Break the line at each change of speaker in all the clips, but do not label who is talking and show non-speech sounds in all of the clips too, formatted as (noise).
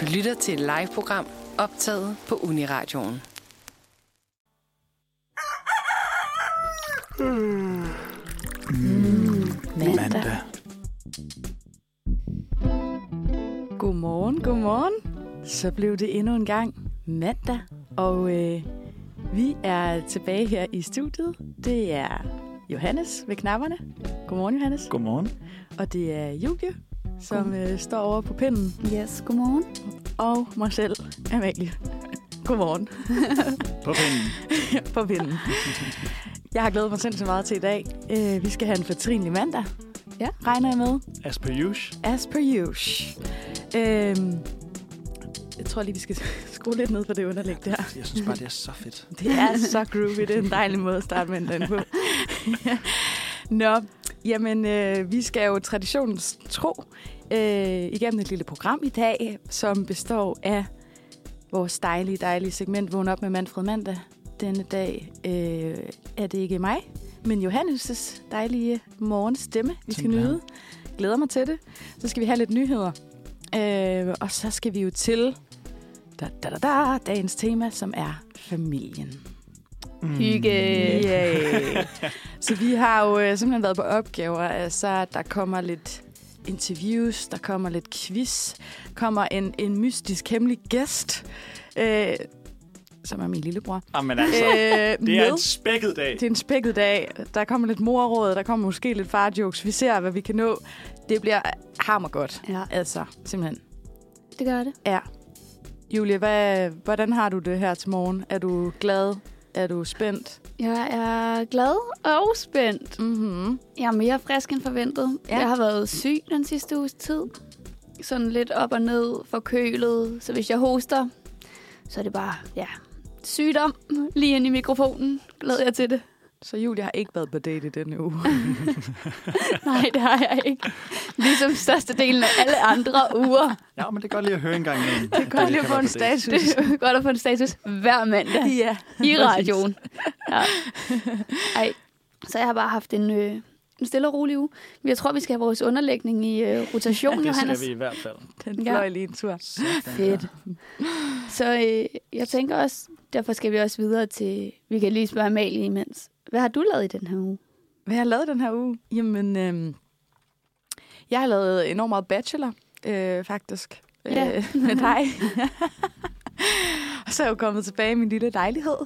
Du lytter til et live-program optaget på Uniradioen.
mandag.
Godmorgen, godmorgen. Så blev det endnu en gang mandag, og øh, vi er tilbage her i studiet. Det er Johannes ved knapperne. Godmorgen, Johannes.
Godmorgen.
Og det er Julie, som øh, står over på pinden,
Yes, godmorgen.
og mig selv, Amalie. Godmorgen
På pinden.
på pinden. Jeg har glædet mig sindssygt meget til i dag. Øh, vi skal have en fortrinlig mandag.
Ja.
Regner jeg med?
As per usual.
As per usual. Øhm, jeg tror lige, vi skal (laughs) skrue lidt ned på det underlæg der.
Jeg synes bare, det er så fedt.
Det er så groovy. Det er en dejlig måde at starte mandagen på. Nå, jamen, øh, vi skal jo traditionens tro øh, igennem et lille program i dag, som består af vores dejlige, dejlige segment Vågn op med Manfred Mandag. Denne dag øh, er det ikke mig, men Johannes' dejlige morgenstemme, vi skal
Tænker jeg.
nyde. Glæder mig til det. Så skal vi have lidt nyheder. Øh, og så skal vi jo til da, da, da, da, dagens tema, som er familien.
Mm.
Hygge.
Yay. så vi har jo øh, simpelthen været på opgaver. Altså, der kommer lidt interviews, der kommer lidt quiz, kommer en, en mystisk hemmelig gæst, øh, som er min lillebror.
(laughs) Jamen altså,
Øh,
(laughs) det er
med.
en spækket dag.
Det er en spækket dag. Der kommer lidt morråd, der kommer måske lidt farjokes. Vi ser, hvad vi kan nå. Det bliver hammer godt.
Ja,
Altså, simpelthen.
det gør det.
Ja. Julie, hvad, hvordan har du det her til morgen? Er du glad? Er du spændt?
Jeg er glad og spændt.
Mm-hmm.
Jeg er mere frisk end forventet.
Ja.
Ja. Jeg har været syg den sidste uges tid. Sådan lidt op og ned, forkølet. Så hvis jeg hoster, så er det bare, ja, sygdom lige ind i mikrofonen. Glæder jeg til det.
Så Julie har ikke været på date i denne uge.
Nej, det har jeg ikke. Ligesom størstedelen af alle andre uger.
Ja, men det er godt lige at høre en gang imellem. at
Det er godt lige at
kan
få
være
en
på date.
status.
Det er godt at få en status hver mandag.
ja. (laughs)
i radioen. Ja. Ej, så jeg har bare haft en, øh, en stille og rolig uge. Men jeg tror, vi skal have vores underlægning i øh,
(laughs)
rotation,
Det
Johannes.
skal vi i hvert fald.
Den
Ja.
fløj lige en tur.
Sådan
Fedt.
der.
Så øh, jeg tænker også, derfor skal vi også videre til, vi kan lige spørge Amalie imens. Hvad har du lavet i den her uge?
Hvad har jeg lavet den her uge? Jamen, øhm, jeg har lavet enormt meget bachelor, øh, faktisk.
Ja.
Øh, (laughs) med dig. og så er jeg jo kommet tilbage i min lille lejlighed.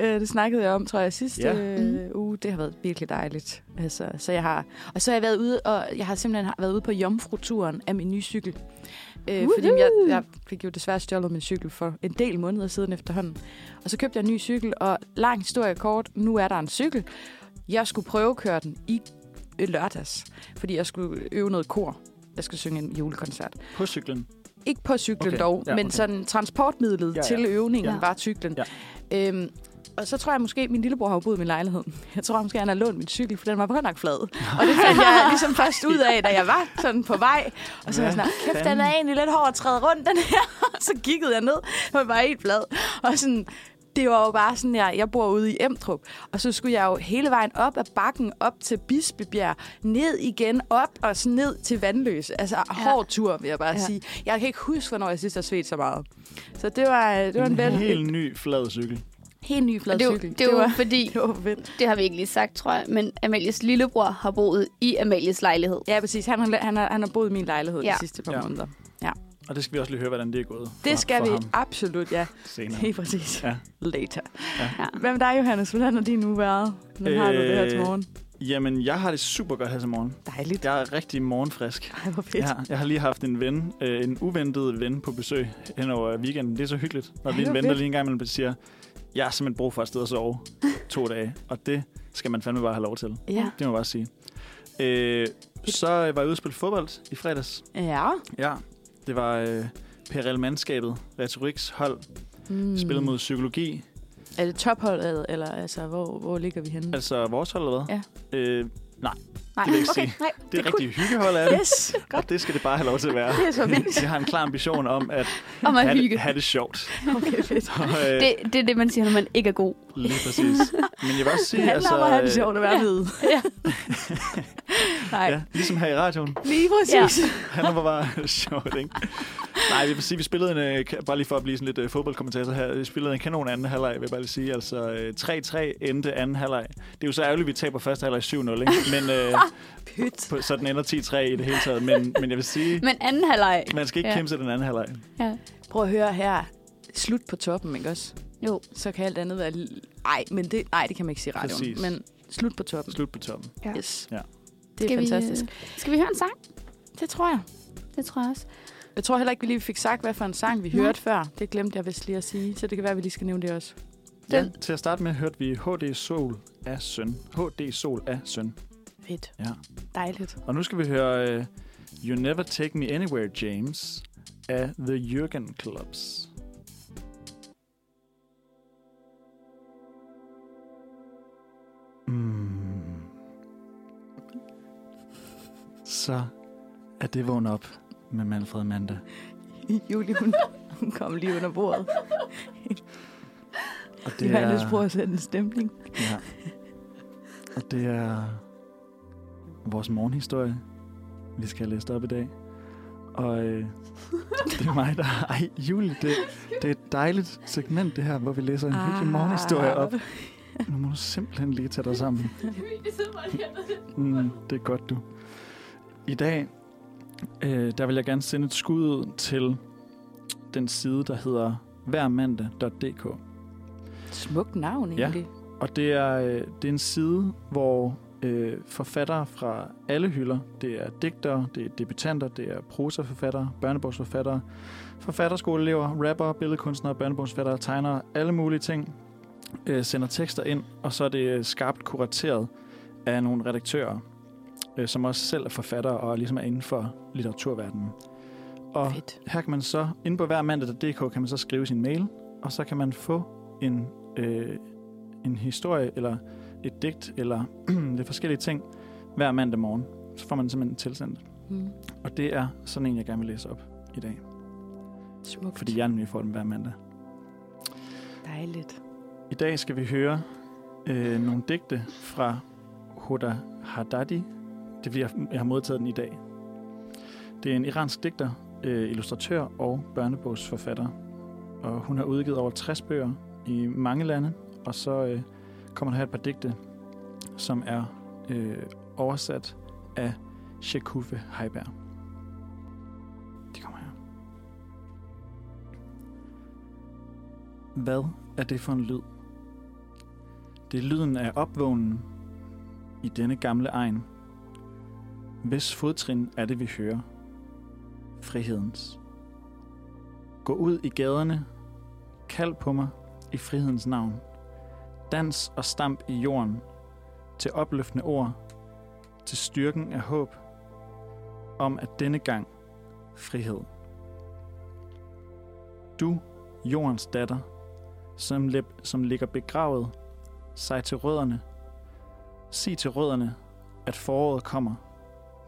Øh, det snakkede jeg om, tror jeg, sidste
Ja.
øh, uge. Det har været virkelig dejligt. Altså, så jeg har, og så har jeg været ude, og jeg har simpelthen har været ude på jomfruturen af min nye cykel. Øh, fordi jeg, jeg fik jo desværre stjålet min cykel for en del måneder siden efterhånden. Og så købte jeg en ny cykel, og lang historie kort, nu er der en cykel. Jeg skulle prøvekøre den i øh, lørdags, fordi jeg skulle øve noget kor. Jeg skal synge en julekoncert.
På cyklen.
Ikke på cyklen
Okay,
okay. dog,
ja,
ja, men
okay.
sådan transportmidlet
Ja,
ja,
ja.
ja. til øvningen
Ja.
ja. var cyklen.
Ja.
Øhm, og så tror jeg måske, at min lillebror har jo boet i min lejlighed. Jeg tror måske, han har lånt min cykel, for den var godt nok flad. Og det fandt
(laughs)
jeg ligesom først ud af, da jeg var sådan på vej. Og så var jeg sådan,
Hvad
kæft, den
fanden?
er egentlig lidt hård at træde rundt, den her. (laughs) Og så kiggede jeg ned, og jeg var helt flad. Og sådan, det var jo bare sådan, jeg, jeg bor ude i Emdrup, og så skulle jeg jo hele vejen op ad bakken, op til Bispebjerg, ned igen, op og så ned til Vandløs. Altså, hård tur, vil jeg bare
Ja.
ja. sige. Jeg kan ikke huske, hvornår jeg sidst har svedt så meget. Så det var, det var en,
En
vel,
helt ny flad cykel.
helt ny flad
det, er jo-
cykel.
det er jo fordi,
(laughs) det var vildt.
det har vi ikke lige sagt, tror jeg, men Amalies lillebror har boet i Amalies lejlighed.
Ja, præcis. Han har, han har, han har boet i min lejlighed ja.
Ja.
de sidste par
Ja.
ja. måneder.
Og det skal vi også lige høre, hvordan det er gået. for-
Det skal
for
vi
ham
absolut, ja. (laughs)
senere.
Helt præcis.
Ja.
Ja. Later.
Ja.
Ja. Hvad med dig, Johannes? Hvordan har din uge været? Hvordan har du det her til
Øh,
morgen?
Jamen, jeg har det super godt her til morgen.
Dejligt.
Jeg er rigtig morgenfrisk.
Ej, hvor fedt.
Ja, jeg har lige haft en ven, øh, en uventet ven på besøg hen over weekenden. Det er så hyggeligt, når
Ej,
lige en
hvor
ven, der
fedt.
lige en gang imellem siger, jeg har simpelthen brug for et sted at
(laughs)
sove to dage, og det skal man fandme bare have lov til.
Ja.
Det må jeg bare sige. Øh, så var jeg ude at spille fodbold i fredags.
ja.
Ja, det var øh, PRL Mandskabet, Retoriks hold, mm.
Mm.
spillet mod psykologi,
Er det topholdet, eller altså, hvor, hvor ligger vi henne?
altså vores hold eller hvad? Ja. Øh, det
Nej,
det vil jeg ikke sige.
nej,
er
cool.
det rigtige
(laughs)
hyggehold af det, (laughs) Altså,
Yes, godt.
og det skal det bare have lov til at være.
(laughs) Det er så vildt.
Jeg har en klar ambition om at
Om at
have
hygge.
det, have det
(laughs)
sjovt.
Okay, fedt.
Og, øh,
Det, det er det, man siger, når man ikke er god.
Lige præcis. Men jeg vil
(laughs)
også
Det
sige,
handler altså, om at have det
øh,
sjovt at være ved.
Ja.
Nej,
Ja, ligesom her i radioen.
lige præcis.
Han var bare (laughs) sjovt, ikke? Nej, vi vil sige, vi spillede en, øh, ka- bare lige for at blive sådan lidt øh, fodboldkommentator her, vi spillede en kanon anden halvleg, vil jeg bare lige sige. Altså øh, 3-3 endte anden halvleg. Det er jo så ærgerligt, at vi taber første halvleg 7-0, ikke? Men,
(laughs)
øh,
Pyt.
på, så den ender 10-3 i det hele taget. Men, men jeg vil sige,
Men anden halvleg.
man skal ikke
Ja.
kæmpe til den anden halvleg.
Ja.
Prøv at høre her. Slut på toppen, ikke også?
Jo.
Så kan alt andet være... li- Ej, men det, ej, det kan man ikke sige i radioen.
Præcis.
Men slut på toppen.
Slut på toppen.
Ja.
Yes.
Ja.
Det er
Skal vi, øh,
fantastisk.
Skal vi høre en sang?
Det tror jeg.
Det tror jeg også.
Jeg tror heller ikke, vi lige fik sagt, hvad for en sang vi
Nej.
hørte før. Det glemte jeg vist lige at sige, så det kan være, at vi lige skal nævne det også.
Ja,
Den-
til at starte med hørte vi HD Sol af Søn. HD Sol af Søn.
Fedt.
Ja.
Dejligt.
Og nu skal vi høre uh, You Never Take Me Anywhere, James af The Jürgen Clubs. Mm. Så er det vågnet op med Manfred og Amanda.
(laughs) Julie, hun, hun kom lige under bordet.
Og
Det er... Johannes prøver at sætte en stemning.
Ja. Og det er vores morgenhistorie, vi skal have læst op i dag. Og øh, det er mig, der Ej, Julie, det, det er et dejligt segment, det her, hvor vi læser en
Ah.
hyggelig morgenhistorie op. Nu må du simpelthen lige tage dig sammen. Mm, det er godt, du. I dag, øh, der vil jeg gerne sende et skud ud til den side, der hedder hvermandag.dk.
Smukt navn, egentlig. Ja.
Og det er, øh, det er en side, hvor øh, forfattere fra alle hylder, det er digtere, det er debutanter, det er prosaforfattere, børnebogsforfattere, forfatterskoleelever, rapper, billedkunstnere, børnebogsforfattere, tegnere, alle mulige ting, øh, sender tekster ind, og så er det øh, skarpt kurateret af nogle redaktører, øh, som også selv er forfattere og ligesom er inden for litteraturverdenen. Og
Fedt.
her kan man så, inde på hver mandag.dk, kan man så skrive sin mail, og så kan man få en, øh, en historie, eller et digt, eller (clears throat) lidt forskellige ting, hver mandag morgen. Så får man simpelthen tilsendt.
Mm.
Og det er sådan en, jeg gerne vil læse op i dag.
Smukt.
Fordi jeg nemlig får den hver mandag.
Dejligt.
I dag skal vi høre øh, nogle digte fra Hoda Haddadi. Det bliver, jeg har modtaget den i dag. Det er en iransk digter, øh, illustratør og børnebogsforfatter. Og hun har udgivet over 60 bøger i mange lande. Og så øh, kommer der her et par digte, som er øh, oversat af Shekufe Heiberg. De kommer her. Hvad er det for en lyd? Det er lyden af opvågnen i denne gamle egen. Hvis fodtrin er det, vi hører. Frihedens. Gå ud i gaderne. Kald på mig i frihedens navn. Dans og stamp i jorden. Til opløftende ord. Til styrken af håb. Om at denne gang frihed. Du, jordens datter, som, lep, som ligger begravet, sig til rødderne. Sig til rødderne, at foråret kommer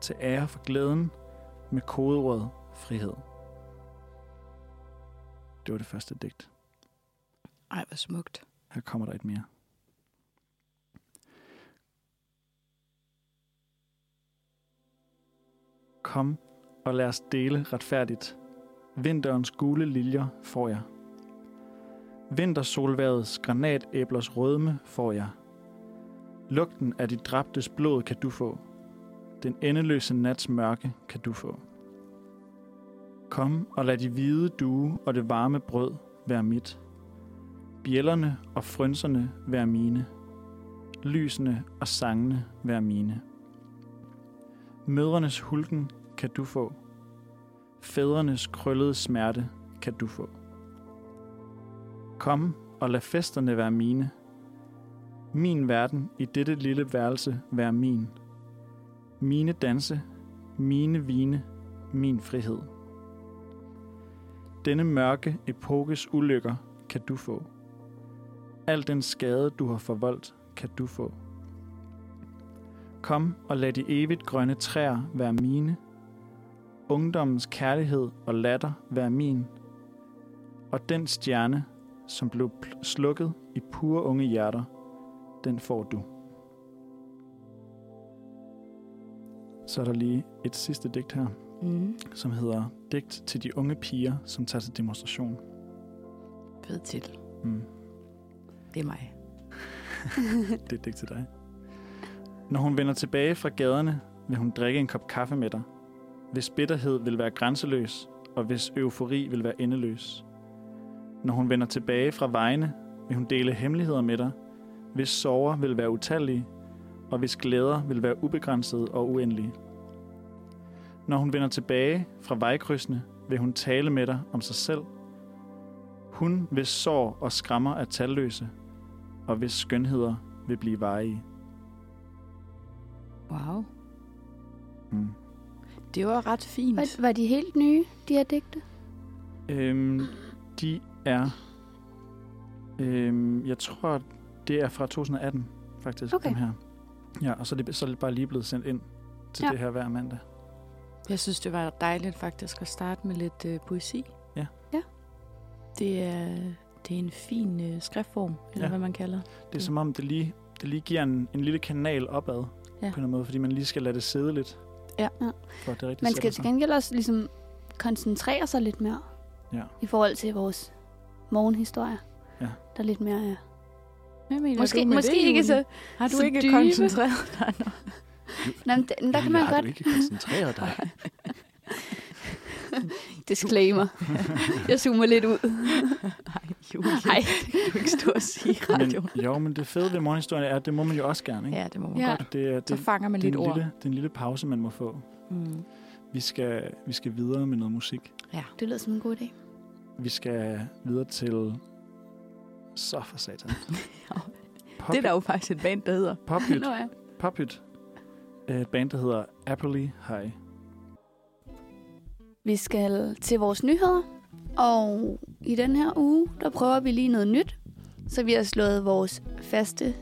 til ære for glæden med kodeordet frihed. Det var det første digt.
Ej, hvor smukt.
Her kommer der et mere. Kom og lad os dele retfærdigt. Vinterens gule liljer får jeg. Vintersolværets granatæblers rødme får jeg. Lugten af de dræbtes blod kan du få. Den endeløse nats mørke kan du få. Kom og lad de hvide due og det varme brød være mit. Bjællerne og frynserne være mine. Lysene og sangene være mine. Mødrenes hulken kan du få. Fædrenes krøllede smerte kan du få. Kom og lad festerne være mine. Min verden i dette lille værelse være min. Mine danse, mine vine, min frihed. Denne mørke epokes ulykker kan du få. Al den skade, du har forvoldt, kan du få. Kom og lad de evigt grønne træer være mine. Ungdommens kærlighed og latter være min. Og den stjerne, som blev pl- slukket i pure unge hjerter, den får du. Så er der lige et sidste digt her.
Mm.
som hedder Digt til de unge piger, som tager til demonstration.
Fed titel.
Mm.
Det er mig.
Det er et digt til dig. Når hun vender tilbage fra gaderne, vil hun drikke en kop kaffe med dig. Hvis bitterhed vil være grænseløs, og hvis eufori vil være endeløs. Når hun vender tilbage fra vejene, vil hun dele hemmeligheder med dig. Hvis sorger vil være utallige, og hvis glæder vil være ubegrænsede og uendelige. Når hun vender tilbage fra vejkrydsene, vil hun tale med dig om sig selv. Hun, hvis sår og skrammer er talløse, og hvis skønheder vil blive varige.
Wow.
Mm.
Det var ret fint.
Var, var de helt nye, de her digte?
Øhm, de er... Øhm, jeg tror, det er fra 2018, faktisk,
Okay.
dem her. Ja, og så er, det, så er det bare lige blevet sendt ind til
Ja.
ja. det her hver mandag.
Jeg synes, det var dejligt faktisk at starte med lidt øh, poesi.
Ja.
Ja.
Det er, det er en fin øh, skriftform, eller
Ja.
ja. hvad man kalder.
Det er som om, det lige, det lige giver en, en lille kanal opad, ja. på en eller anden måde, fordi man lige skal lade det sidde lidt.
Ja.
Ja.
For at det rigtig
Man skal til
sætter sig.
gengæld også ligesom koncentrere sig lidt mere
Ja.
i forhold til vores morgenhistorie.
Ja.
Der er lidt mere er.
Hvad mener
Måske,
du med
måske
det,
ikke
Julie?
så...
Har du
så
ikke
dybe?
koncentreret dig nok?
Nå, men det- men der kan man godt...
ikke
(laughs)
koncentreret dig.
Disclaimer. Jeg zoomer lidt ud.
Nej, Julie.
Nej.
Det kan du ikke stå og sige i radioen.
men, jo, men det fede ved morgenhistorien er, at det må man jo også gerne, ikke?
Ja, det må man
Ja.
ja. godt.
At Det, er- det,
Så
det,
fanger man
det, er
lidt
en
ord.
lille, det er en lille pause, man må få.
Mm.
Vi skal, vi skal videre med noget musik.
Det lyder som en god idé.
Vi skal videre til... Så for
(laughs)
satan. Pop,
Det er der jo faktisk et band, der hedder.
Pophyt,
Nå ja.
Pophyt. Øh, Et band, der hedder Appley High.
Vi skal til vores nyheder, og i den her uge, der prøver vi lige noget nyt. Så vi har slået vores faste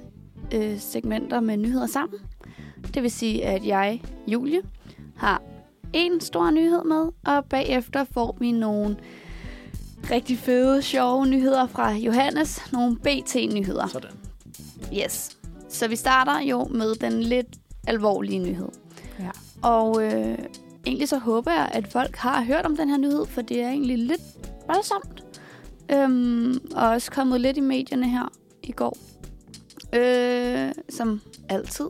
øh, segmenter med nyheder sammen. Det vil sige, at jeg, Julie, har en stor nyhed med, og bagefter får vi nogle rigtig fede, sjove nyheder fra Johannes. Nogle BT-nyheder.
Sådan.
Yes. Så vi starter jo med den lidt alvorlige nyhed.
Ja.
Og øh, egentlig så håber jeg, at folk har hørt om den her nyhed, for det er egentlig lidt voldsomt. Øhm, og også kommet lidt i medierne her i går. Øh, som altid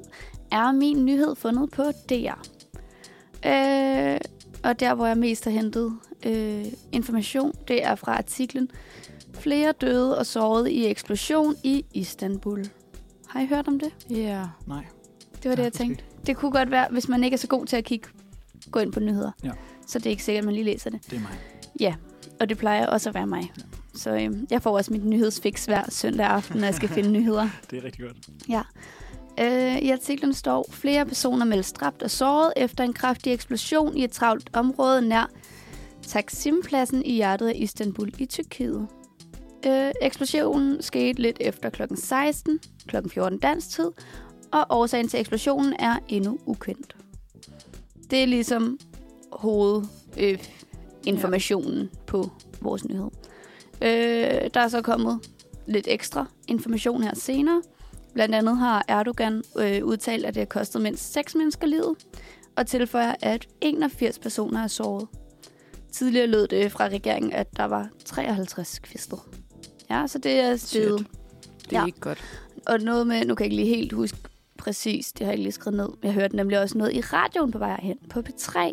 er min nyhed fundet på DR. Øh, og der, hvor jeg mest har hentet øh, information, det er fra artiklen Flere døde og sårede i eksplosion i Istanbul. Har I hørt om det?
Ja.
Nej.
Det var det, jeg tænkte. Det kunne godt være, hvis man ikke er så god til at kigge, gå ind på nyheder.
Ja.
Så det er ikke sikkert, at man lige læser det.
Det er mig.
Og det plejer også at være mig.
Ja.
Så øhm, jeg får også mit nyhedsfix hver søndag aften, når jeg skal finde
(laughs)
nyheder.
Det er rigtig godt.
Øh, I artiklen står, flere personer meldes dræbt og såret efter en kraftig eksplosion i et travlt område nær Taksim-pladsen i hjertet af Istanbul i Tyrkiet. Øh, eksplosionen skete lidt efter kl. 16, kl. 14 dansk tid, og årsagen til eksplosionen er endnu ukendt. Det er ligesom hovedinformationen øh, informationen øh, på vores nyhed. Øh, der er så kommet lidt ekstra information her senere. Blandt andet har Erdogan øh, udtalt, at det har kostet mindst 6 mennesker livet, og tilføjer, at 81 personer er såret. Tidligere lød det fra regeringen, at der var 53 kvistet. Ja, så det er steget.
Det er
Ja.
ja. ikke godt.
Og noget med, nu kan jeg ikke lige helt huske præcis, det har jeg ikke lige skrevet ned. Jeg hørte nemlig også noget i radioen på vej hen på P3.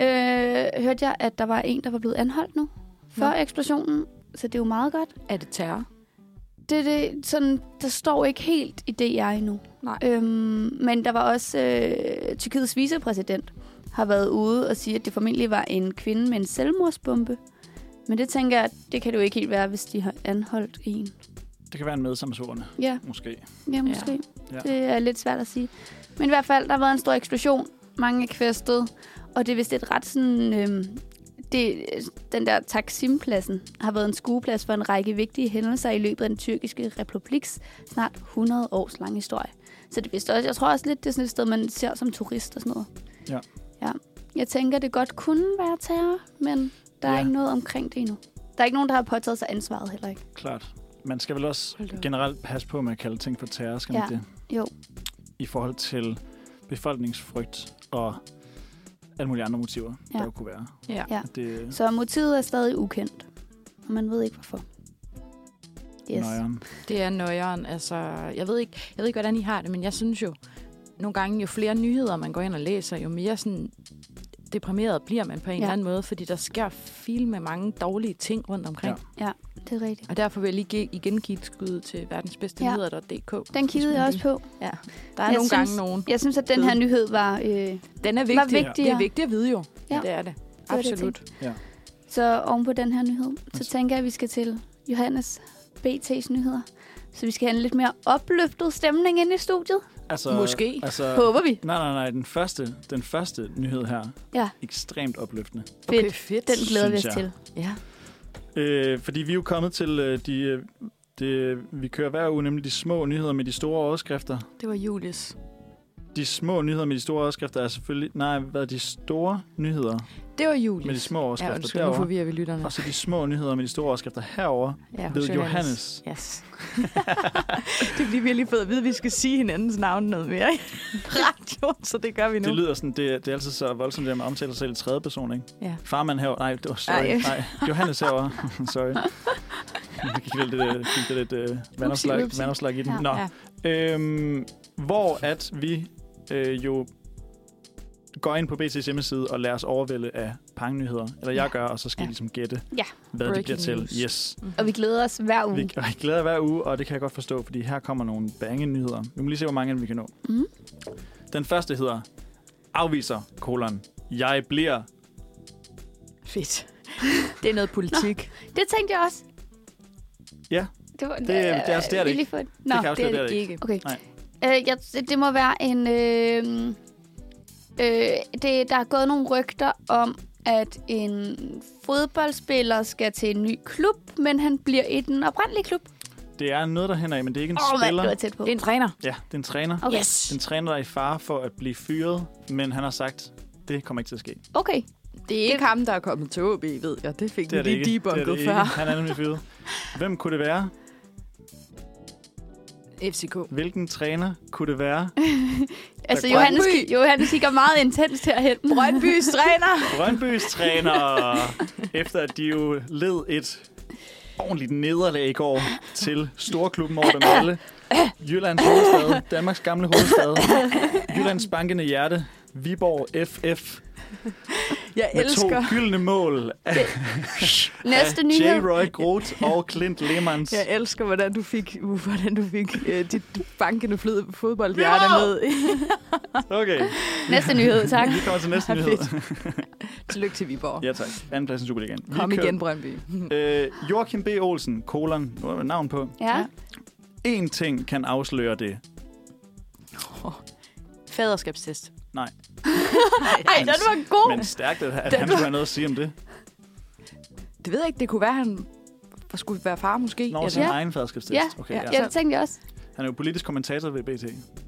Øh, hørte jeg, at der var en, der var blevet anholdt nu, før
Nå.
eksplosionen. Så det er jo meget godt.
Er det terror?
Det, det, sådan, der står ikke helt i DR endnu.
Nej.
Øhm, men der var også øh, Tyrkiets vicepræsident har været ude og sige, at det formentlig var en kvinde med en selvmordsbombe. Men det tænker jeg, det kan det jo ikke helt være, hvis de har anholdt en.
Det kan være en medsamsorende,
Ja,
måske.
ja måske.
Ja.
Ja. Det er lidt svært at sige. Men i hvert fald, der har været en stor eksplosion. Mange er kvæstet. Og det er vist et ret sådan... Øhm, det, den der Taksim-pladsen har været en skueplads for en række vigtige hændelser i løbet af den tyrkiske republiks snart 100 års lange historie. Så det er vist også, jeg tror også lidt, det er sådan et sted, man ser som turist og sådan noget.
Ja.
ja. Jeg tænker, det godt kunne være terror, men der er
Ja.
ikke noget omkring det endnu. Der er ikke nogen, der har påtaget sig ansvaret heller ikke.
Klart. Man skal vel også
Hold da op.
generelt passe på med at kalde ting for terror, skal man
Ja.
ikke det?
Jo.
I forhold til befolkningsfrygt og alle mulige andre motiver, ja.
Ja.
der jo kunne være.
Ja.
Ja.
Det
Så motivet er stadig ukendt, og man ved ikke hvorfor.
yes.
Yes.
nøjeren.
Det er nøjeren. Altså, jeg ved, ikke, jeg ved ikke, hvordan I har det, men jeg synes jo, nogle gange, jo flere nyheder man går ind og læser, jo mere sådan deprimeret bliver man på en ja.
Ja.
eller anden måde, fordi der sker fil med mange dårlige ting rundt omkring. Ja.
Det er rigtigt.
Og derfor vil jeg lige gi- igen give et skud til
Ja.
verdensbedstemheder.dk.
Den kiggede jeg også på.
Der er jeg
Jeg
nogle synes...
synes-
gange nogen.
Jeg synes, at den her nyhed var... Øh,
Den er
var
vigtig.
vigtigere.
Det er vigtigt at vide jo. Ja.
Ja.
Det er det.
var det, jeg
Absolut.
Så oven på den her nyhed, så
Altså.
tænker jeg, at vi skal til Johannes BT's nyheder. Så vi skal have en lidt mere opløftet stemning ind i studiet.
Altså,
Måske.
Altså,
(laughs)
Håber vi.
nej, nej, nej. Den første, den første nyhed her.
Ja.
Ekstremt opløftende.
Okay,
Fedt.
fedt.
Den glæder vi
Synes
os
jeg.
til.
Ja.
Øh, fordi vi er jo kommet til øh, de... Øh, det, vi kører hver uge nemlig de små nyheder med de store overskrifter.
Det var Julius.
De små nyheder med de store overskrifter er selvfølgelig... Nej, hvad de store nyheder
Det var Julius.
med de små
Oh, ja,
overskrifter
undskyld, nu
derovre.
forvirrer vi lytterne.
Og så de små nyheder med de store overskrifter herover
Ja,
ved
hos
Johannes.
Yes. (laughs) det er fordi, vi har lige fået at vide, at vi skal sige hinandens navn noget mere i radioen, så det gør vi nu.
Det lyder sådan, det, det er altid så voldsomt, det der med at omtale sig selv i tredje person, ikke?
Ja.
Farmand herovre. Nej, det var sorry.
Nej.
Nej. Nej. Johannes herovre. (laughs) sorry. Jeg gik lidt, øh, gik der lidt øh, vandopslag,
upsi.
vandopslag i den.
Ja.
Nå. Øhm, hvor at vi øh, jo går ind på BT's hjemmeside og lader os overvælde af pangnyheder. Eller jeg
Ja.
gør, og så skal
Ja.
I ligesom gætte,
Ja.
hvad det
Breaking
bliver til.
news.
Yes.
Og vi glæder os hver uge.
Vi, og jeg glæder hver uge, og det kan jeg godt forstå, fordi her kommer nogle bange nyheder. Vi må lige se, hvor mange af dem vi kan nå.
Mm.
Den første hedder Afviser, kolon. Jeg bliver...
Fedt. Det er noget politik.
Det tænkte jeg også.
Ja.
Det, var,
Det- det er- det er det
vi
ikke.
lige fået- Nå,
kan jeg afsløre, det er det ikke.
Okay.
Nej.
Øh, jeg, det må være en... Øh, øh, det, der er gået nogle rygter om, at en fodboldspiller skal til en ny klub, men han bliver i den oprindelige klub. Åh,
Det er noget, der hænder af, men det er ikke en
oh, mand,
spiller.
det var tæt på.
Det er en træner.
Ja, det er en træner.
Okay.
Yes.
Den træner der er i fare for at blive fyret, men han har sagt, det kommer ikke til at ske.
okay.
Det er ikke ham, der er kommet til OB, ved jeg. Det fik
Det er
det
det
lige
ikke. det er det
debunket
ikke.
før.
Han er nemlig fyret. Hvem kunne det være?
FCK.
Hvilken træner kunne det være?
Altså,
Der-
Johannes,
Brøndby.
Johannes kigger meget intenst herhen.
Brøndbys (laughs) træner.
Brøndbys træner, efter at de jo led et ordentligt nederlag i går til storklubben over dem alle. Jyllands hovedstad, Danmarks gamle hovedstad, Jyllands bankende hjerte, Viborg FF
Jeg
med
elsker.
to gyldne mål af,
Næste
af
nyhed.
J. Roy Groth og Clint Lehmanns.
Jeg elsker, hvordan du fik, uh, hvordan du fik uh, dit bankende flød fodboldhjerte
Wow!
med.
Okay,
Næste nyhed, tak.
vi kommer til næste
Ja,
nyhed.
Tillykke til Viborg.
Ja tak, anden plads i Superligaen. Vi
Kom
kører-
igen, Brøndby.
Øh, Joachim B. Olsen, kolon, nu er der navn på.
Ja.
En ting kan afsløre det.
Faderskabstest.
Nej.
Ej, den var
Oh.
god.
Men stærkt, at, at
Den
han
var-
skulle have noget at sige om det.
Det ved jeg ikke. Det kunne være, han skulle være far måske.
Når sin
eller-
Ja.
egen faderskabstest. Okay,
Ja.
ja.
Ja, det tænkte jeg også.
Han er jo politisk kommentator ved BT.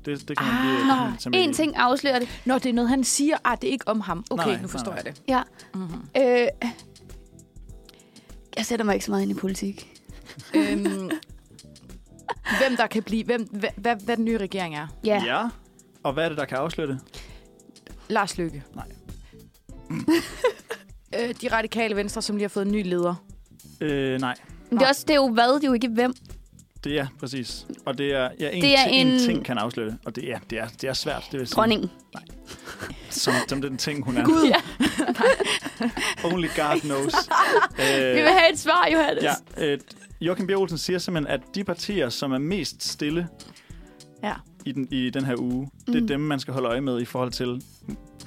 Det, det kan man
Ah,
lige
Nå,
øh, tage med
en
i.
ting afslører det.
Nå, det er noget, han siger. Ah, det er ikke om ham. Okay,
Nej,
nu forstår
nej,
jeg det.
Ja.
Mm-hmm.
Øh, jeg sætter mig ikke så meget ind i politik.
øhm, hvem der kan blive... Hvem, hvad, hvad, hvad den nye regering er.
Ja.
Ja. Og hvad er det, der kan afsløre det?
Lars Lykke.
Nej.
(laughs) øh, de radikale venstre, som lige har fået en ny leder.
Øh, nej.
Men det er, også, det er jo hvad, det er jo ikke hvem.
Det er præcis. Og det er, ja, en,
Det er
ti- en...
en-
ting kan afsløre det. Og det er, det er, det er svært, det vil sige.
Dronningen.
Som, som den ting, hun er.
Gud. Ja.
Only God knows.
(laughs) Vi
øh,
vil have et svar, Johannes.
ja, øh, Joachim B. Olsen siger simpelthen, at de partier, som er mest stille
Ja.
i den, i den her uge, mm. det er dem, man skal holde øje med i forhold til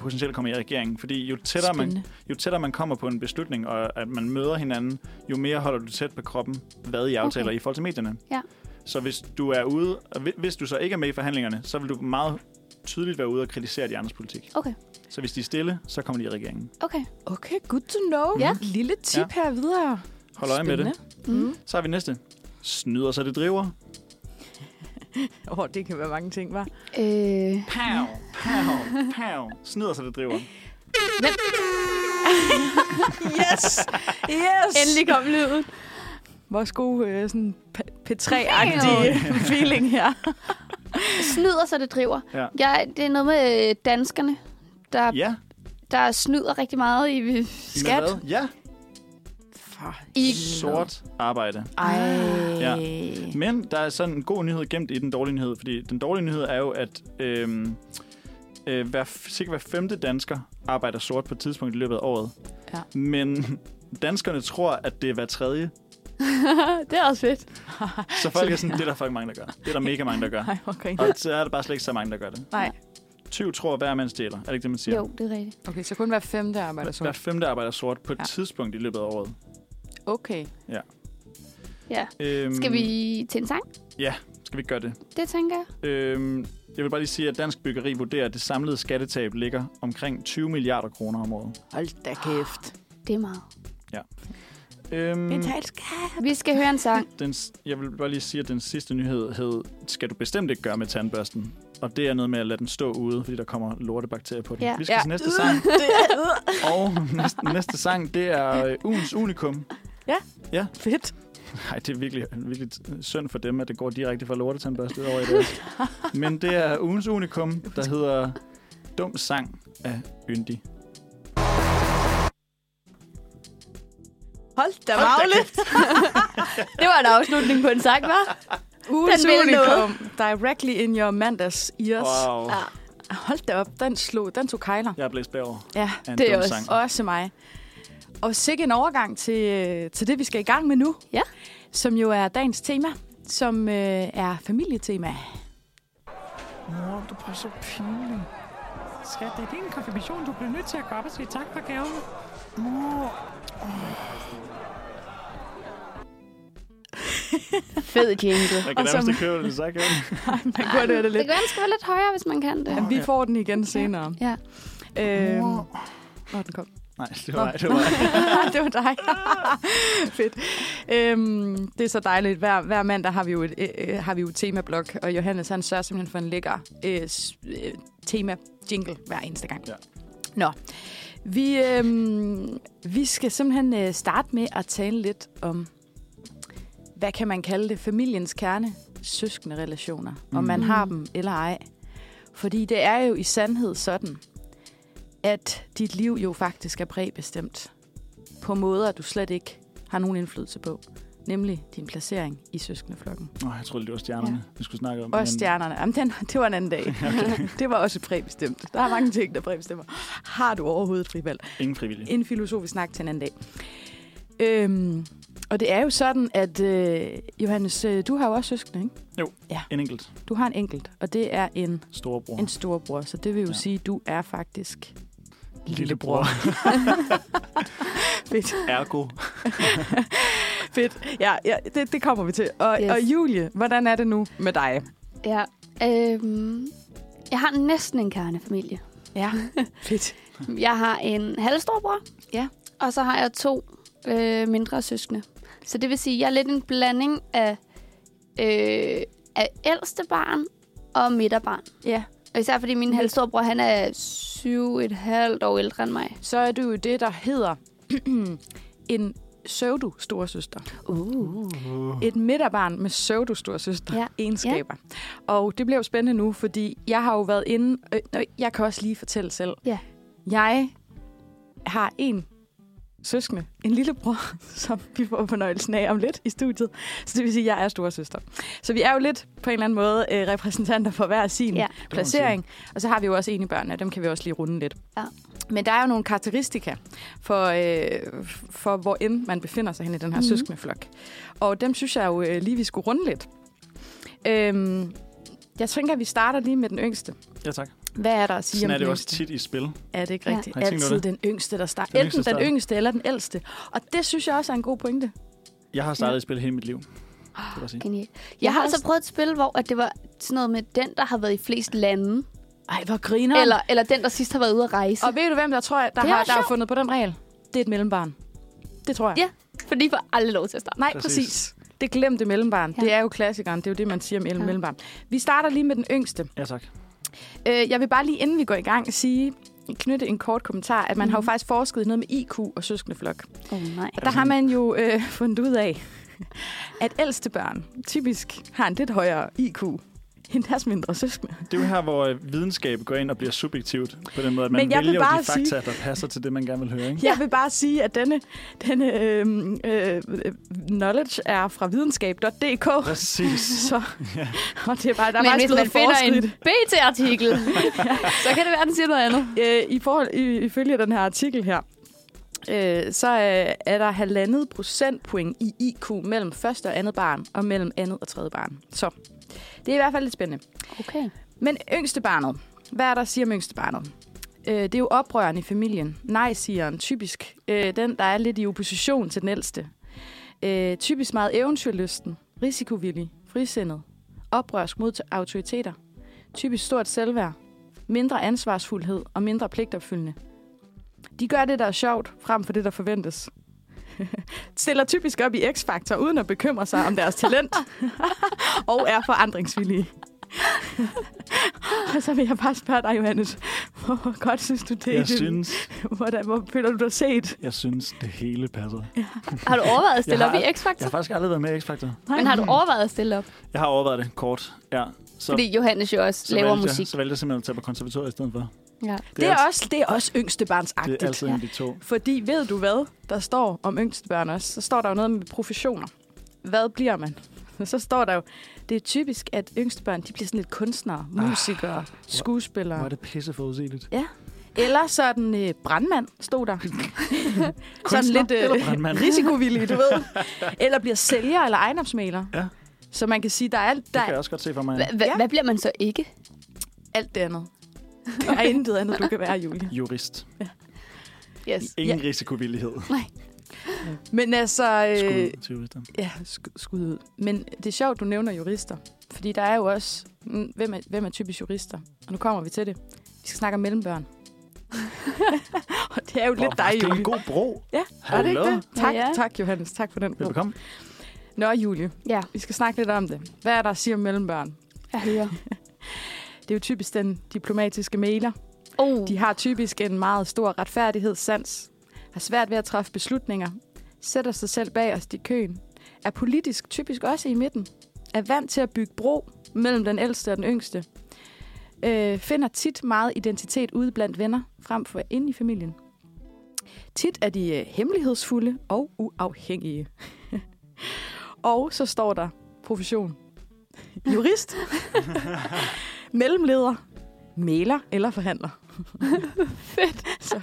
potentielt at komme i regeringen. Fordi jo tættere, man,
Spændende.
jo tættere man kommer på en beslutning, og at man møder hinanden, jo mere holder du tæt på kroppen, hvad I aftaler
Okay.
okay. i forhold til medierne.
Ja.
Så hvis du er ude, og hvi- hvis du så ikke er med i forhandlingerne, så vil du meget tydeligt være ude og kritisere de andres politik.
Okay.
Så hvis de er stille, så kommer de i regeringen.
Okay.
Okay, good to know.
Mm.
Ja.
Lille tip her videre.
Hold øje med det.
Mm.
Mm.
Så har vi næste. Snyder så det driver.
Åh, oh, det kan være mange ting, var.
Øh,
Pow, pow, pow. Snyder så det driver.
(laughs) Yes! Yes!
endelig kom lyden.
Vores gode øh, sådan p- P3-agtige (laughs) feeling her.
Snyder, så det driver.
Ja.
Jeg, det er noget med øh, danskerne. Der,
Ja,
der snyder rigtig meget i (laughs) skat.
Med hvad? Ja,
For
I-
sort arbejde.
Ej.
Ja. Men der er sådan en god nyhed gemt i den dårlige nyhed, fordi den dårlige nyhed er jo, at øhm, øh, hver, cirka hver femte dansker arbejder sort på et tidspunkt i løbet af året.
Ja.
Men danskerne tror, at det er hver tredje.
det er også fedt.
Så folk er sådan, det er der fucking mange, der gør. Det er der mega mange, der
(laughs)
gør.
Nej, hvor griner.
Og så er der bare slet ikke så mange, der gør det.
Nej.
20 tror, hver mand stjæler. Er det ikke det, man siger?
Jo, det er rigtigt.
Okay, så kun hver femte arbejder
Hver
sort.
femte arbejder sort på et
Ja.
ja. tidspunkt i løbet af året.
Okay.
Ja.
Øhm,
Skal vi til en sang?
Skal vi ikke gøre det?
Det tænker jeg.
Øhm, jeg vil bare lige sige, at Dansk Byggeri vurderer, at det samlede skattetab ligger omkring 20 milliarder kroner om året.
Hold da kæft.
Det er meget.
Øhm,
Vi skal høre en (laughs) sang.
den, s- jeg vil bare lige sige, at den sidste nyhed hed, skal du bestemt ikke gøre med tandbørsten. Og det er noget med at lade den stå ude, fordi der kommer lortebakterier på den.
Ja.
Vi skal
Ja. Uh.
til næste
(laughs)
sang.
(laughs)
Og næste, næste sang, det er øh, ugens unikum.
Fedt.
Nej, det er virkelig, virkelig øh, synd for dem, at det går direkte fra lortetandbørste over i deres. Men det er ugens unikum, der hedder Dum Sang af Yndi.
Hold da magle.
(laughs) Det var en afslutning på en sang, var?
Ugens
Den vil
unikum. Directly in your mandags ears.
Wow.
Ja.
Hold da op. Den slog. Den tog kejler.
Jeg er blæst bagover
Ja.
af en
Det er
dum
også-
sang.
Også mig. Og sikke en overgang til, øh, til det, vi skal i gang med nu.
Ja.
Som jo er dagens tema, som øh, er
(laughs)
familietema. (laughs)
Mor, du er så pinlig. Skat, det er din konfirmation. Du bliver nødt til at gå op og sige tak for gaven. Mor,
Fed jingle.
Jeg kan
Og så-
nærmest ikke høre, hvad det sagt.
Man kunne høre det
Det
lidt.
kan være, den skal være lidt højere, hvis man kan det.
Jamen, vi får den igen senere.
Ja.
Øhm, når den kom.
Nej, det var, det var
(laughs) det var
(laughs)
dig. Fedt. Øhm, det er så dejligt. Hver, hver mandag har vi jo et øh, øh, har vi jo et temablok, og Johannes han sørger simpelthen for en lækker øh, s- øh, tema jingle hver eneste gang.
Ja.
Nå, vi, øhm, vi skal simpelthen øh, starte med at tale lidt om, hvad kan man kalde det, familiens kerne, søskende relationer, mm. om man
Mhm.
har dem eller ej. Fordi det er jo i sandhed sådan, at dit liv jo faktisk er præbestemt på måder, du slet ikke har nogen indflydelse på. Nemlig din placering i søskendeflokken.
Nå, jeg troede, det var stjernerne, vi skulle snakke om.
Og stjernerne. Jamen, den, det var en anden dag. det var også præbestemt. Der er mange ting, der præbestemmer. Har du overhovedet frivalg?
Ingen frivillige.
En filosofisk snak til en anden dag. Øhm, og det er jo sådan, at øh, Johannes, øh, du har jo også søskende, ikke?
En enkelt
Du har en enkelt, og det er en
storebror.
En storbror, så det vil jo ja.
Ja.
sige, at du er faktisk
Lillebror.
(laughs) Fedt. (laughs)
Ergo.
Fedt. Ja, ja det, det kommer vi til. Og, yes.
Yes.
og Julie, hvordan er det nu med dig?
ja. Øhm, jeg har næsten en kernefamilie.
Ja, fedt.
Jeg har en halvstorbror.
Ja.
Og så har jeg to øh, mindre søskende. Så det vil sige, at jeg er lidt en blanding af, øh, af ældste barn og midterbarn.
Ja.
Og især fordi min halvstorbror, han er syv et halvt år ældre end mig.
Så er du jo det, der hedder (clears throat) en pseudo storsøster.
Uh.
Et midterbarn med pseudo storsøster
Ja.
ja. egenskaber. Ja. Og det bliver jo spændende nu, fordi jeg har jo været inde... Øh, nøj, jeg kan også lige fortælle selv.
Ja.
Jeg har en søskende, en lillebror, (laughs) som vi får fornøjelsen af om lidt i studiet. Så det vil sige, at jeg er storesøster. Så vi er jo lidt på en eller anden måde øh, repræsentanter for hver sin
Ja.
ja.
Det
placering. Og så har vi jo også en i børnene, og dem kan vi også lige runde lidt.
Ja.
Men der er jo nogle karakteristika for, øh, for hvor end man befinder sig hen i den her
Mhm.
mm-hmm. søskendeflok. Og dem synes jeg jo øh, lige, vi skulle runde lidt. Øhm, jeg tænker, at vi starter lige med den yngste.
Ja, tak.
Hvad er der at sige
Sådan
om
er det
den
jo
yngste?
også tit i spil.
Er det ikke
Ja.
rigtigt?
Har I
Ja.
tænkt over
Altid
det?
den yngste, der starter.
Den
Enten
yngste
den
starter.
yngste eller den ældste. Og det synes jeg også er en god pointe.
Jeg har startet i spil hele mit liv. Det vil jeg sige.
Genial. Jeg har
har
altså
også-
prøvet et spil, hvor at det var sådan noget med den, der har været i flest lande.
Ej, hvor griner
Eller, eller den, der sidst har været ude at rejse.
Og ved du, hvem der tror, der,
Det er
har,
også
der har
sjovt.
fundet på den regel? Det er et mellembarn. Det tror jeg.
Ja, for de får aldrig lov til at starte.
Nej, præcis.
Præcis.
præcis. Det glemte mellembarn.
Ja.
Ja. Det er jo klassikeren. Det er jo det, man siger om
Ja.
ja. mellembarn. Vi starter lige med den yngste.
Ja, tak.
Øh, jeg vil bare lige, inden vi går i gang, sige knytte en kort kommentar, at man mm.
Mhm.
har jo faktisk forsket i noget med IQ og søskendeflok.
Åh oh, nej.
Og der har man jo øh, (laughs) fundet ud af, at ældste børn typisk har en lidt højere IQ end deres mindre søskende.
Det er jo her, hvor øh, videnskab går ind og bliver subjektivt, på den måde, at man
Men jeg vil
vælger
bare
de fakta, der passer til det, man gerne vil høre. Ikke?
Jeg vil bare sige, at denne, denne øh, øh, knowledge er fra videnskab.dk.
Præcis.
Så,
Ja.
og det er bare, der er
Men
bare
hvis man
blevet
finder en
forsket. (laughs)
BT-artikel, så kan det være, den siger noget andet.
Øh, i forhold, i, ifølge den her artikel her, øh, så øh, er der halvandet procentpoint i IQ mellem første og andet barn, og mellem andet og tredje barn. Så det er i hvert fald lidt spændende.
Okay.
Men yngste barnet. Hvad er der, siger om yngste barnet? Øh, det er jo oprøreren i familien. Nej, siger han typisk. Øh, den, der er lidt i opposition til den ældste. Øh, typisk meget eventyrlysten, risikovillig, frisindet, oprørsk mod autoriteter. Typisk stort selvværd, mindre ansvarsfuldhed og mindre pligtopfyldende. De gør det, der er sjovt, frem for det, der forventes. (laughs) Stiller typisk op i X-faktor, uden at bekymre sig om deres (laughs) talent. og er forandringsvillige. (laughs) Og så vil jeg bare spørge dig, Johannes. Hvor godt synes du (laughs) det? er i
Jeg
din-
synes,
Hvordan, hvor føler du dig set?
jeg synes, det hele passer.
Har du overvejet at stille
Jeg
op i
har- Jeg
X-Factor?
har faktisk aldrig været med i X-Factor.
Men har du overvejet at stille op?
Jeg har overvejet det kort, ja. Så,
Fordi Johannes jo også
så
laver
valgte
musik.
Jeg, så valgte jeg simpelthen at tage på konservatoriet i stedet for.
Ja.
Det er,
alt-
også, det er også yngste
det er altid en
barnsagtigt.
af de to.
Fordi ved du hvad, der står om yngste børn også, så står der jo noget med professioner. Hvad bliver man? Så står der jo, det er typisk, at yngste børn, de bliver sådan lidt kunstnere, musikere,
Ah, Hvor
skuespillere.
er det pisse forudsigeligt.
Eller sådan øh, brandmand, stod
(laughs)
der. sådan
Kunstner
lidt øh,
eller brandmand?
risikovillig, du
(laughs)
ved. Eller bliver sælger eller ejendomsmaler.
Ja.
Så man kan sige, der er alt, der
Det kan
er
jeg også godt se for mig.
Hva- hva-
Ja.
Hvad bliver man så ikke?
alt det andet. Der er intet andet, du kan være, Julie.
Jurist.
Yes.
Ingen risikovillighed.
Men altså... Øh,
Skud ud til jurister.
Ja, sk- skud ud. Men det er sjovt, du nævner jurister. Fordi der er jo også, mm, hvem er, hvem er typisk jurister? Og nu kommer vi til det. Vi skal snakke om mellembørn. (laughs) og det er jo lidt dig,
Det er en
Julie.
god bro.
Ja, er det
Hallo.
ikke det? Tak,
Ja.
ja. tak, Johannes. Tak for den. bro.
Velkommen.
Nå, Julie,
Ja,
vi skal snakke lidt om det. Hvad er der at sige om mellembørn?
jeg hører.
Det er jo typisk den diplomatiske mailer.
Oh,
De har typisk en meget stor retfærdighedssans, har svært ved at træffe beslutninger, sætter sig selv bag os i køen, er politisk typisk også i midten, er vant til at bygge bro mellem den ældste og den yngste, øh, finder tit meget identitet ude blandt venner, frem for inde i familien. Tit er de øh, hemmelighedsfulde og uafhængige. (laughs) og så står der profession. (laughs)
(laughs)
Jurist, mellemleder, maler eller
(laughs)
forhandler. Fedt. (laughs) Så,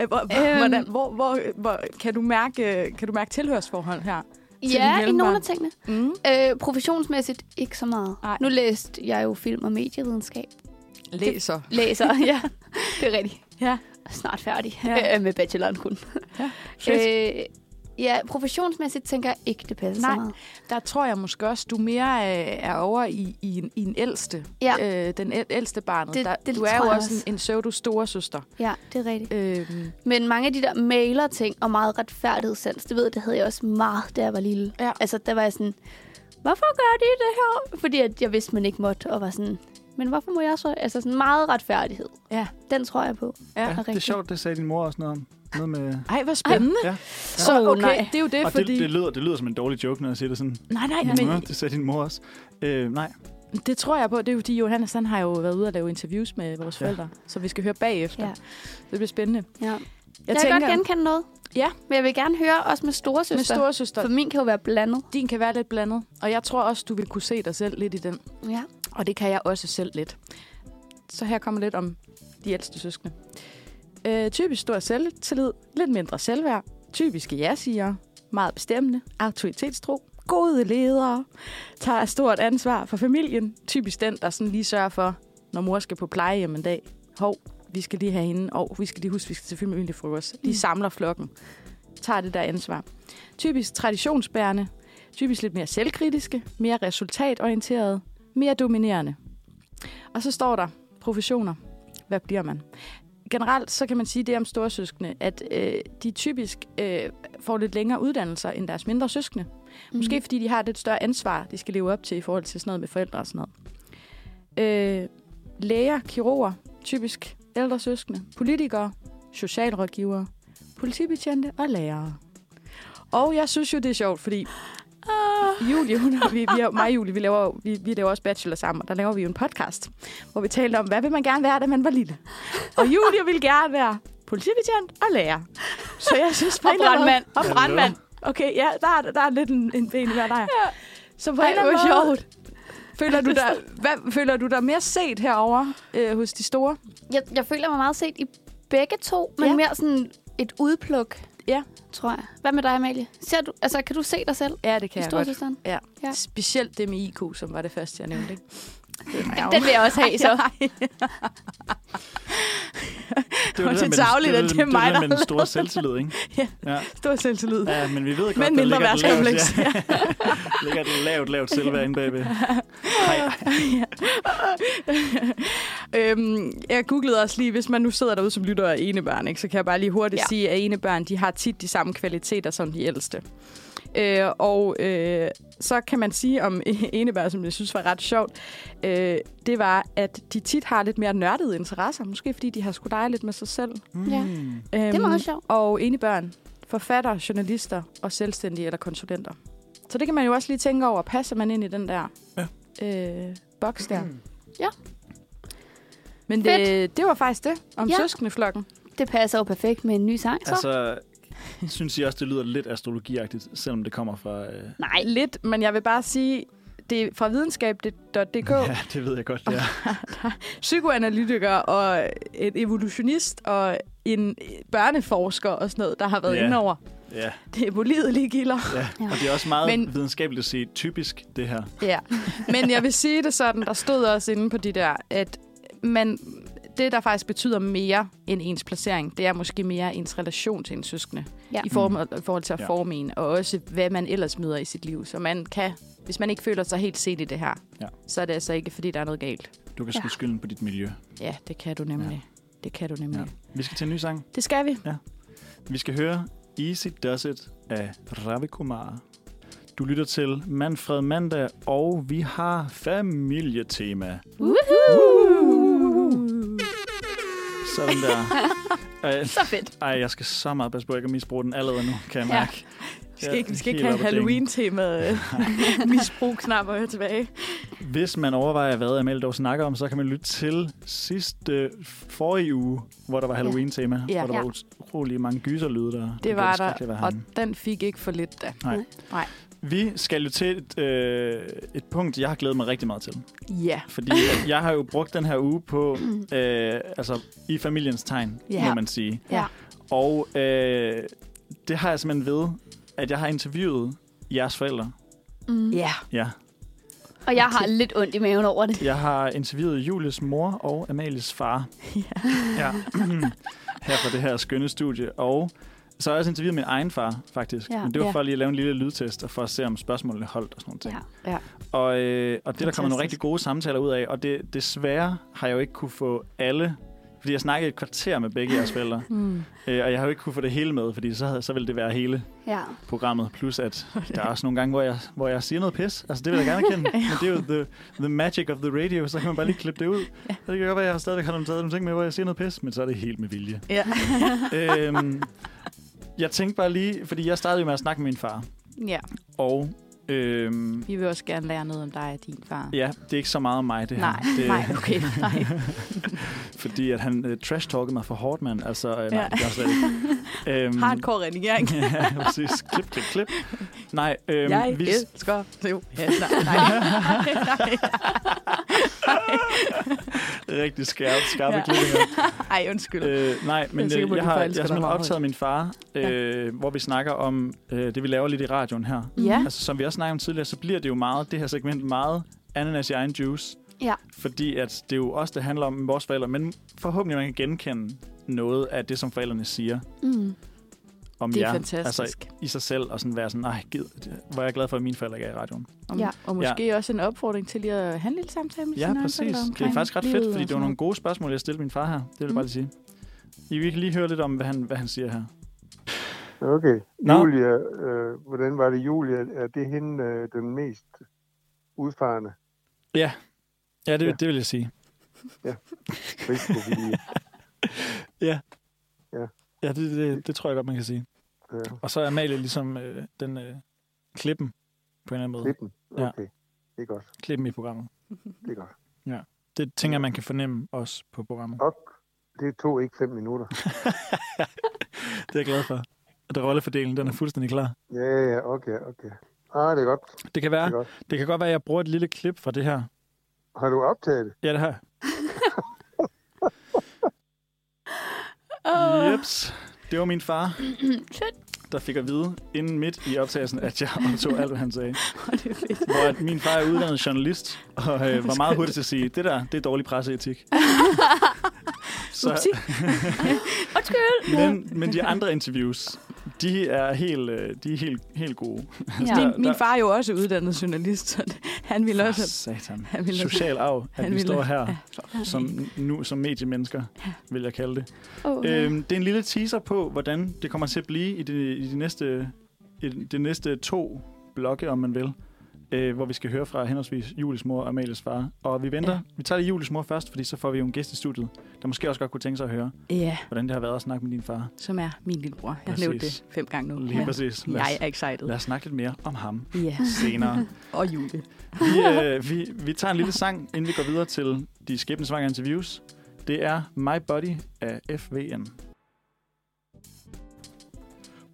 øh, hvor, hvor,
Øhm.
hvordan, hvor, hvor, hvor, kan, du mærke, øh, kan du mærke tilhørsforhold her? til
ja,
din
i nogle af
hjælpere.
tingene.
Mm.
Øh, professionsmæssigt ikke så meget.
Ej.
Nu læste jeg jo film
(laughs)
og medievidenskab.
Læser.
Læser, ja. Det er rigtigt.
Ja.
Snart færdig
Ja.
(laughs) ja. med bacheloren kun.
Ja,
øh, ja, professionsmæssigt tænker jeg ikke, det passer
Nej.
så meget.
Der tror jeg måske også, du mere øh, er over i, i, en, i en ældste.
Ja.
Øh, den æl- ældste barnet.
Det-
der,
det
du er
tror
jo
jeg
også
også.
en, en pseudo storesøster.
Ja, det er rigtigt.
Øhm,
Men mange af de der maler-ting og meget retfærdighedssans, det ved jeg, det havde jeg også meget, da jeg var lille.
Ja.
Altså, der var jeg sådan, hvorfor gør de det her? Fordi at jeg vidste, man ikke måtte, og var sådan, men hvorfor må jeg så? Altså sådan meget retfærdighed.
Ja.
Den tror jeg på.
Ja,
er
Ja, det er
rigtigt.
sjovt, det sagde din mor også noget om. Noget med...
ej, hvor spændende.
Ja.
Så
Åh,
okay,
nej.
det er jo det,
Og
fordi...
det, det, lyder, det lyder som en dårlig joke, når jeg siger det sådan.
nej, nej,
Ja.
men
Det sagde din mor også. Øh, nej,
det tror jeg på. Det er jo fordi, Johannes han har jo været ude og lave interviews med vores forældre, så vi skal høre bagefter.
Ja.
Det bliver spændende.
Ja.
Jeg
Jeg, jeg kan godt genkende noget.
Ja.
Men jeg vil gerne høre også med storesøster.
med storesøster,
For min kan jo være blandet.
din kan være lidt blandet. Og jeg tror også, du vil kunne se dig selv lidt i den.
Ja.
Og det kan jeg også selv lidt. Så her kommer lidt om de ældste søskende. Øh, typisk stor selvtillid, lidt mindre selvværd, typiske ja-siger, meget bestemmende, autoritetstro, gode ledere, tager stort ansvar for familien, typisk den, der sådan lige sørger for, når mor skal på plejehjem en dag, hov, vi skal lige have hende, og vi skal lige huske, vi skal til familiefrokost. De samler flokken, tager det der ansvar. Typisk traditionsbærende, typisk lidt mere selvkritiske, mere resultatorienterede, mere dominerende. Og så står der professioner. Hvad bliver man? Generelt så kan man sige det om storesøskende, at øh, de typisk øh, får lidt længere uddannelser end deres mindre søskende. Mm. Måske fordi de har et lidt større ansvar, de skal leve op til i forhold til sådan noget med forældre og sådan noget. Øh, læger, kirurger, typisk ældre søskende, politikere, socialrådgivere, politibetjente og lærere. Og jeg synes jo, det er sjovt, fordi i juli, hun har, vi, vi har, mig og Julie, vi laver, jo- vi, vi laver også bachelor sammen, og der laver vi jo en podcast, hvor vi talte om, hvad vil man gerne være, da man var lille. Og Julie ville gerne være politibetjent og lærer. Så jeg synes på
Og
en eller anden måde-
brandmand.
Og brandmand. Okay, ja, der er, der er lidt en, en ben i hver der. Ja. Så på en
Ej,
eller anden
hvor
måde, (laughs) Føler du, dig, hvad, føler du dig mere set herover øh, hos de store?
Jeg, jeg føler mig meget set i begge to, men
Ja.
ja. mere sådan et udpluk.
Ja.
Tror jeg. Hvad med dig, Amalie? Ser du, altså, kan du se dig selv?
Ja, det kan
I
jeg godt.
storsøsteren? Ja.
Specielt det med IQ, som var det første, jeg nævnte. (laughs) Ikke?
Den vil jeg
(laughs)
også (laughs) have, så.
Det var
Og det er
med den-
tarveligt,
var
at det er
med-
mig,
det var
der
med den
har
store
lavet
selvtillid, ikke?
(laughs) Ja.
ja.
Stor selvtillid.
Ja, men vi ved godt,
Men
der
mindre
ligger et lavt-
værtskompleks.
Ja. (laughs) ligger et lavt, lavt selvværd inde
(laughs)
bagved.
(laughs) øhm, jeg googlede også lige, hvis man nu sidder derude som lytter af enebørn, ikke, så kan jeg bare lige hurtigt ja.
Ja.
sige, at enebørn de har tit de samme kvaliteter som de ældste. Øh, og øh, så kan man sige om (laughs) enebørn, som jeg synes var ret sjovt, øh, det var, at de tit har lidt mere nørdede interesser. Måske fordi de har skulle lege lidt med sig selv.
Ja.
Mm.
Øhm,
Det er meget sjovt.
Og enebørn, forfattere, journalister og selvstændige eller konsulenter. Så det kan man jo også lige tænke over. Passer man ind i den der øh, boks der?
Mm. Ja.
Men det,
Fedt.
det var faktisk det om ja.
Ja.
søskendeflokken.
Det passer jo perfekt med en ny sang, så.
Altså, synes I også, det lyder lidt astrologiagtigt, selvom det kommer fra... Øh...
Nej. Lidt, men jeg vil bare sige, det er fra videnskab.dk. Ja.
(laughs) Ja, det ved jeg godt, ja.
Psykoanalytiker og en evolutionist og en børneforsker og sådan noget, der har været
Ja.
inde over.
ja.
Det er pålidelige gilder.
ja.
Ja.
Og det er også meget
Men-
men... videnskabeligt at sige typisk, det her.
Ja, men jeg vil sige det sådan, der stod også inde på de der, at man, det, der faktisk betyder mere end ens placering, det er måske mere ens relation til ens søskende. Ja.
Ja.
I, form, I forhold til at
Mm. Ja.
forme en, og også hvad man ellers møder i sit liv. Så man kan, hvis man ikke føler sig helt set i det her, ja.
Ja.
så er det altså ikke, fordi der er noget galt.
Du kan skyde
Ja.
skylden på dit miljø.
Ja, det kan du nemlig. Ja. Det kan du nemlig. Ja.
Ja. Vi skal til en ny sang.
Det skal vi.
Vi skal høre Easy Does It af Ravi Kumar. Du lytter til Manfred Mandag, og vi har familietema. Sådan
(laughs)
der. Ej,
Så fedt.
ej, jeg skal så meget passe på, at jeg kan misbruge den allerede nu, kan jeg
Ja.
mærke.
Vi skal ikke, vi skal
Helt
ikke have
op ad dængen.
Halloween-temaet
(laughs)
øh, misbrug-knapper tilbage.
Hvis man overvejer, hvad Amal dog snakker om, så kan man lytte til sidste forrige uge, hvor der var Halloween-tema,
Ja.
hvor der
Ja.
var utrolig mange gyserlyde, der
Det var der,
skrækkeligt at være
og
herinde.
den fik ikke for lidt da.
Vi skal jo til et, øh, et punkt, jeg har glædet mig rigtig meget til.
Ja.
Fordi jeg har jo brugt den her uge på, øh, altså i familiens tegn,
Ja.
yeah. må man sige.
Ja.
Og øh, det har jeg simpelthen ved, at jeg har interviewet jeres forældre.
Mm.
Ja.
Ja.
Og jeg har lidt ondt i maven over det.
Jeg har interviewet Julies mor og Amalies far. Ja. (clears throat) ja. her fra det her skønne studie. Og så har jeg også interviewet min egen far, faktisk.
Ja.
Men det var
Ja.
for lige at lave en lille lydtest, og for at se, om spørgsmålene holdt og sådan noget.
Ja.
Og, øh, og det, der kommer nogle
Fantastisk.
rigtig gode samtaler ud af, og det, desværre har jeg jo ikke kunne få alle, fordi jeg snakkede et kvarter med begge jeres forældre,
Mm.
øh, og jeg har jo ikke kunne få det hele med, fordi så, havde- så ville det være hele
(laughs) ja.
programmet, plus at der er også nogle gange, hvor jeg, hvor jeg siger noget pis, altså det vil jeg gerne erkende, men det er jo the, the magic of the radio, så kan man bare lige klippe det ud. Ja. Det kan godt være, at jeg stadigvæk har nogle, taget nogle ting med, hvor jeg siger noget pis, men så er det helt med vilje.
Ja.
øhm, jeg tænkte bare lige, fordi jeg startede jo med at snakke med min far,
(laughs) ja,
og... Øhm,
vi vil også gerne lære noget om dig og din far.
Ja, det er ikke så meget om mig, det her.
Nej,
det,
nej, okay, nej.
(laughs) Fordi at han uh, trash-talkede mig for hårdt, mand. Altså, øh, nej,
Ja.
ja. det gør jeg slet ikke. Øhm,
Hardcore redigering.
(laughs) ja, præcis. Klip, klip, klip. Nej, øhm,
jeg
vi,
elsker det. Ja, nej,
(laughs)
nej, nej,
rigtig skarpe, skarpe
Ja.
ja.
(laughs)
klippinger.
nej, Ej, undskyld.
Øh, nej,
Jeg er
men
sikker
jeg,
på,
jeg,
at du
har, jeg har
forelsker dig
simpelthen
meget
optaget min far, øh, hvor vi snakker om øh, det, vi laver lidt i radioen her.
ja,
Altså, som vi også snakkede om tidligere, så bliver det jo meget, det her segment meget ananas i egen juice.
Ja.
Fordi at det er jo også, det handler om vores forældre, men forhåbentlig man kan genkende noget af det, som forældrene siger.
Mm. (clears throat)
om
det er
jer,
fantastisk.
Altså i sig selv, og sådan være sådan, nej, gid, hvor er jeg glad for, at mine forældre ikke er i radioen.
Og,
Ja.
og måske ja. også en opfordring til lige at have en lille samtale med
Ja,
sine
præcis.
forældre
Det er
omkring
faktisk ret
livet
fedt, fordi
og
det var
sådan
nogle gode spørgsmål, jeg stillede min far her. Det vil jeg
Mm.
bare lige sige. I vil lige høre lidt om, hvad han, hvad han siger her.
Okay.
Nå.
Nå. Julia, øh, hvordan var det Julia? Er det hende øh, den mest udfarende
Ja, det,
Ja.
det vil jeg sige.
risikovillige?
Ja, det,
øh,
(laughs) det, det tror jeg godt, man kan sige.
ja.
Og så er Amalie ligesom øh, den øh, klippen på en eller anden måde.
Klippen?
Ja.
Okay, det er godt.
Klippen i programmet.
Det er godt.
Det tænker jeg, man kan fornemme også på
(laughs)
programmet.
Og det tog ikke fem minutter.
Det er jeg glad for. At rollefordelingen, den er fuldstændig klar.
Ja, ja, okay, okay. Ah, det er godt.
Det kan,
Det er
være,
godt.
det kan godt være, at jeg bruger et lille klip fra det her.
Har du optaget det?
Ja, det her.
Ah.
(laughs)
Åh.
Jeps. Det var min far,
Shit.
der fik at vide inden midt i optagelsen, at jeg optog alt, hvad han sagde. Hvor at min far er uddannet journalist, og øh, var meget hurtig til at sige, det der, det er dårlig presseetik.
(laughs)
(laughs) Så,
Undskyld.
men, men de andre interviews, de er helt, øh, de er helt, helt
Ja.
gode. Der-
Min, min
der-
far er jo også uddannet journalist, så det- han ville
For
også...
satan.
Han ville også
Social arv, at
han
vi
ville-
står her
ja.
som, nu, som mediemennesker, vil jeg kalde det.
Oh,
Øhm, det er en lille teaser på, hvordan det kommer til at blive i de, i de, næste, i de næste to blokke, om man vil. Øh, hvor vi skal høre fra henholdsvis Julies mor og Amalies far. Og vi venter. Ja.
Ja.
Vi tager lige Julies mor først, fordi så får vi jo en gæst i studiet, der måske også godt kunne tænke sig at høre,
Ja,
hvordan det har været at snakke med din far.
som er min lillebror. Jeg har nævnt
Præcis.
det fem gange nu.
Lige
men
præcis. Lad
Jeg
os,
er excited.
lad os snakke lidt mere om
(laughs)
ham
Ja,
senere.
og Julie.
Vi, øh, vi, vi tager en lille sang, inden vi går videre til de skæbnesvangre interviews. Det er My Body af FVN.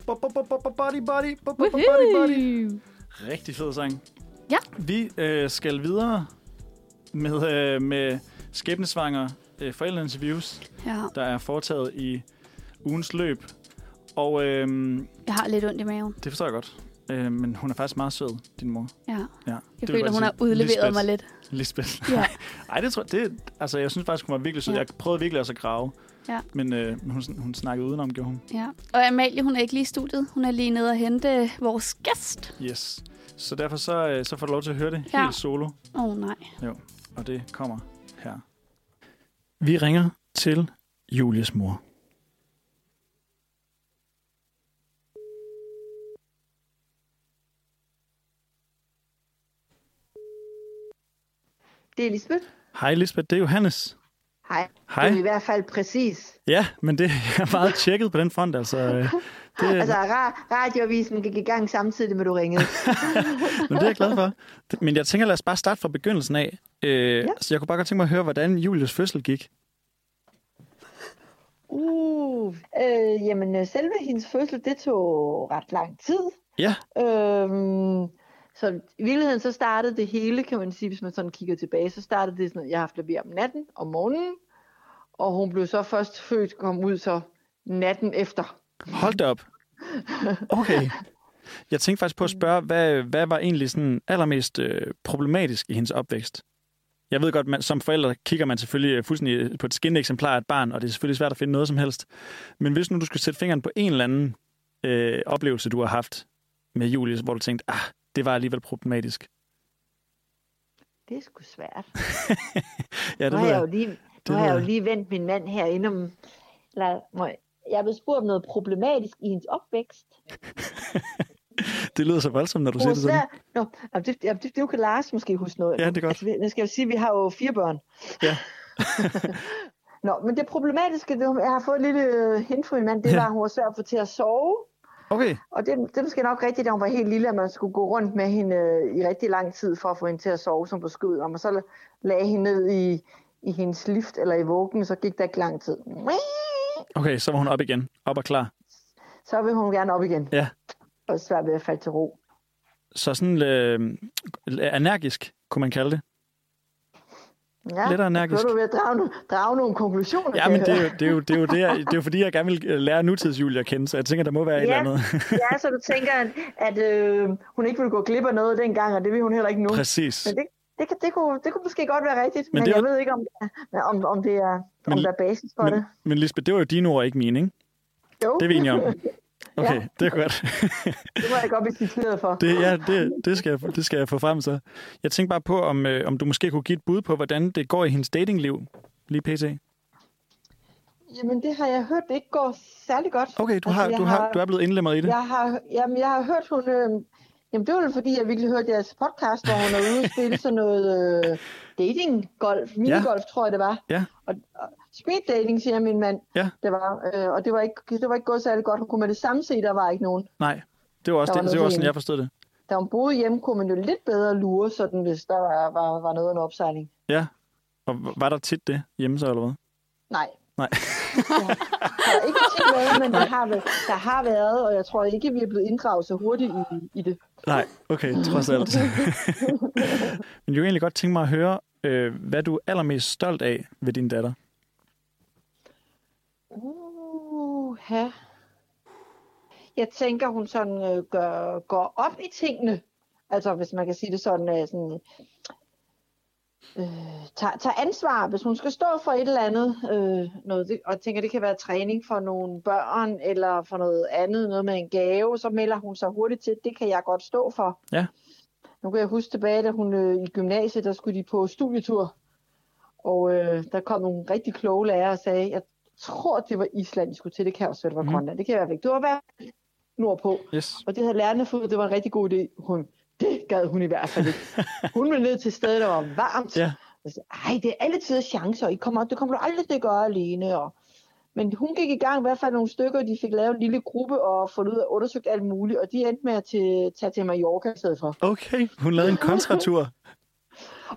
Bo- bo- bo- bo- bo- Body, body, bo- bo- bo- body, body. Rigtig fed sang.
Ja.
Vi øh, skal videre med, øh, med skæbnesvangre øh, forældreinterviews,
Ja,
der er foretaget i ugens løb. Og øh,
jeg har lidt ondt i maven.
det forstår jeg godt. Øh, men hun er faktisk meget sød, din mor.
Ja.
Ja,
Jeg
det vil
føler,
godt
hun
sige.
har udleveret
Lisbeth.
mig
(laughs)
lidt.
Lisbeth.
Ja.
Ej, det tror jeg, det, altså, jeg synes faktisk, hun var virkelig sød.
Ja.
Ja. Jeg prøvede virkelig også at grave.
Ja.
Men øh, men hun, sn- hun snakkede udenom, gjorde hun.
Ja. Og Amalie, hun er ikke lige i studiet. Hun er lige nede og hente vores gæst.
Yes. Så derfor så, øh, så får du lov til at høre det
Ja.
ja. helt solo,
Åh oh, nej.
og det kommer her. Vi ringer til Julies mor.
Det er Lisbeth.
Hej Lisbeth, det er Johannes.
Hej.
Hej.
Det er i hvert fald præcis.
Ja, men det (laughs) jeg er meget tjekket på den front, altså. Øh, Det,
(laughs) Altså, ra- radioavisen gik i gang samtidig med, du
(laughs)
ringede.
men det er jeg glad for. Men jeg tænker, lad os bare starte fra begyndelsen af. Øh, ja.
Ja.
Så jeg kunne bare godt tænke mig at høre, hvordan Julies fødsel gik.
Uh, øh, jamen, øh, selve hendes fødsel, det tog ret lang tid.
Ja.
Øhm, så i virkeligheden, så startede det hele, kan man sige, hvis man sådan kigger tilbage, så startede det sådan, at jeg har haft klaver om natten, om morgenen, og hun blev så først født, kom ud så natten efter.
Hold da op. Okay. Jeg tænkte faktisk på at spørge, hvad, hvad var egentlig sådan allermest øh, problematisk i hendes opvækst? Jeg ved godt, man, som forældre kigger man selvfølgelig øh, fuldstændig på et skinnende eksemplar af et barn, og det er selvfølgelig svært at finde noget som helst. Men hvis nu du skulle sætte fingeren på en eller anden øh, oplevelse, du har haft med Julius, hvor du tænkte, ah, det var alligevel problematisk.
Det er sgu svært.
Ja, det
nu
ved
har jeg jo
jeg.
lige,
Det
nu har
ved
jeg jo
jeg.
lige vendt min mand herinde om... Eller, må jeg- jeg er blevet spurgt om noget problematisk i hendes opvækst.
Det lyder så voldsomt, når du siger det
USA,
sådan.
Nå, jamen, det, jamen, det, det kan Lars måske huske noget.
Ja, det er godt.
Altså, vi- nu skal jeg jo sige, at vi har jo fire børn.
Ja.
(laughs) Nå, men det problematiske, det, var- jeg har fået et lille øh, hint fra min mand, det
Ja.
var, at hun var svær at få til at sove.
Okay,
Og det, det er måske nok rigtigt, da hun var helt lille, at man skulle gå rundt med hende øh, i rigtig lang tid for at få hende til at sove, som på skødet om. Og så la- lagde hende ned i, i hendes lift eller i vuggen, så gik der ikke lang tid.
okay, så var hun op igen. Op og klar.
Så vil hun gerne op igen.
Ja.
Og svært ved at falde til ro.
Så sådan øh, energisk, kunne man kalde det.
Ja,
Lidt energisk.
Så er du ved at drage, no- drage nogle konklusioner.
Ja,
kan
men
jeg
det er,
høre.
jo, det, er jo, det, er jo det, jeg, det er jo fordi, jeg gerne vil øh, lære nutidsjulie at kende, så jeg tænker, der må være et
Ja.
eller andet.
ja, så du tænker, at, at øh, hun ikke ville gå glip af noget dengang, og det vil hun heller ikke nu.
Præcis.
Men det, det, kan, det, kunne, det kunne måske godt være rigtigt,
Men
men, men
det er
jeg
jo-
ved ikke, om, om, om, det er,
Men-
om der er basis for
Men,
det.
men Lisbeth, det var jo dine ord, ikke mine, ikke?
Jo,
Det er vi
(laughs)
enige om. Okay,
Ja.
det er godt.
det må jeg godt blive citeret for.
Det, ja, det, det, skal jeg, det skal jeg få frem så. Jeg tænkte bare på, om, øh, om du måske kunne give et bud på, hvordan det går i hendes datingliv lige pt.
Jamen, det har jeg hørt, det ikke går særlig godt.
Okay, du,
Altså,
har,
jeg
du, har, du er blevet indlemmet i det.
Jeg har, jamen, jeg har hørt, hun... Øh, jamen, det var vel, fordi jeg virkelig hørte jeres podcast, hvor hun er ude og spille sådan noget øh, dating-golf. Minigolf, ja. tror jeg, det var.
Ja.
Og, og speed dating, siger min mand.
Ja.
Det var, øh, og det var, ikke, det var ikke gået særlig godt. Hun kunne med det samme se, der var ikke nogen.
Nej, det var også,
Der
det,
var
det var
noget
sådan,
helt
jeg forstod det.
da hun boede hjemme, kunne man jo lidt bedre lure, sådan, hvis der var, var, var noget af en opsejling.
Ja. Og h- var der tit det hjemme så, eller hvad?
Nej.
Nej.
Der er ikke tit noget, men der har, væ- der har været, og jeg tror ikke, vi er blevet inddraget så hurtigt i, i det.
Nej, okay, trods alt. Men jeg kunne egentlig godt tænke mig at høre, øh, hvad du er allermest stolt af ved din datter.
Uh, Jeg tænker, hun sådan øh, gør, går op i tingene. Altså, hvis man kan sige det sådan, øh, sådan øh, tager, tager ansvar, hvis hun skal stå for et eller andet. Øh, noget, det- og jeg tænker, det kan være træning for nogle børn, eller for noget andet, noget med en gave, så melder hun sig hurtigt til, det kan jeg godt stå for.
Ja.
Nu kan jeg huske tilbage, da hun øh, i gymnasiet, der skulle de på studietur. Og øh, der kom nogle rigtig kloge lærere og sagde, jeg tror, det var Island, I skulle til. Det kan også være, det var
Mhm.
Grønland. Det kan jeg i hvert fald ikke. Det var være nordpå.
Yes.
Og det havde lærerne fået, ud, det var en rigtig god idé. Hun, det gad hun i hvert fald
(laughs)
ikke. Hun ville ned til et sted, der var varmt.
Ja.
Og så, Ej, det er alle tider chancer. I kommer, det kommer du aldrig til at gøre alene. Og... Men hun gik i gang i hvert fald nogle stykker, og de fik lavet en lille gruppe og fundet ud af undersøgt alt muligt. Og de endte med at til, tage til Mallorca i stedet for.
Okay, hun lavede en kontratur.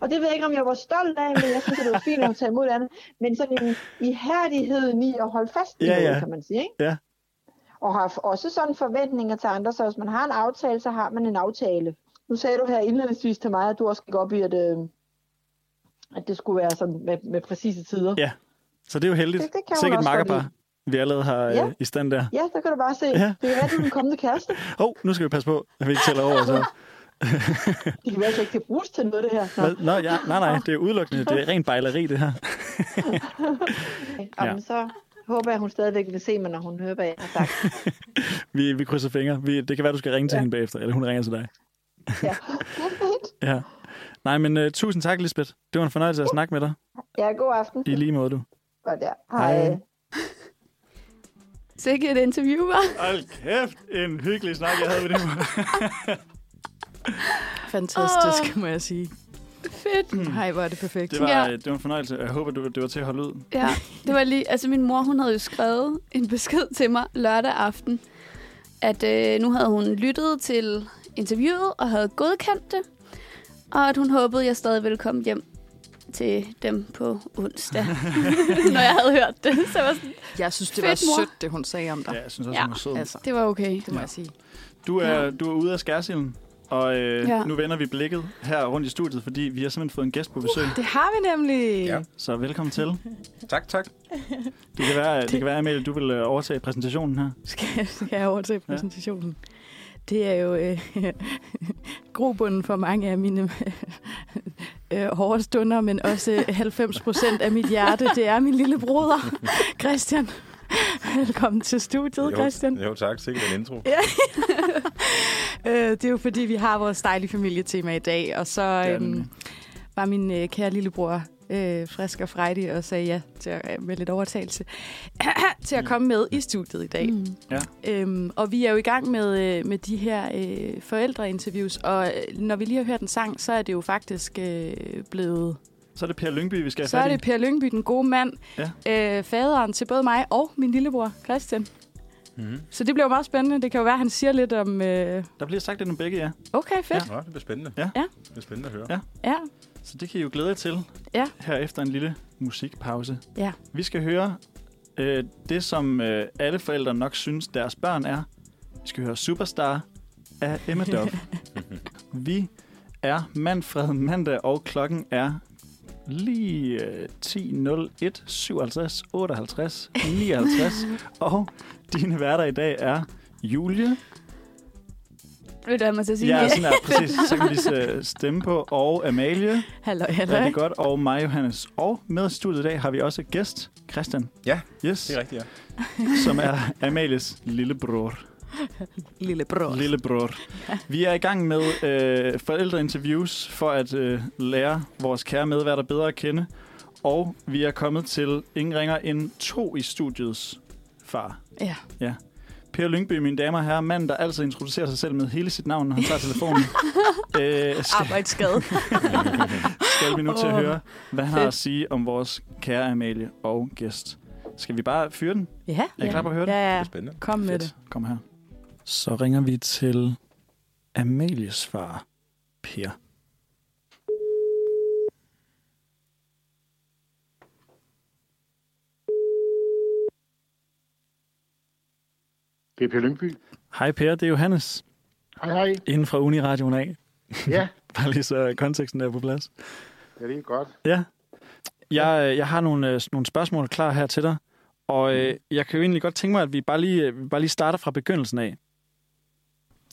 Og det ved jeg ikke, om jeg var stolt af, men jeg synes, det var fint, at hun tager imod andet. Men sådan en ihærdighed i at holde fast i
Ja,
ja, noget,
ja.
kan man sige. Ikke?
Ja.
Og har f- også sådan forventninger til andre, så hvis man har en aftale, så har man en aftale. Nu sagde du her indledningsvis til mig, at du også gik op i, at, øh, at det skulle være sådan med, med præcise tider.
Ja. Så det er jo heldigt.
Det- det kan hun
Sikkert
også godt
makkerpar, vi allerede har ja.
Ja.
i stand der.
Ja, der kan du bare se.
Ja.
Ja. Det er rigtig den kommende kæreste.
Åh, oh, nu skal vi passe på, at vi ikke tæller over.
(laughs)
Så.
Det kan være, at det ikke kan bruges til noget, det her. Nå.
Hvad? Nå, ja, nej, nej, det er udelukkende. Det er rent bejleri, det her.
Jamen, så håber jeg, hun stadigvæk vil se mig, når hun hører, hvad jeg har
(laughs)
sagt.
Vi, vi krydser fingre. Vi, det kan være, du skal ringe til hende bagefter, eller hun ringer til dig.
Ja.
Ja. Nej, men uh, tusind tak, Lisbeth. Det var en fornøjelse at snakke med dig.
ja, god aften.
I lige måde, du.
Godt, ja.
Hej.
Hej.
Sikke et interview, var.
Hold kæft, en hyggelig snak, jeg havde med dig.
Fantastisk, oh. må jeg sige.
Fedt.
Nej, hvor er det perfekt.
Mm. Det
Det
var,
Ja.
ja. det var en fornøjelse. Jeg håber, du, det var til at holde ud.
Ja, det var lige... Altså, min mor, hun havde jo skrevet en besked til mig lørdag aften, at øh, nu havde hun lyttet til interviewet og havde godkendt det, og at hun håbede, jeg stadig ville komme hjem til dem på onsdag, (laughs) når jeg havde hørt det. Så jeg var sådan,
jeg synes, det
Fedt,
var
mor.
sødt, det hun sagde om dig.
Ja, jeg synes også,
Ja.
ja. hun var sød.
Altså,
det var okay.
det må
Ja.
jeg sige.
Du er, du er ude af skærsilden, og øh,
Ja.
ja. nu vender vi blikket her rundt i studiet, fordi vi har simpelthen fået en gæst
Uh.
på besøg.
Det har vi nemlig.
Ja.
Så velkommen til.
Tak, tak.
Det kan
(laughs)
være, det kan være Amalie, du vil øh, overtage præsentationen her.
Skal, skal jeg over til præsentationen? Det er jo øh, (laughs) grobunden for mange af mine (laughs) øh, hårde stunder, men også 90 procent af mit hjerte. Det er min lille broder, Christian. Velkommen til studiet, Christian.
Jo, tak. Sikkert en intro.
Øh, det er jo fordi, vi har vores dejlige familietema i dag, og så
Det er
øhm,
nemlig.
var min øh, kære lillebror øh, frisk og frejdig og sagde ja til at, øh, med lidt overtagelse (clears throat) til
Mm.
at komme med i studiet i dag.
Mm.
Øhm, og vi er jo i gang med, øh, med de her øh, forældreinterviews, og øh, når vi lige har hørt en sang, så er det jo faktisk øh, blevet...
Så er det Per Lyngby, vi skal have
så er
fat i.
det Per Lyngby, den gode mand, ja. øh, faderen til både mig og min lillebror, Christian.
Mm-hmm.
Så det bliver jo meget spændende. Det kan jo være, at han siger lidt om... Øh,
Der bliver sagt lidt om begge, ja.
okay, fedt.
Nå, det bliver spændende.
Ja.
Ja.
Det bliver spændende at høre.
Ja.
Ja. ja.
Så det kan I jo glæde jer til
Ja.
her efter en lille musikpause.
Ja.
Vi skal høre øh, det, som øh, alle forældre nok synes, deres børn er. Vi skal høre Superstar af Emma
(laughs)
Dove. Vi er Manfred Mandag, og klokken er lige øh, 10.01, 57, 58, 59.
(laughs)
og dine værter i dag er Julie,
Ved du, hvad man skal sige?
ja, sådan er, præcis, så kan vi lige øh, stemme på, og Amalie.
Halløj,
Rigtig
halløj.
det godt, og mig, Johannes. Og med i studiet i dag har vi også gæst, Christian.
Ja,
Yes,
Det er rigtigt, ja.
som er Amalies lillebror.
Lillebror.
lillebror. Vi er i gang med øh, forældreinterviews for at øh, lære vores kære medværter bedre at kende. Og vi er kommet til ingen ringer end to i studiets far.
Ja.
ja. Per Lyngby, mine damer og herrer, manden, der altid introducerer sig selv med hele sit navn, når han tager telefonen. øh, skal,
Arbejdsskade.
skal vi nu til at
Åh,
høre, hvad han har
fedt.
at sige om vores kære Amalie og gæst. Skal vi bare fyre den?
(laughs) ja.
Er I klar på at høre den?
Ja,
Det
ja.
er spændende.
Kom med det.
Kom her. Så ringer vi til Amalies far, Per.
Det er Per Lyngby.
Hej Per, det er Johannes,
Hej, hej.
inden fra Uniradioen af.
Ja,
Bare lige så konteksten er på plads.
(laughs) ja det er godt.
Ja. Jeg, øh, jeg har nogle, øh, nogle spørgsmål klar her til dig, og øh, jeg kan jo egentlig godt tænke mig, at vi bare lige, øh, vi bare lige starter fra begyndelsen af.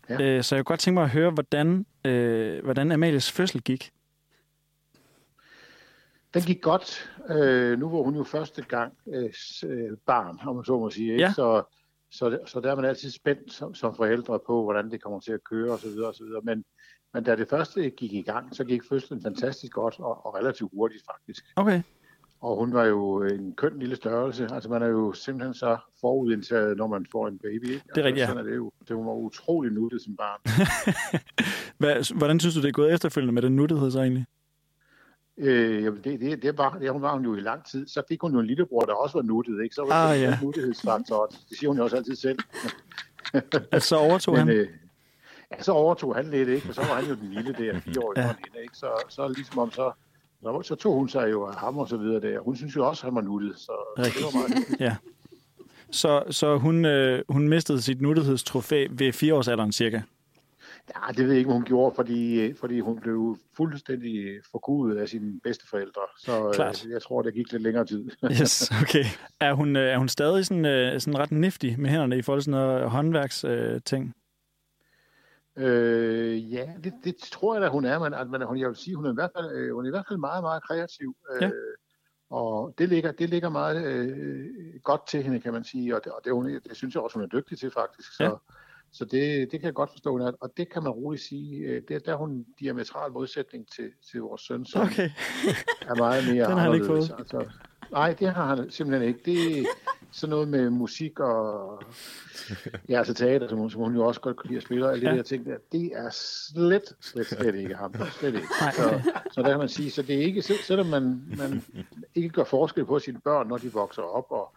Ja.
Øh, så jeg kunne godt tænke mig at høre, hvordan, øh, hvordan Amalies fødsel gik.
Den gik godt. Øh, nu var hun jo første gang øh, s- øh, barn, om man så må sige. Ikke?
Ja.
Så, så, så der er man altid spændt som, som forældre på, hvordan det kommer til at køre osv. videre. Men, men da det første gik i gang, så gik fødslen fantastisk godt og, og relativt hurtigt faktisk.
Okay.
Og hun var jo en køn lille størrelse. Altså man er jo simpelthen så forudindtaget, når man får en baby. Ikke? Altså,
rigtigt, ja.
Sådan er det jo. Det var utrolig nuttet som barn.
Hvad, hvordan synes du, det er gået efterfølgende med den nuttighed så egentlig?
Øh, jamen det, det, det, var, det var hun jo i lang tid. Så fik hun jo en lillebror, der også var nuttet. Ikke? Så var
Ah,
det
ja.
en nuttighedsfaktor. Det siger hun jo også altid selv.
Altså, så overtog han?
øh, ja, så overtog han lidt, ikke? og så var han jo den lille der, fire år
Mhm. Ja.
ja. hende. Ikke? Så, så ligesom om så, så, så tog hun sig jo af ham og så videre der. Hun synes jo også, at han var nuttet. Så det
Rigtigt.
var meget
Så, så hun, øh, hun mistede sit nuttighedstrofæ ved fireårsalderen cirka.
Ja, det ved jeg ikke, hvad hun gjorde, fordi, øh, fordi hun blev fuldstændig forgudet af sine bedsteforældre. Så
Klart.
øh, jeg tror, det gik lidt længere tid.
Yes, okay. (laughs) Er hun, øh, er hun stadig sådan, øh, sådan ret niftig med hænderne i forhold til sådan noget håndværksting? Øh, ting?
øh, ja, det, det tror jeg da, hun er, men, at- men hun, jeg vil sige, hun er, i hvert fald, øh, hun er i hvert fald meget, meget kreativ. Øh,
Ja.
Og det ligger, det ligger meget øh, godt til hende, kan man sige, og det, og det, er hun, det synes jeg også, hun er dygtig til faktisk. Så,
Ja.
så det, det kan jeg godt forstå, hun er. og det kan man roligt sige, øh, det, der er hun en diametral modsætning til, til vores søn, som,
Okay.
er meget mere
Den har han ikke
anderledes, Altså, nej, det har han simpelthen ikke. Det er sådan noget med musik og ja, altså teater, som, hun- som hun jo også godt kan lide at spille, og alle
Ja.
ja. de der ting der, det er slet, slet, slet ikke ham. Slet ikke.
Nej.
Så, så der kan man sige, så det er ikke, selv- selvom man, man ikke gør forskel på sine børn, når de vokser op og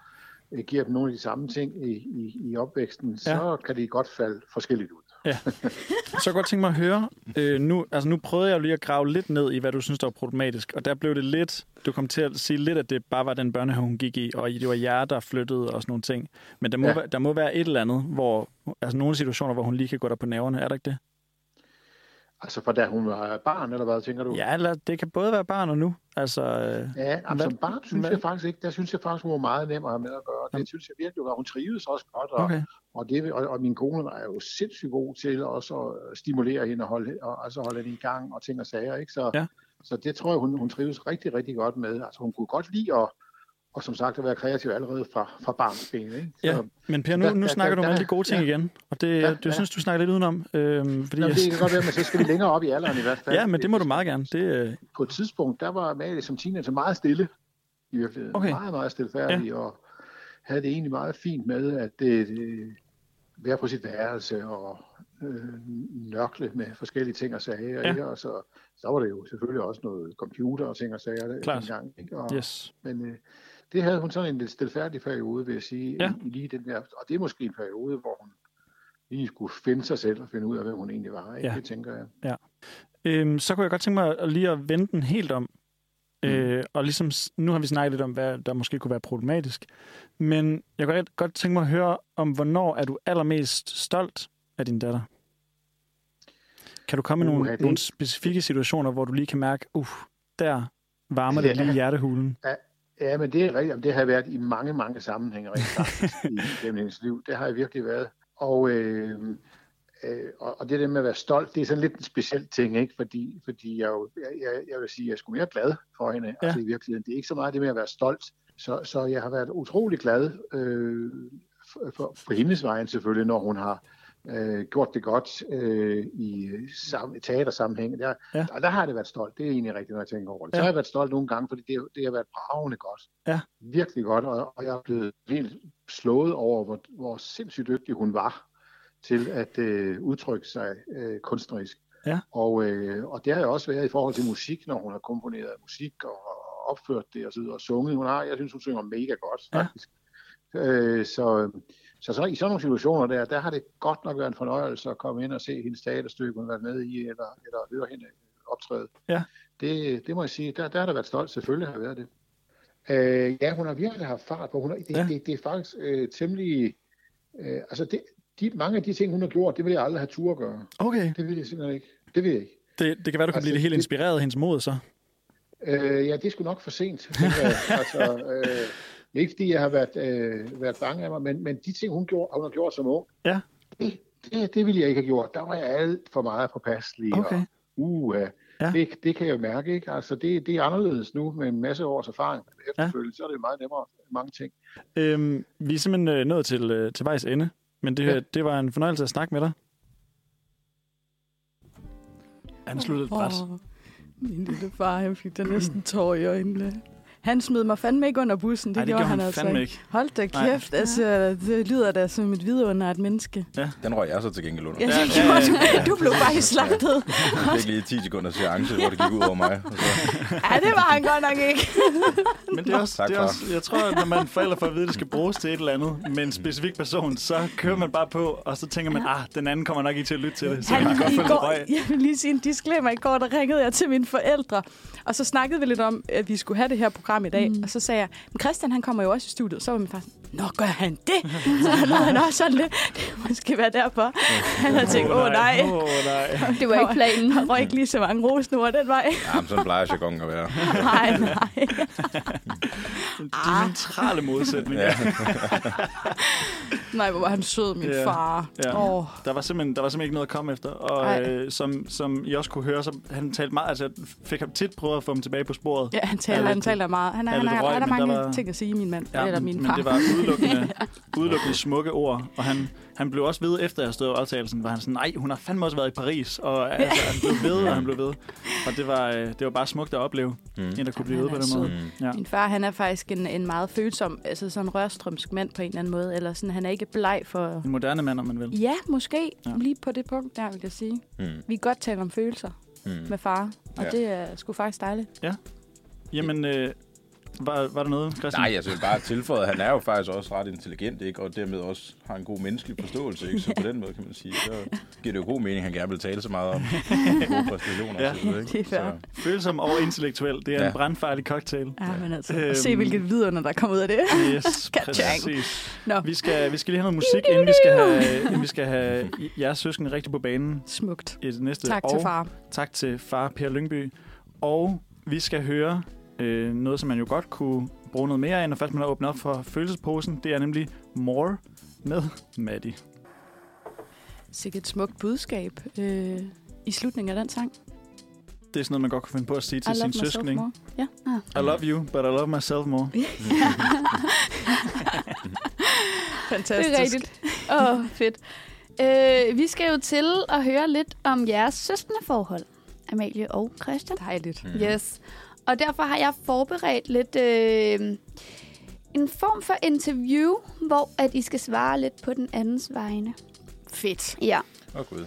øh, giver dem nogle af de samme ting i, i, i opvæksten, ja. så kan de godt falde forskelligt ud.
Så jeg godt tænke mig at høre, øh, nu, altså nu prøvede jeg jo lige at grave lidt ned i, hvad du synes, der var problematisk, og der blev det lidt, du kom til at sige lidt, at det bare var den børnehave, hun gik i, og det var jer, der flyttede og sådan nogle ting. Men der må,
Ja.
ja. der må være et eller andet, hvor, altså nogle situationer, hvor hun lige kan gå der på nerverne, er der ikke det?
Altså fra da hun var barn, eller hvad tænker du?
Ja, eller det kan både være barn og nu. Altså, øh,
Ja, jamen, som
Hvad-
barn synes
hvad-
jeg faktisk ikke. Der synes jeg faktisk, hun var meget nem at have med at gøre.
Jamen.
Det synes jeg virkelig var. Hun trivedes også godt, og, okay.
okay.
og, det, og, og min kone er jo sindssygt god til også at øh, stimulere hende og holde, og, altså holde hende i gang og ting og sager. Ikke? Så,
Ja.
så det tror jeg, hun, hun trives rigtig, rigtig godt med. Altså hun kunne godt lide at, og som sagt at være kreativ allerede fra, fra barnsben. Ikke? Så,
Ja, men Per,
Der-
nu, nu
der-
snakker
der-
du om
der-
alle de gode ting
ja.
igen, og det,
Ja,
det
ja.
synes du snakker lidt udenom. Øh, fordi
Jamen, det kan godt være, men så skal vi længere op i alderen i hvert fald.
Ja, men det må du meget gerne. Det, øh,
på et tidspunkt, der var Amalie som teenager meget stille i virkeligheden.
Okay.
Okay. Meget, meget stilfærdig ja. og havde det egentlig meget fint med at øh, øh, være på sit værelse og øh, nørkle med forskellige ting og sager.
Ja.
Ja. Og så, så var det jo selvfølgelig også noget computer og ting og sager øh,
Klart.
dengang. Ikke? Og,
yes.
Men øh, det havde hun sådan en lidt stilfærdig periode, vil jeg sige.
Ja.
Ja. I, lige den der, og det er måske en periode, hvor hun lige skulle finde sig selv og finde ud af, hvem hun egentlig var. Ikke?
Ja.
Det tænker jeg.
Øhm, så kunne jeg godt tænke mig at, lige at vende den helt om. Mm. Øh, og ligesom, s- nu har vi snakket lidt om, hvad der måske kunne være problematisk. Men jeg kunne rigtig godt tænke mig at høre om, hvornår er du allermest stolt af din datter? Kan du komme med
Uh,
nogle,
er det-
nogle specifikke situationer, hvor du lige kan mærke, uh, der varmer det
Ja.
lige i hjertehulen?
Ja, men det er rigtigt. Jamen, Det har jeg været i mange, mange sammenhænge rent faktisk i- gennem hendes liv. Det har jeg virkelig været. Og, øh, øh, og og det der med at være stolt, det er sådan lidt en speciel ting, ikke? Fordi, fordi jeg, jo, jeg- jeg, jeg vil sige, jeg er sgu mere glad for hende
Ja.
ja. altså, i virkeligheden. Det er ikke så meget det med at være stolt. Så, så jeg har været utrolig glad øh, for, for, for hendes vejen selvfølgelig, når hun har øh, gjort det godt øh, i sam- teatersammenhæng. Der,
Ja.
ja. der, der har det været stolt. Det er egentlig rigtigt, når jeg tænker over det.
Ja.
Så har jeg været stolt nogle gange, fordi det, det har været bravende godt.
Ja.
Virkelig godt, og, og jeg er blevet helt slået over, hvor, hvor sindssygt dygtig hun var til at øh, udtrykke sig øh, kunstnerisk.
Ja.
Og, øh, og det har jeg også været i forhold til musik, når hun har komponeret musik og opført det og, så videre, og sunget. Hun har, jeg synes, hun synger mega godt,
Ja.
faktisk. Øh, så, Så, så i sådan nogle situationer der, der har det godt nok været en fornøjelse at komme ind og se hendes teaterstykke, hun har været med i, eller, eller høre hende optræde.
Ja.
Det, det må jeg sige, der, der har der været stolt, selvfølgelig har jeg været det. Øh, ja, hun har virkelig haft fart på. Hun har, det,
Ja.
ja. det, det er faktisk øh, temmelig... Øh, altså, det, de, mange af de ting, hun har gjort, det vil jeg aldrig have tur at gøre.
Okay.
Det vil jeg simpelthen ikke. Det vil jeg ikke.
Det, det kan være, du kan
Altså,
blive det helt
det-
inspireret af hendes mod, så.
Øh, ja, det er sgu nok for sent. tænker jeg. altså, øh, ikke fordi jeg har været, øh, været bange af mig, men, men de ting, hun, gjorde, hun har gjort som ung,
Ja.
det, det, det ville jeg ikke have gjort. Der var jeg alt for meget påpasselig.
Okay.
Og, uh,
Ja.
ja. det, det kan jeg jo mærke. Ikke? Altså, det, det er anderledes nu med en masse års erfaring. Efterfølgende, ja. så er det jo meget nemmere mange ting.
Øhm, vi er simpelthen øh, nået til, øh, til vejs ende, men det, ja.
Ja.
det var en fornøjelse at snakke med dig. Han sluttede et bræt.
Åh, min lille far, han fik der
Mm.
næsten tår i øjnene. Han smed mig fandme ikke under bussen, det,
Ej, det
gjorde
gjorde han
altså
fandme
ikke.
ikke.
Hold da
Nej.
kæft, altså, det lyder da som et vidunder af et menneske.
Den røg jeg så til gengæld under.
Ja,
Ja.
det gjorde du. Du blev bare slagtet.
Jeg fik lige 10 sekunder chance, hvor det gik ud over mig. Og så,
Ja, det var han godt nok ikke. (laughs)
Men det er også,
Tak,
det er
far.
også, jeg tror, at når man forældre får at vide, at det skal bruges til et eller andet
Mm.
med en specifik person, så kører man bare på, og så tænker man, ah, den anden kommer nok ikke til at lytte til det, så kan
Han,
man godt
i
få lidt
går,
røg.
(laughs) jeg vil lige sige en disclaimer. I går der ringede jeg til mine forældre, og så snakkede vi lidt om, at vi skulle have det her program i dag. Mm. Og så sagde jeg, men Christian han kommer jo også i studiet. Så var min far sådan, nå gør han det? så han lavede han også sådan lidt, det må måske være derfor. han havde tænkt, åh oh, nej.
Åh oh,
(laughs)
nej.
Det var ikke planen.
Der røg ikke lige så mange rosenord den
(laughs)
vej.
ja, men sådan plejer jargonen at være.
nej, nej. Ah.
De neutrale modsætninger.
Ja.
Nej, hvor var han sød, min
Ja,
far.
ja.
Åh,
Der var, simpelthen, der var simpelthen ikke noget at komme efter, og
Ej.
øh, som, som I også kunne høre, så han talte meget, altså jeg fik ham tit prøvet at få ham tilbage på sporet.
Ja, han
Ja,
taler, han
lidt-
taler meget. Han, er,
ja,
han,
lidt
er,
røg,
han har
men der
mange
var-
ting at sige, min mand. Ja,
Ja,
eller
men,
min
men
far.
det var
(laughs)
udelukkende, udelukkende smukke ord, og han, han blev også ved efter at have stået optagelsen, var han sådan, nej, hun har fandme også været i Paris, og altså, han blev ved, og han blev
(laughs)
ved. Og det var, øh, det var bare smukt at opleve, mm. en der kunne blive
han
ved på
er
den
sød.
måde.
Mm.
Ja.
Min far, han er faktisk en, en meget følsom, altså sådan rørstrømsk mand på en eller anden måde, eller sådan, han er ikke bleg for...
En moderne mand, om man vil.
Ja, måske.
Ja.
Ja. Lige på det punkt der, vil jeg sige.
Mm.
Vi kan godt tale om følelser
Mm.
med far, og
Ja.
ja. det er sgu faktisk dejligt.
Jamen, øh, var, var der noget, Christian?
Nej, altså jeg vil bare tilføje, at han er jo faktisk også ret intelligent, ikke? og dermed også har en god menneskelig forståelse. Ikke? Så på den måde kan man sige, så giver det jo god mening, at han gerne vil tale så meget om gode præstationer.
Ja.
og så videre, ikke?
Det er fair.
Så-
Følsom og intellektuel, det er ja.
Ja.
en brandfarlig
(laughs)
cocktail.
Ja, men altså,
Øhm.
øhm. se hvilket vidunder, der kommer ud af det.
Yes,
Ka-chang.
præcis.
(laughs) Nå.
Vi, skal, vi skal lige have noget musik, inden vi skal have, inden vi skal
(laughs)
have jeres søskende rigtigt på banen
Smukt.
i det næste.
Tak
og
til far.
Tak til far Per Lyngby. Og vi skal høre øh, noget, som man jo godt kunne bruge noget mere af, når først man har åbnet op for følelsesposen. Det er nemlig More med Maddie.
Sikkert et smukt budskab øh, i slutningen af den sang.
Det er sådan noget, man godt kunne finde på at sige til sin søskning.
more. Ja.
I love you, but I love myself more.
Fantastisk.
Det er rigtigt. Åh, oh, fedt. Øh, vi skal jo til at høre lidt om jeres søskendeforhold, Amalie og Christian.
Dejligt.
Mm.
Yes. Og derfor har jeg forberedt lidt øh, en form for interview, hvor at I skal svare lidt på den andens vegne.
Fedt.
Ja.
Åh gud.
Øh,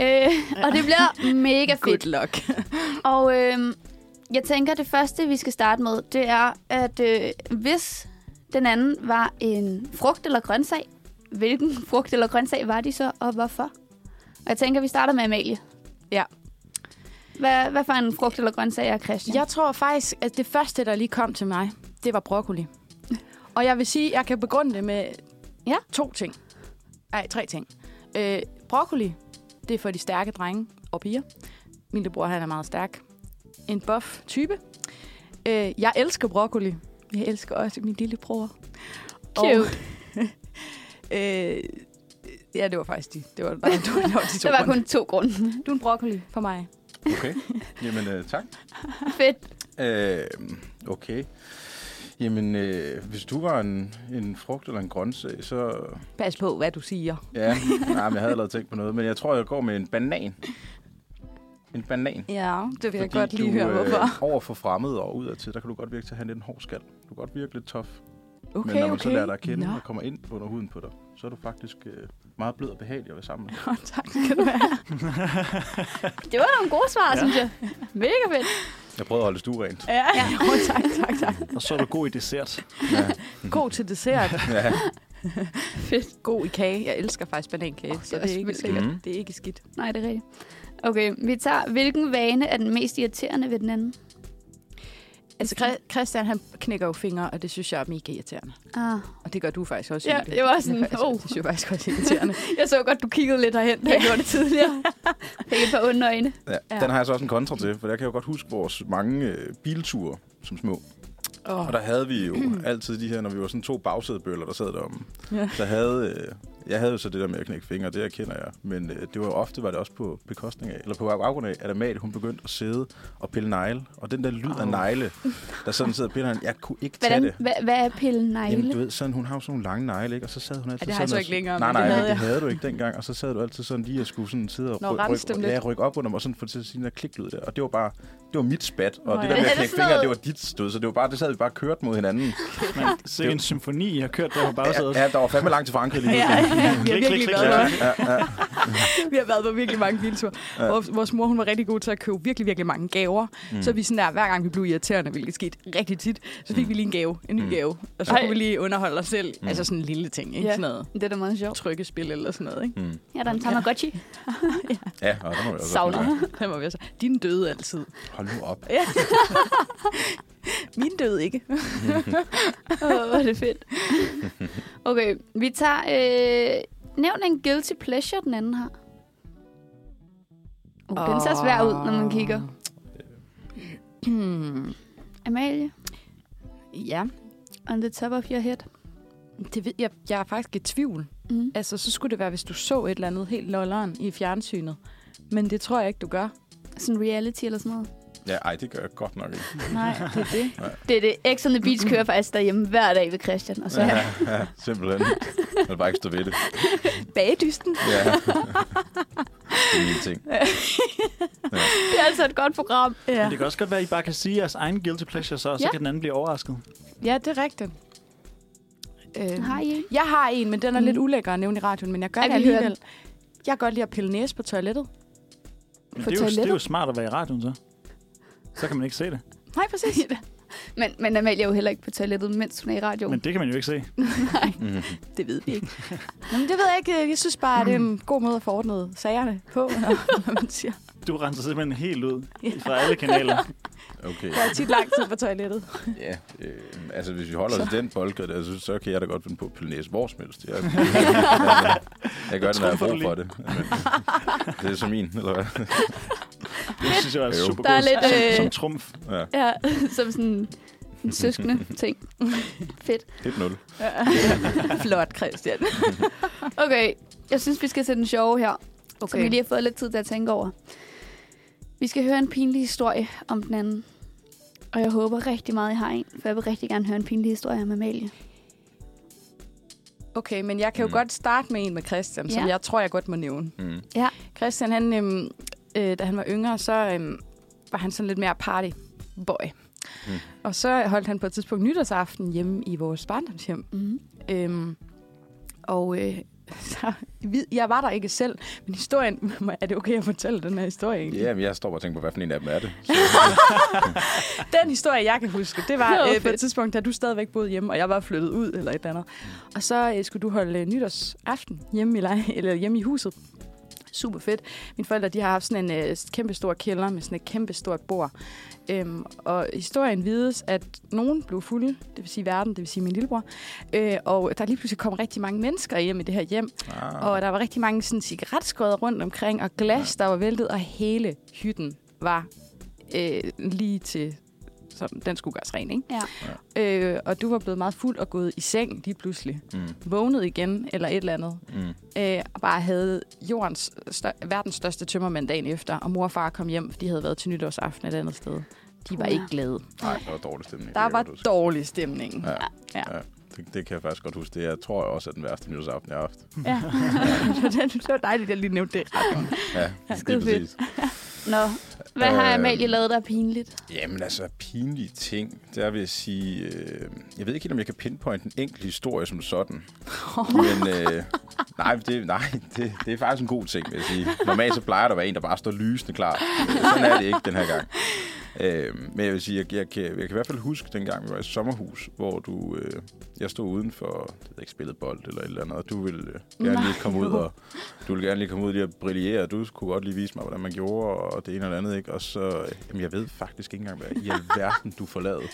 (laughs) og det bliver mega
Good
fedt.
luck.
(laughs) Og øh, jeg tænker, det første, vi skal starte med, det er, at øh, hvis den anden var en frugt eller grøntsag, hvilken frugt eller grøntsag var de så, og hvorfor? Og jeg tænker, vi starter med Amalie.
Ja.
Hvad, hvad for en frugt eller grøntsag er Christian?
Jeg tror faktisk, at det første, der lige kom til mig, det var broccoli. Og jeg vil sige, at jeg kan begrunde det med
Ja.
to ting. Nej, tre ting. Øh, broccoli, det er for de stærke drenge og piger. Min lillebror, han er meget stærk. En buff type. Øh, jeg elsker broccoli. Jeg elsker også min lillebror.
Cute.
(laughs) øh, ja, det var faktisk de. Det var, nej, det var, det var
(laughs)
de to
Der var
grunde.
kun to grunde.
Du er en broccoli for mig.
Okay, jamen øh, tak.
Fedt.
Øh, okay. Jamen, øh, hvis du var en, en frugt eller en grøntsag, så...
Pas på, hvad du siger.
Ja, (laughs) nej, men jeg havde allerede tænkt på noget, men jeg tror, jeg går med en banan. En banan.
Ja, det vil jeg
Fordi
godt lige
du,
høre, hvorfor.
Øh, over for fremmede og udadtil, der kan du godt virke til at have lidt en hård skal. Du kan godt virke lidt tof.
Okay,
men når man
okay.
så lærer dig at kende
Nå.
og kommer ind under huden på dig, så er du faktisk øh, meget blød og behagelig at være sammen med.
Nå, (laughs) tak skal du have.
Det var nogle gode svar, ja. synes jeg. Mega fedt.
Jeg prøvede at holde stue rent.
Ja, ja. tak, tak, tak.
Og så er du god i dessert.
God til dessert.
(laughs) Ja.
Fedt.
God i kage. Jeg elsker faktisk banankage,
Åh,
oh,
det
så
er
det er,
også
ikke
vildt
sikkert.
lækkert.
det er ikke skidt.
Nej, det er rigtigt. Okay, vi tager, hvilken vane er den mest irriterende ved den anden?
Altså, Chri- Christian, han knækker jo fingre, og det synes jeg er mega irriterende.
Ah,
Og det gør du faktisk også.
Ja,
Julie.
jeg var sådan,
Det er faktisk-
oh.
Det synes jeg faktisk også er irriterende.
jeg så godt, du kiggede lidt derhen, da jeg gjorde det (laughs) tidligere. Fik et par onde øjne.
Ja,
Ja.
Den har jeg så også en kontra til, for der kan jeg jo godt huske vores mange øh, bilture som små.
Åh. Mm.
Og der havde vi jo altid de her, når vi var sådan to bagsædebøller, der sad deromme.
Ja.
Der havde, øh, jeg havde jo så det der med at knække fingre, det erkender jeg. Men øh, det var jo ofte, var det også på bekostning af, eller på baggrund af, at Amat, hun begyndte at sidde og pille negle. Og den der lyd af negle, der sådan sidder og piller, negle, jeg kunne ikke tage
Hvordan,
det.
hvad, hvad er pillen negle?
Jamen, du ved, sådan, hun har jo sådan nogle lange negle, ikke? Og så sad hun altid
det har jeg
sådan
så
og-
ikke længere,
Nej,
men
nej,
det
det,
havde
havde, det
jeg.
havde du ikke dengang. Og så sad du altid sådan lige og skulle sådan sidde og
Nå,
ryk, ryk,
rense dem lidt.
ja, rykke op under mig, og sådan få til sin der kliklyd der. Og det var bare, det var mit spat. Og
Nå,
det
ja.
der med
Er
at
det
knække
sådan
fingre, det var
noget-
dit stød. Så det var bare, det sad vi bare kørt mod
(laughs)
hinanden.
Men sikke en symfoni, I har kørt der på bagsædet.
Ja, der var fandme langt til Frankrig lige nu.
Ja, vi har
Klik,
virkelig
klik,
været
klik.
der.
ja, ja.
(laughs) Vi har været på virkelig mange bilture. Ja. Vores, vores mor hun var rigtig god til at købe virkelig, virkelig mange gaver. Mm. Så vi sådan der, hver gang vi blev irriterende, hvilket skete rigtig tit, så fik vi lige en gave, en ny mm. gave. Og så
Ej.
kunne vi lige underholde os selv. Mm. Altså sådan en lille ting, ikke?
Ja.
Ja. Sådan noget
Det er da meget sjovt.
trykkespil eller sådan noget, ikke?
Ja, der er en Tamagotchi.
Mm. ja og der må vi også
Savler.
være.
Den var vi også. Din døde altid.
Hold nu op.
Ja. (laughs) Min døde ikke.
Åh, hvor er det
(laughs)
fedt. Okay, vi tager... Øh, nævn en guilty pleasure, den anden har. Oh, den ser svær ud, når man kigger.
Hmm.
Amalie,
(clears throat) Ja,
on the top of your head.
det ved jeg. Jeg er faktisk i tvivl.
Mm.
Altså, så skulle det være, hvis du så et eller andet helt lolleren i fjernsynet. Men det tror jeg ikke, du gør.
Sådan reality eller sådan noget.
Ja, ej, det gør jeg godt nok ikke.
Nej,
Det er det.
det er det. X on the Beach kører faktisk derhjemme hver dag ved Christian. Og så
Ja, ja, simpelthen. Jeg vil bare ikke stå ved det.
Bagedysten.
Ja. Det er min ting.
det er altså et godt program.
Men det kan også godt være, at I bare kan sige jeres egen guilty pleasure, så, og så
Ja.
kan den anden blive overrasket.
Ja, det er rigtigt. Øh,
Har I en?
jeg har en, men den er
Mm.
mm. lidt ulækker at nævne i radioen, men jeg gør
Ej,
det
vi hører
alligevel. Jeg kan godt lide at pille næse på toilettet.
Men
På
det, er jo, det er jo
toilettet?
smart at være i radioen, så. Så kan man ikke se det.
Nej,
(laughs)
præcis.
Men, men Amalie er jo heller ikke på toilettet, mens hun er i radioen.
Men det kan man jo ikke se.
Mhm.
det ved vi ikke. Nå, men det ved jeg ikke. Jeg synes bare, at det er
Mm.
en god måde at få ordnet sagerne på, når når man siger.
Du renser simpelthen helt ud fra alle kanaler.
Okay.
Jeg er tit lang tid på toilettet.
Ja, øh, altså hvis vi holder os i den boldgade, der, så, så kan jeg da godt finde på at pille næse hvor som helst. Jeg, altså, jeg gør det, når jeg har brug for det. Men, det er så min, eller hvad? (laughs)
Det synes jeg er
Jo.
super
Der er lidt,
som,
øh,
som trumf.
Ja,
Ja, (laughs) som sådan en søskende ting. Fedt.
1-0.
Flot, Christian.
Okay, jeg synes, vi skal sætte den sjove her, okay. som vi
Okay.
lige har fået lidt tid til at tænke over. Vi skal høre en pinlig historie om den anden. Og jeg håber rigtig meget, I har en, for jeg vil rigtig gerne høre en pinlig historie om Amalie.
Okay, men jeg kan jo
Mm.
mm. godt starte med en med Christian, som
Ja.
jeg tror, jeg godt må nævne.
Mm.
Christian, han, øhm, øh, da han var yngre, så øhm, var han sådan lidt mere partyboy.
Mm.
Mm. Og så holdt han på et tidspunkt nytårsaften hjemme i vores barndomshjem.
Mm.
Øhm, og øh, (laughs) så, vi- jeg var der ikke selv, men historien... (laughs) Er det okay at fortælle den her historie egentlig?
Ja, men jeg står bare og tænker på, hvad for en af dem er det. Så,
Den historie, jeg kan huske, det var
Nå,
øh, på
fedt.
et tidspunkt, da du stadigvæk boede hjemme, og jeg var flyttet ud eller et eller andet. Og så øh, skulle du holde øh, nytårsaften hjemme i, lej- eller hjemme i huset. Super fedt. Mine forældre de har haft sådan en øh, kæmpe stor kælder med sådan et kæmpe stort bord. Øhm, og historien vides, at nogen blev fulde, det vil sige verden, det vil sige min lillebror. Øh, og der lige pludselig kom rigtig mange mennesker hjem i det her hjem.
ah,
Og der var rigtig mange sådan, cigaretskodder rundt omkring, og glas, der var væltet, og hele hytten var øh, lige til, som den skulle gøres ren, ikke?
Ja.
Øh, og du var blevet meget fuld og gået i seng lige pludselig.
mm,
Vågnet igen, eller et eller andet.
mm.
Øh, og bare havde jordens stør- verdens største tømmermand dagen efter, og mor og far kom hjem, for de havde været til nytårsaften et andet sted. De var
Puha.
ikke glade.
Nej, der var dårlig stemning.
Der var
Det kan jeg godt huske.
dårlig stemning.
Ja.
Ja.
Ja. Det, det kan jeg faktisk godt huske. Det jeg tror jeg også er den værste nytårsaften, jeg har haft.
Ja. (laughs) det var dejligt, at jeg lige nævnte det.
Ja,
Skide fedt. Nå, hvad har
Øhm.
Amalie lavet, der er pinligt?
Jamen altså, pinlige ting. Der vil jeg sige... Øh, jeg ved ikke helt, om jeg kan pinpointe en enkelt historie som sådan. Men øh, nej, det, nej det, det er faktisk en god ting, vil jeg sige. Normalt så plejer der at være en, der bare står lysende klar. Øh, Sådan er det ikke den her gang. Øh, men jeg vil sige, jeg, jeg, kan, jeg kan i hvert fald huske dengang, vi var i sommerhus, hvor du, øh, jeg stod udenfor, jeg ved ikke, spillede bold eller et eller andet, og du ville øh, gerne
Nej,
lige komme ud
jo.
og du ville gerne lige komme ud lige og brillere, og du kunne godt lige vise mig, hvordan man gjorde, og det ene og det andet, ikke? Og så, øh, jamen, jeg ved faktisk ikke engang, hvad i alverden du får lavet.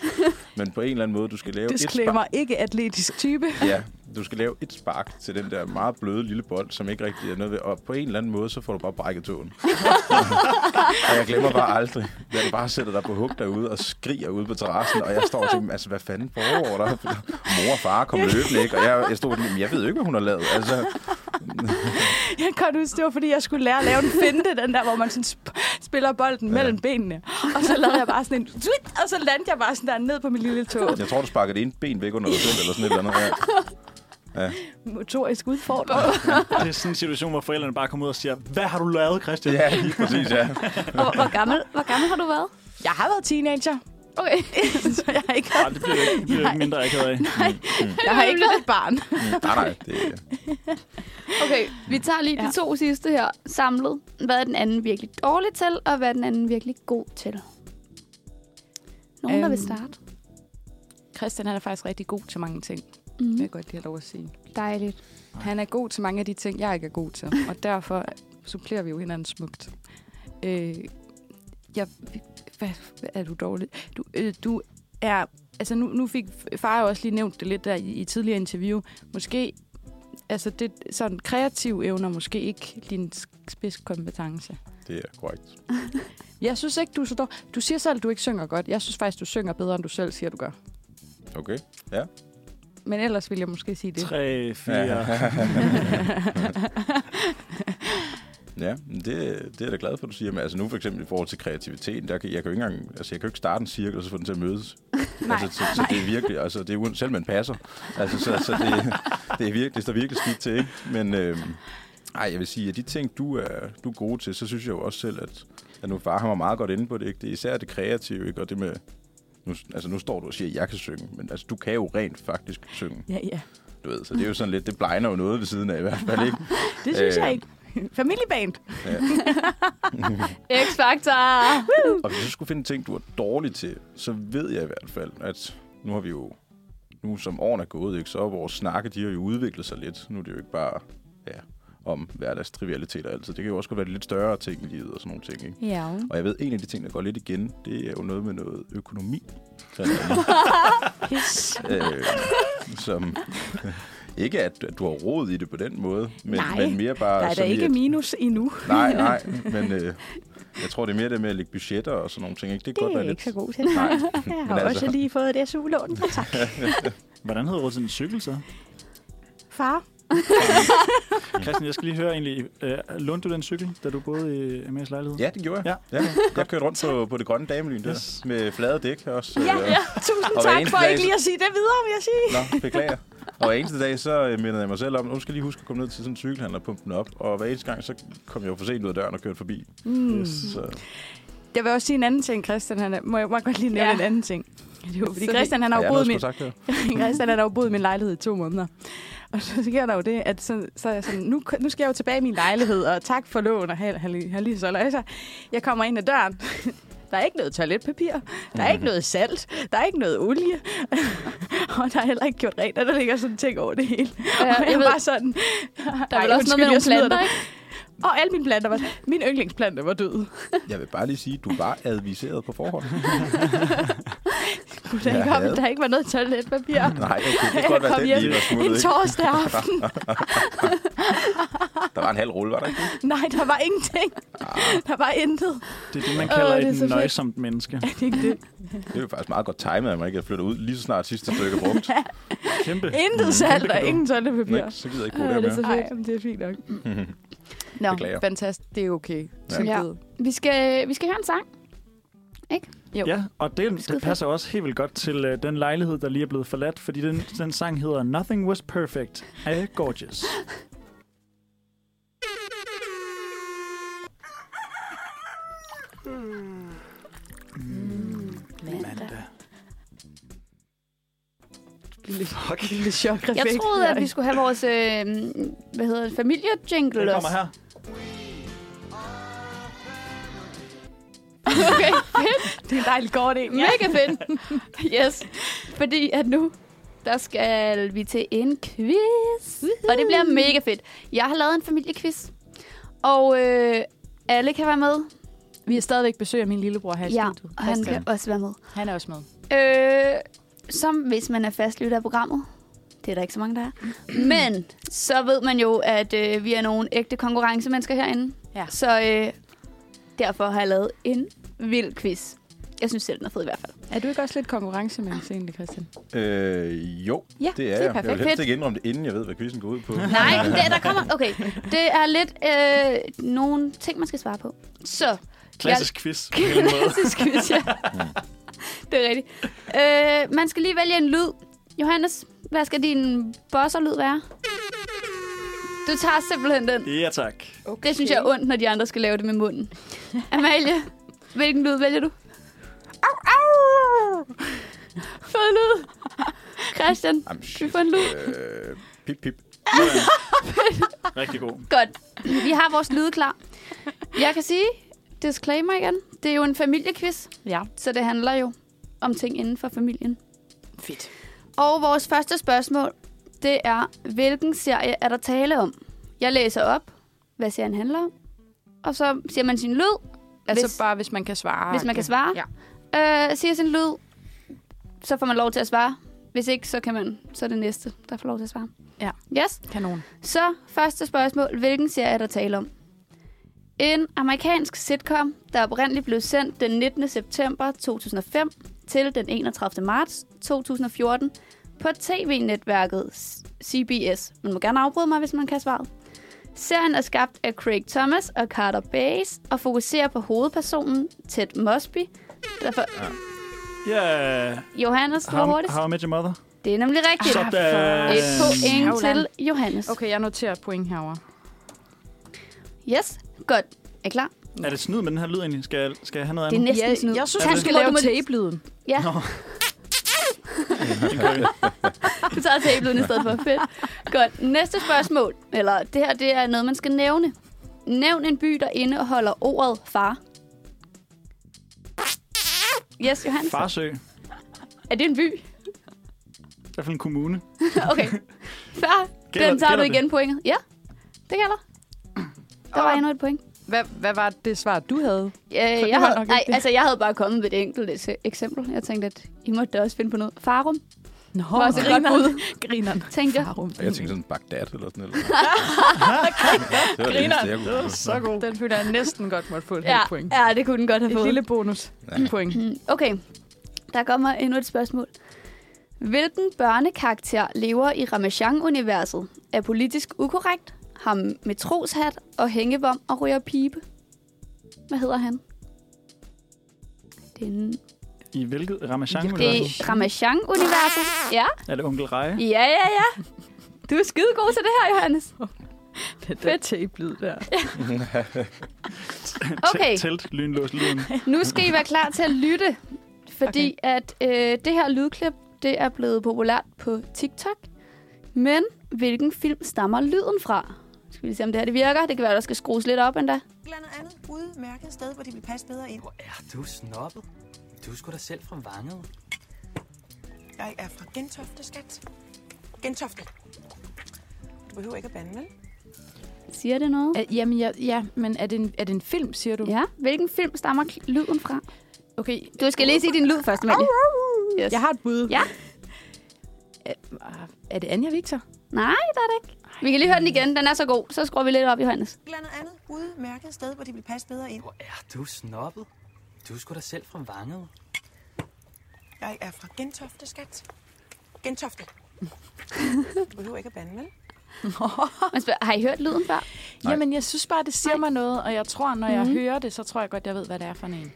Men på en eller anden måde, du skal lave et spark.
Disclaimer, ikke atletisk type.
Ja, du skal lave et spark til den der meget bløde lille bold, som ikke rigtig er noget ved. Og på en eller anden måde, så får du bare brækket tåen. og jeg glemmer bare aldrig, at du bare sætter dig på hug derude og skriger ude på terrassen. Og jeg står og tænker, altså hvad fanden foregår der? Mor og far kom løbende, ikke? Og jeg, jeg stod og tænkte, "Men jeg ved jo ikke, hvad hun har lavet. Altså,
Jeg kan godt huske, det var, fordi jeg skulle lære at lave en finte, den der, hvor man sådan sp- spiller bolden ja. mellem benene. Og så lavede jeg bare sådan en... Tweet, og så landte jeg bare sådan der ned på min lille tog.
jeg tror, du sparkede en ben væk under dig selv, eller sådan et eller andet. Ja.
Motorisk udfordring.
Det er sådan en situation, hvor forældrene bare kommer ud og siger, hvad har du lavet, Christian?
Ja, lige præcis, ja.
Hvor, hvor, gammel, hvor gammel har du været?
Jeg har været teenager, (laughs)
Okay. (laughs)
så jeg har ikke,
Ej, det bliver, det bliver ikke mindre akavet af.
jeg har ikke været et barn.
Nej, nej, det,
Okay, vi tager lige ja.
Ja.
de to sidste her samlet. Hvad er den anden virkelig dårlig til, og hvad er den anden virkelig god til? Nogen, øhm. der vil
Øhm.
starte?
Christian han er faktisk rigtig god til mange ting, det
Mm.
vil jeg godt lige have lov at sige.
Dejligt.
Han er god til mange af de ting, jeg ikke er god til, og derfor supplerer vi jo hinanden smukt. Øh, jeg, hvad, hvad er du dårlig? Du, øh, du er... Altså, nu, nu fik far jo også lige nævnt det lidt der i, i tidligere interview. Måske... Altså, det, sådan kreative evner måske ikke din spidskompetence.
det er korrekt.
Jeg synes ikke, du er så dårlig. Du siger selv, at du ikke synger godt. Jeg synes faktisk, du synger bedre, end du selv siger, du gør.
Okay.
Men ellers vil jeg måske sige det.
3, 4...
Ja, men det, det er jeg da glad for, du siger. Men altså nu for eksempel i forhold til kreativiteten, der kan, jeg kan jo ikke engang, altså jeg kan jo ikke starte en cirkel og så få den til at mødes.
(laughs) Nej,
altså, så, så, det er virkelig, altså det er uden, selv man passer. Altså så, så det, det, er virkelig, det står virkelig skidt til, ikke? Men øh, ej, jeg vil sige, at de ting, du er, du er gode til, så synes jeg jo også selv, at, at nu far hammer meget godt inde på det, ikke? Det er især det kreative, ikke? Og det med, nu, altså nu står du og siger, at jeg kan synge, men altså du kan jo rent faktisk synge,
Ja, ja.
du ved. Så det er jo sådan lidt, det blegner jo noget ved siden af i hvert fald, ikke?
Det synes
Øh.
jeg ikke. Familieband. (laughs)
X-Factor!
Og hvis jeg skulle finde ting, du er dårlig til, så ved jeg i hvert fald, at nu har vi jo, nu som årene er gået, ikke, så er vores snakke, de har jo udviklet sig lidt. Nu er det jo ikke bare ja, om hverdagstrivialiteter altid. Det kan jo også godt være de lidt større ting i livet og sådan nogle ting. Ikke?
ja.
Og jeg ved, en af de ting, der går lidt igen, det er jo noget med noget økonomi. Så er det
(laughs) Pis.
øh, som (laughs) ikke at, at du har råd i det på den måde, men,
Nej,
men mere bare...
Der er da
sådan
ikke
at-
minus endnu. (laughs)
Nej, nej, men øh, jeg tror, det er mere det med at lægge budgetter og sådan nogle ting. Ikke? Det, kan godt være lidt...
god til. (laughs)
Nej,
Jeg
har Men altså- også
lige fået et
(laughs)
SU-lån. Tak.
Hvordan havde du råd til en cykel så?
Far,
Christian, jeg skal lige høre egentlig, øh, lånte du den cykel, da du boede i Amalias lejlighed?
Ja, det gjorde jeg. Ja.
Ja.
Ja. Jeg kørte rundt på, på det grønne damelyn der,
Yes.
med flade dæk også.
ja,
øh,
ja. tusind
Og hver
tak
eneste
for
dag,
ikke
så-
lige at sige det videre, vil jeg sige.
Nå, beklager. Og hver eneste dag, så øh, mindede jeg mig selv om, at nu skal jeg lige huske at komme ned til sådan en cykelhandler og pumpe den op. Og hver eneste gang, så kom jeg jo for sent ud af døren og kørte forbi.
Mm.
Så,
Jeg vil også sige en anden ting, Christian. Han er, må jeg må jeg godt lige nævne
Ja.
en anden ting? Det var, fordi
Så det-
Christian, han
og
har
jeg
jo
noget
boet
at
min,
skulle sagt her.
(laughs) Christian, han har jo boet i min lejlighed i to måneder. Og så sker der jo det, at så, så er jeg sådan, nu, nu skal jeg jo tilbage i min lejlighed, og tak for lån, og hal, hal, hal, så løjser. Jeg kommer ind ad døren. (laughs) Der er ikke noget toiletpapir, der er ikke noget salt, der er ikke noget olie, (laughs) og der er heller ikke gjort rent, og der ligger sådan ting over det hele. Ja, og jeg,
jeg
jeg
ved-
var sådan...
Der er vel også noget med nogle planter, ikke?
Og alle mine planter var... Min yndlingsplante var død.
Jeg vil bare lige sige, at du var adviseret på
(laughs)
forhånd.
Kunne der,
Ja,
ikke om,
havde.
der ikke var noget toiletpapir.
Nej, okay, det
Jeg
kan godt være,
kom
at den
hjem
lige var
en
smuttet. Ikke?
torsdag aften.
Der var en halv rulle, var der ikke det?
Nej, der var ingenting. Der var intet.
Det er det, man
Åh,
kalder
det er så
et
fedt.
nøjsomt menneske.
Er det ikke det?
Det er jo faktisk meget godt timet, at man ikke er flyttet ud lige så snart sidste stykke er
(laughs)
brugt.
Kæmpe.
Intet salt og
kæmpe
ingen
Nå,
toiletpapir.
så gider jeg ikke
Ej,
bruge
Øh,
det
det her
er så
mere.
fedt. Ej, men det er fint nok. Nå,
Beklager.
fantastisk. Det er okay.
Ja.
Tilgivet.
Vi skal, vi skal høre en sang.
Ja, og det,
Skide
det passer også helt vildt godt til øh, den lejlighed, der lige er blevet forladt, fordi den, den sang hedder Nothing Was Perfect af Gorgeous. Mandag.
Lille,
Fuck.
lille chok
Jeg troede, at vi skulle have vores øh, hvad hedder det, familie-jingle
Den
også.
kommer her.
Okay.
Det er en dejlig kort en. Ja.
Mega fedt. Yes. Fordi at nu, der skal vi til en quiz. Og det bliver mega fedt. Jeg har lavet en familiequiz. Og øh, alle kan være med.
Vi har stadigvæk besøg af min lillebror her i
Ja,
studiet.
og han
Christian.
kan også være med.
han er også med.
Øh, som hvis man er fastlytter af programmet. Det er der ikke så mange, der er. Men så ved man jo, at øh, vi er nogle ægte konkurrencemennesker herinde.
Ja.
Så øh, derfor har jeg lavet en vild quiz. Jeg synes selv, den er fed i hvert fald.
Er du ikke også lidt konkurrencemæssig egentlig, Christian?
(laughs) Øh, jo,
Ja,
det er,
det er
jeg. Jeg vil
perfekt.
helst ikke indrømme det, inden jeg ved, hvad quizzen går ud på.
(laughs) Nej, men det, der kommer... Okay, det er lidt øh, nogle ting, man skal svare på. Så,
Klassisk quiz. på en eller anden måde. Mm.
klassisk quiz, ja.
(laughs)
det er rigtigt. Øh, man skal lige vælge en lyd. Johannes, hvad skal din bosserlyd være? Du tager simpelthen den.
Ja, tak.
Okay. Det synes jeg er ondt, når de andre skal lave det med (laughs) munden. Amalie, hvilken lyd vælger du? Au, au! Fed lyd. Christian,
Jamen,
vi
shit.
får en lyd.
Øh, pip, pip.
Rigtig god.
Godt. Vi har vores lyde klar. Jeg kan sige, disclaimer igen, det er jo en familiequiz,
Ja.
så det handler jo om ting inden for familien.
Fedt.
Og vores første spørgsmål, det er, hvilken serie er der tale om? Jeg læser op, hvad serien handler om, og så siger man sin lyd,
Altså
Hvis-
hvis, bare, hvis man kan svare.
hvis man kan svare.
Ja.
Øh, siger sin lyd, så får man lov til at svare. Hvis ikke, så kan man, så er det næste, der får lov til at svare.
Ja.
Yes.
Kanon.
Så første spørgsmål. Hvilken serie er der tale om? En amerikansk sitcom, der oprindeligt blev sendt den 19. september 2005 til den 31. marts 2014 på tv-netværket CBS. Man må gerne afbryde mig, hvis man kan svaret. Serien er skabt af Craig Thomas og Carter Bays og fokuserer på hovedpersonen Ted Mosby. Derfor,
Ja,
Johannes, du var
how,
hurtigst.
how I Met Your Mother.
Det er nemlig rigtigt.
Så-
Sådan.
Et point
Havland.
til Johannes.
Okay, jeg noterer point herovre.
Yes, godt. Er I klar?
Er det snyd med den her lyd egentlig? Skal jeg, skal jeg have noget
Det er
andet?
næsten
Ja,
sådan
jeg synes,
Er
du
det-
skal
Hvor
lave
du må-
tabelyden.
Ja,
Nå. Det gør vi.
(laughs) du tager tablet i stedet for. Fedt. Godt. Næste spørgsmål. Eller det her, det er noget, man skal nævne. Nævn en by, der indeholder ordet far. Yes, Johan.
Farsø.
Er det en by? (laughs)
I hvert fald en kommune.
Okay. Før,
Gælder-
den tager du
gælder det?
igen pointet. Ja, det gælder. Der var
Åh.
endnu et point.
Hvad, hvad var det svar, du havde?
Øh,
Ah. det
jeg,
var
havde,
nok
nej,
ikke det.
altså, jeg havde bare kommet med et enkelt ekse- eksempel. Jeg tænkte, at I måtte da også finde på noget. Farum,
Nå,
var også et godt bud,
Grineren.
tænkte jeg.
Farum.
Og jeg tænkte sådan Bagdad eller
(laughs)
sådan noget. det var det eneste, jeg kunne.
Så god.
Den føler jeg næsten godt måtte få et
Ja,
halvt point.
ja, det kunne den godt have
Et
fået.
lille bonus (laughs) point.
Mm, (clears throat) Okay, der kommer endnu et spørgsmål. Hvilken børnekarakter lever i Ramachan-universet? Er politisk ukorrekt, har metroshat og hængevom og ryger pibe? Hvad hedder han? Det er, en-
I hvilket Ramachan
det er Ramachan-universet. Ja,
Er det onkel Reje?
ja, ja, ja. Du er skide god til det her, Johannes.
Det der tabelyd der.
Okay.
Tæ- Telt, lynlås, lyden.
Nu skal I være klar til at lytte, fordi okay. at øh, det her lydklip, det er blevet populært på TikTok. Men hvilken film stammer lyden fra? Skal vi se, om det her det virker? Det kan være, der skal skrues lidt op endda.
eller andet andet udmærket sted, hvor de vil passe bedre ind.
Er du snobbet? Du skulle da selv fra Vanget.
Jeg er fra Gentofte, skat. Gentofte. Du behøver ikke at bande, vel?
Siger det noget?
Uh, jamen, ja, ja, men er det, en, er det en film, siger du?
Ja, hvilken film stammer k- lyden fra?
Okay,
Du skal lige sige din lyd først, Amalie. Yes.
jeg har et bud.
Ja.
Uh, er det Anja Victor?
Nej, der er det ikke. Vi kan lige høre den igen. Den er så god. Så skruer vi lidt op, Johannes.
Et eller andet udmærket sted, hvor de vil passe bedre ind.
Er du snobbet? Du skulle da selv fra Vanget.
Jeg er fra Gentofte, skat. Gentofte. Du behøver ikke at bande, vel?
Man spørger, har I hørt lyden før?
Nej.
Jamen, jeg synes bare, det siger mig noget, og jeg tror, når jeg hører det, så tror jeg godt, jeg ved, hvad det er for en.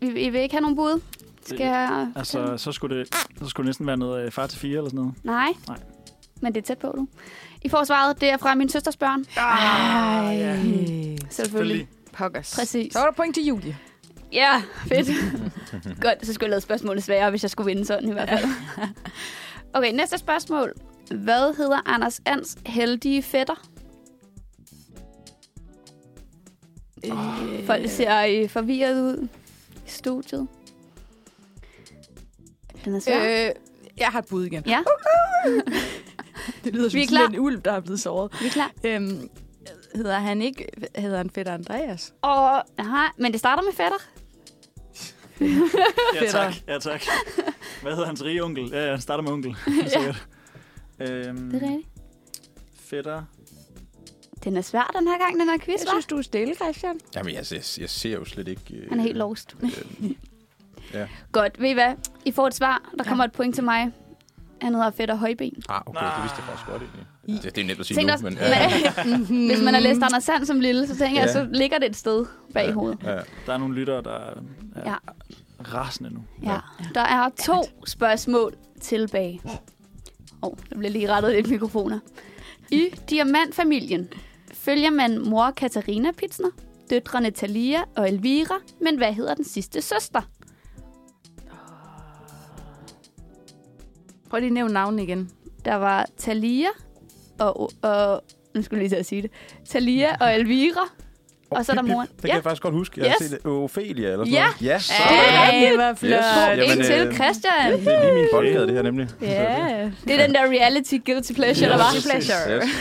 Vi, I vil ikke have nogen bud? Skal jeg...
Altså, så skulle, det, så skulle det næsten være noget øh, far til fire eller sådan noget.
Nej.
Nej.
Men det er tæt på, du. I får svaret, det er fra min søsters børn.
Ej, ja.
Selvfølgelig.
pokkers.
Præcis.
Så var der point til Julie.
Ja, fedt. (laughs) Godt, så skulle jeg lave spørgsmålet sværere, hvis jeg skulle vinde sådan i hvert fald. Okay, næste spørgsmål. Hvad hedder Anders Ans heldige fætter? Folk ser øh, forvirret ud. i studiet? Den er svær. Øh,
Øh, jeg har et bud igen.
ja,
(laughs) Det lyder
Vi er
som
klar.
sådan en ulv, der er blevet såret.
vi er klar.
Øhm, hedder han ikke... Hedder han Fætter Andreas?
Og, aha, men det starter med fætter.
Ja, tak. Ja, tak. Hvad hedder hans rige onkel? Ja, ja, han starter med
(laughs)
onkel. Sikkert. Øhm,
Det er rigtigt.
Fætter.
Den er svær den her gang, den her quiz,
Jeg
hva'?
synes, du er stille, Christian.
Jamen, jeg, jeg, jeg ser jo slet ikke... Øh,
Han er helt lost.
øh,
Godt, ved I hvad? I får et svar. Der kommer et point til mig. Han hedder Fætter Højben.
ah, okay, det vidste jeg faktisk godt egentlig. Altså, Det, det er nemt at sige
Tænk
nu,
også, (laughs)
men...
men, hvis man har læst Anders Sand som lille, så tænker jeg,
Ja.
så ligger det et sted bag hovedet.
Ja, ja.
Der er nogle lyttere, der er
Ja.
ja. rasende nu.
Ja. Der er to spørgsmål tilbage. Åh, oh, der bliver lige rettet lidt mikrofoner. I Diamantfamilien følger man mor Katarina Pitsner, døtrene Talia og Elvira, men hvad hedder den sidste søster?
Prøv lige at nævne navnet igen.
Der var Talia og, og nu skulle jeg lige til at sige det. Talia og Elvira. Og så er der
Pip, pip.
moren.
Det kan
Ja.
jeg faktisk godt huske. Jeg har
Yes.
set øh, Ophelia eller sådan
Ja.
noget. Ja, så
Hey,
hvor
flot. Jamen,
en til
øh,
Christian.
Det er lige min boldgade, det her nemlig.
Ja. Det er den der reality guilty pleasure, der var.
Yes.
Yes.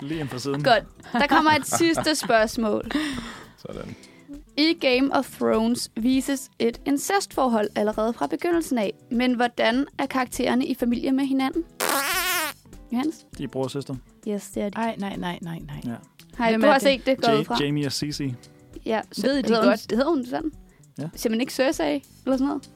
Lige ind fra siden.
Godt. Der kommer et sidste spørgsmål.
Sådan.
I Game of Thrones vises et incestforhold allerede fra begyndelsen af. Men hvordan er karaktererne i familie med hinanden? Johannes?
De er bror og søster.
Yes, det er det.
Nej, nej, nej, nej, nej.
Ja.
Hej,
Hvem
du
er
har
det?
set det gået
Ja,
fra.
Jamie og Cici.
Ja, så
Ved de
hedder hun,
godt?
Hedder hun sådan?
Ja.
Simpelthen ikke Cersei, eller sådan noget?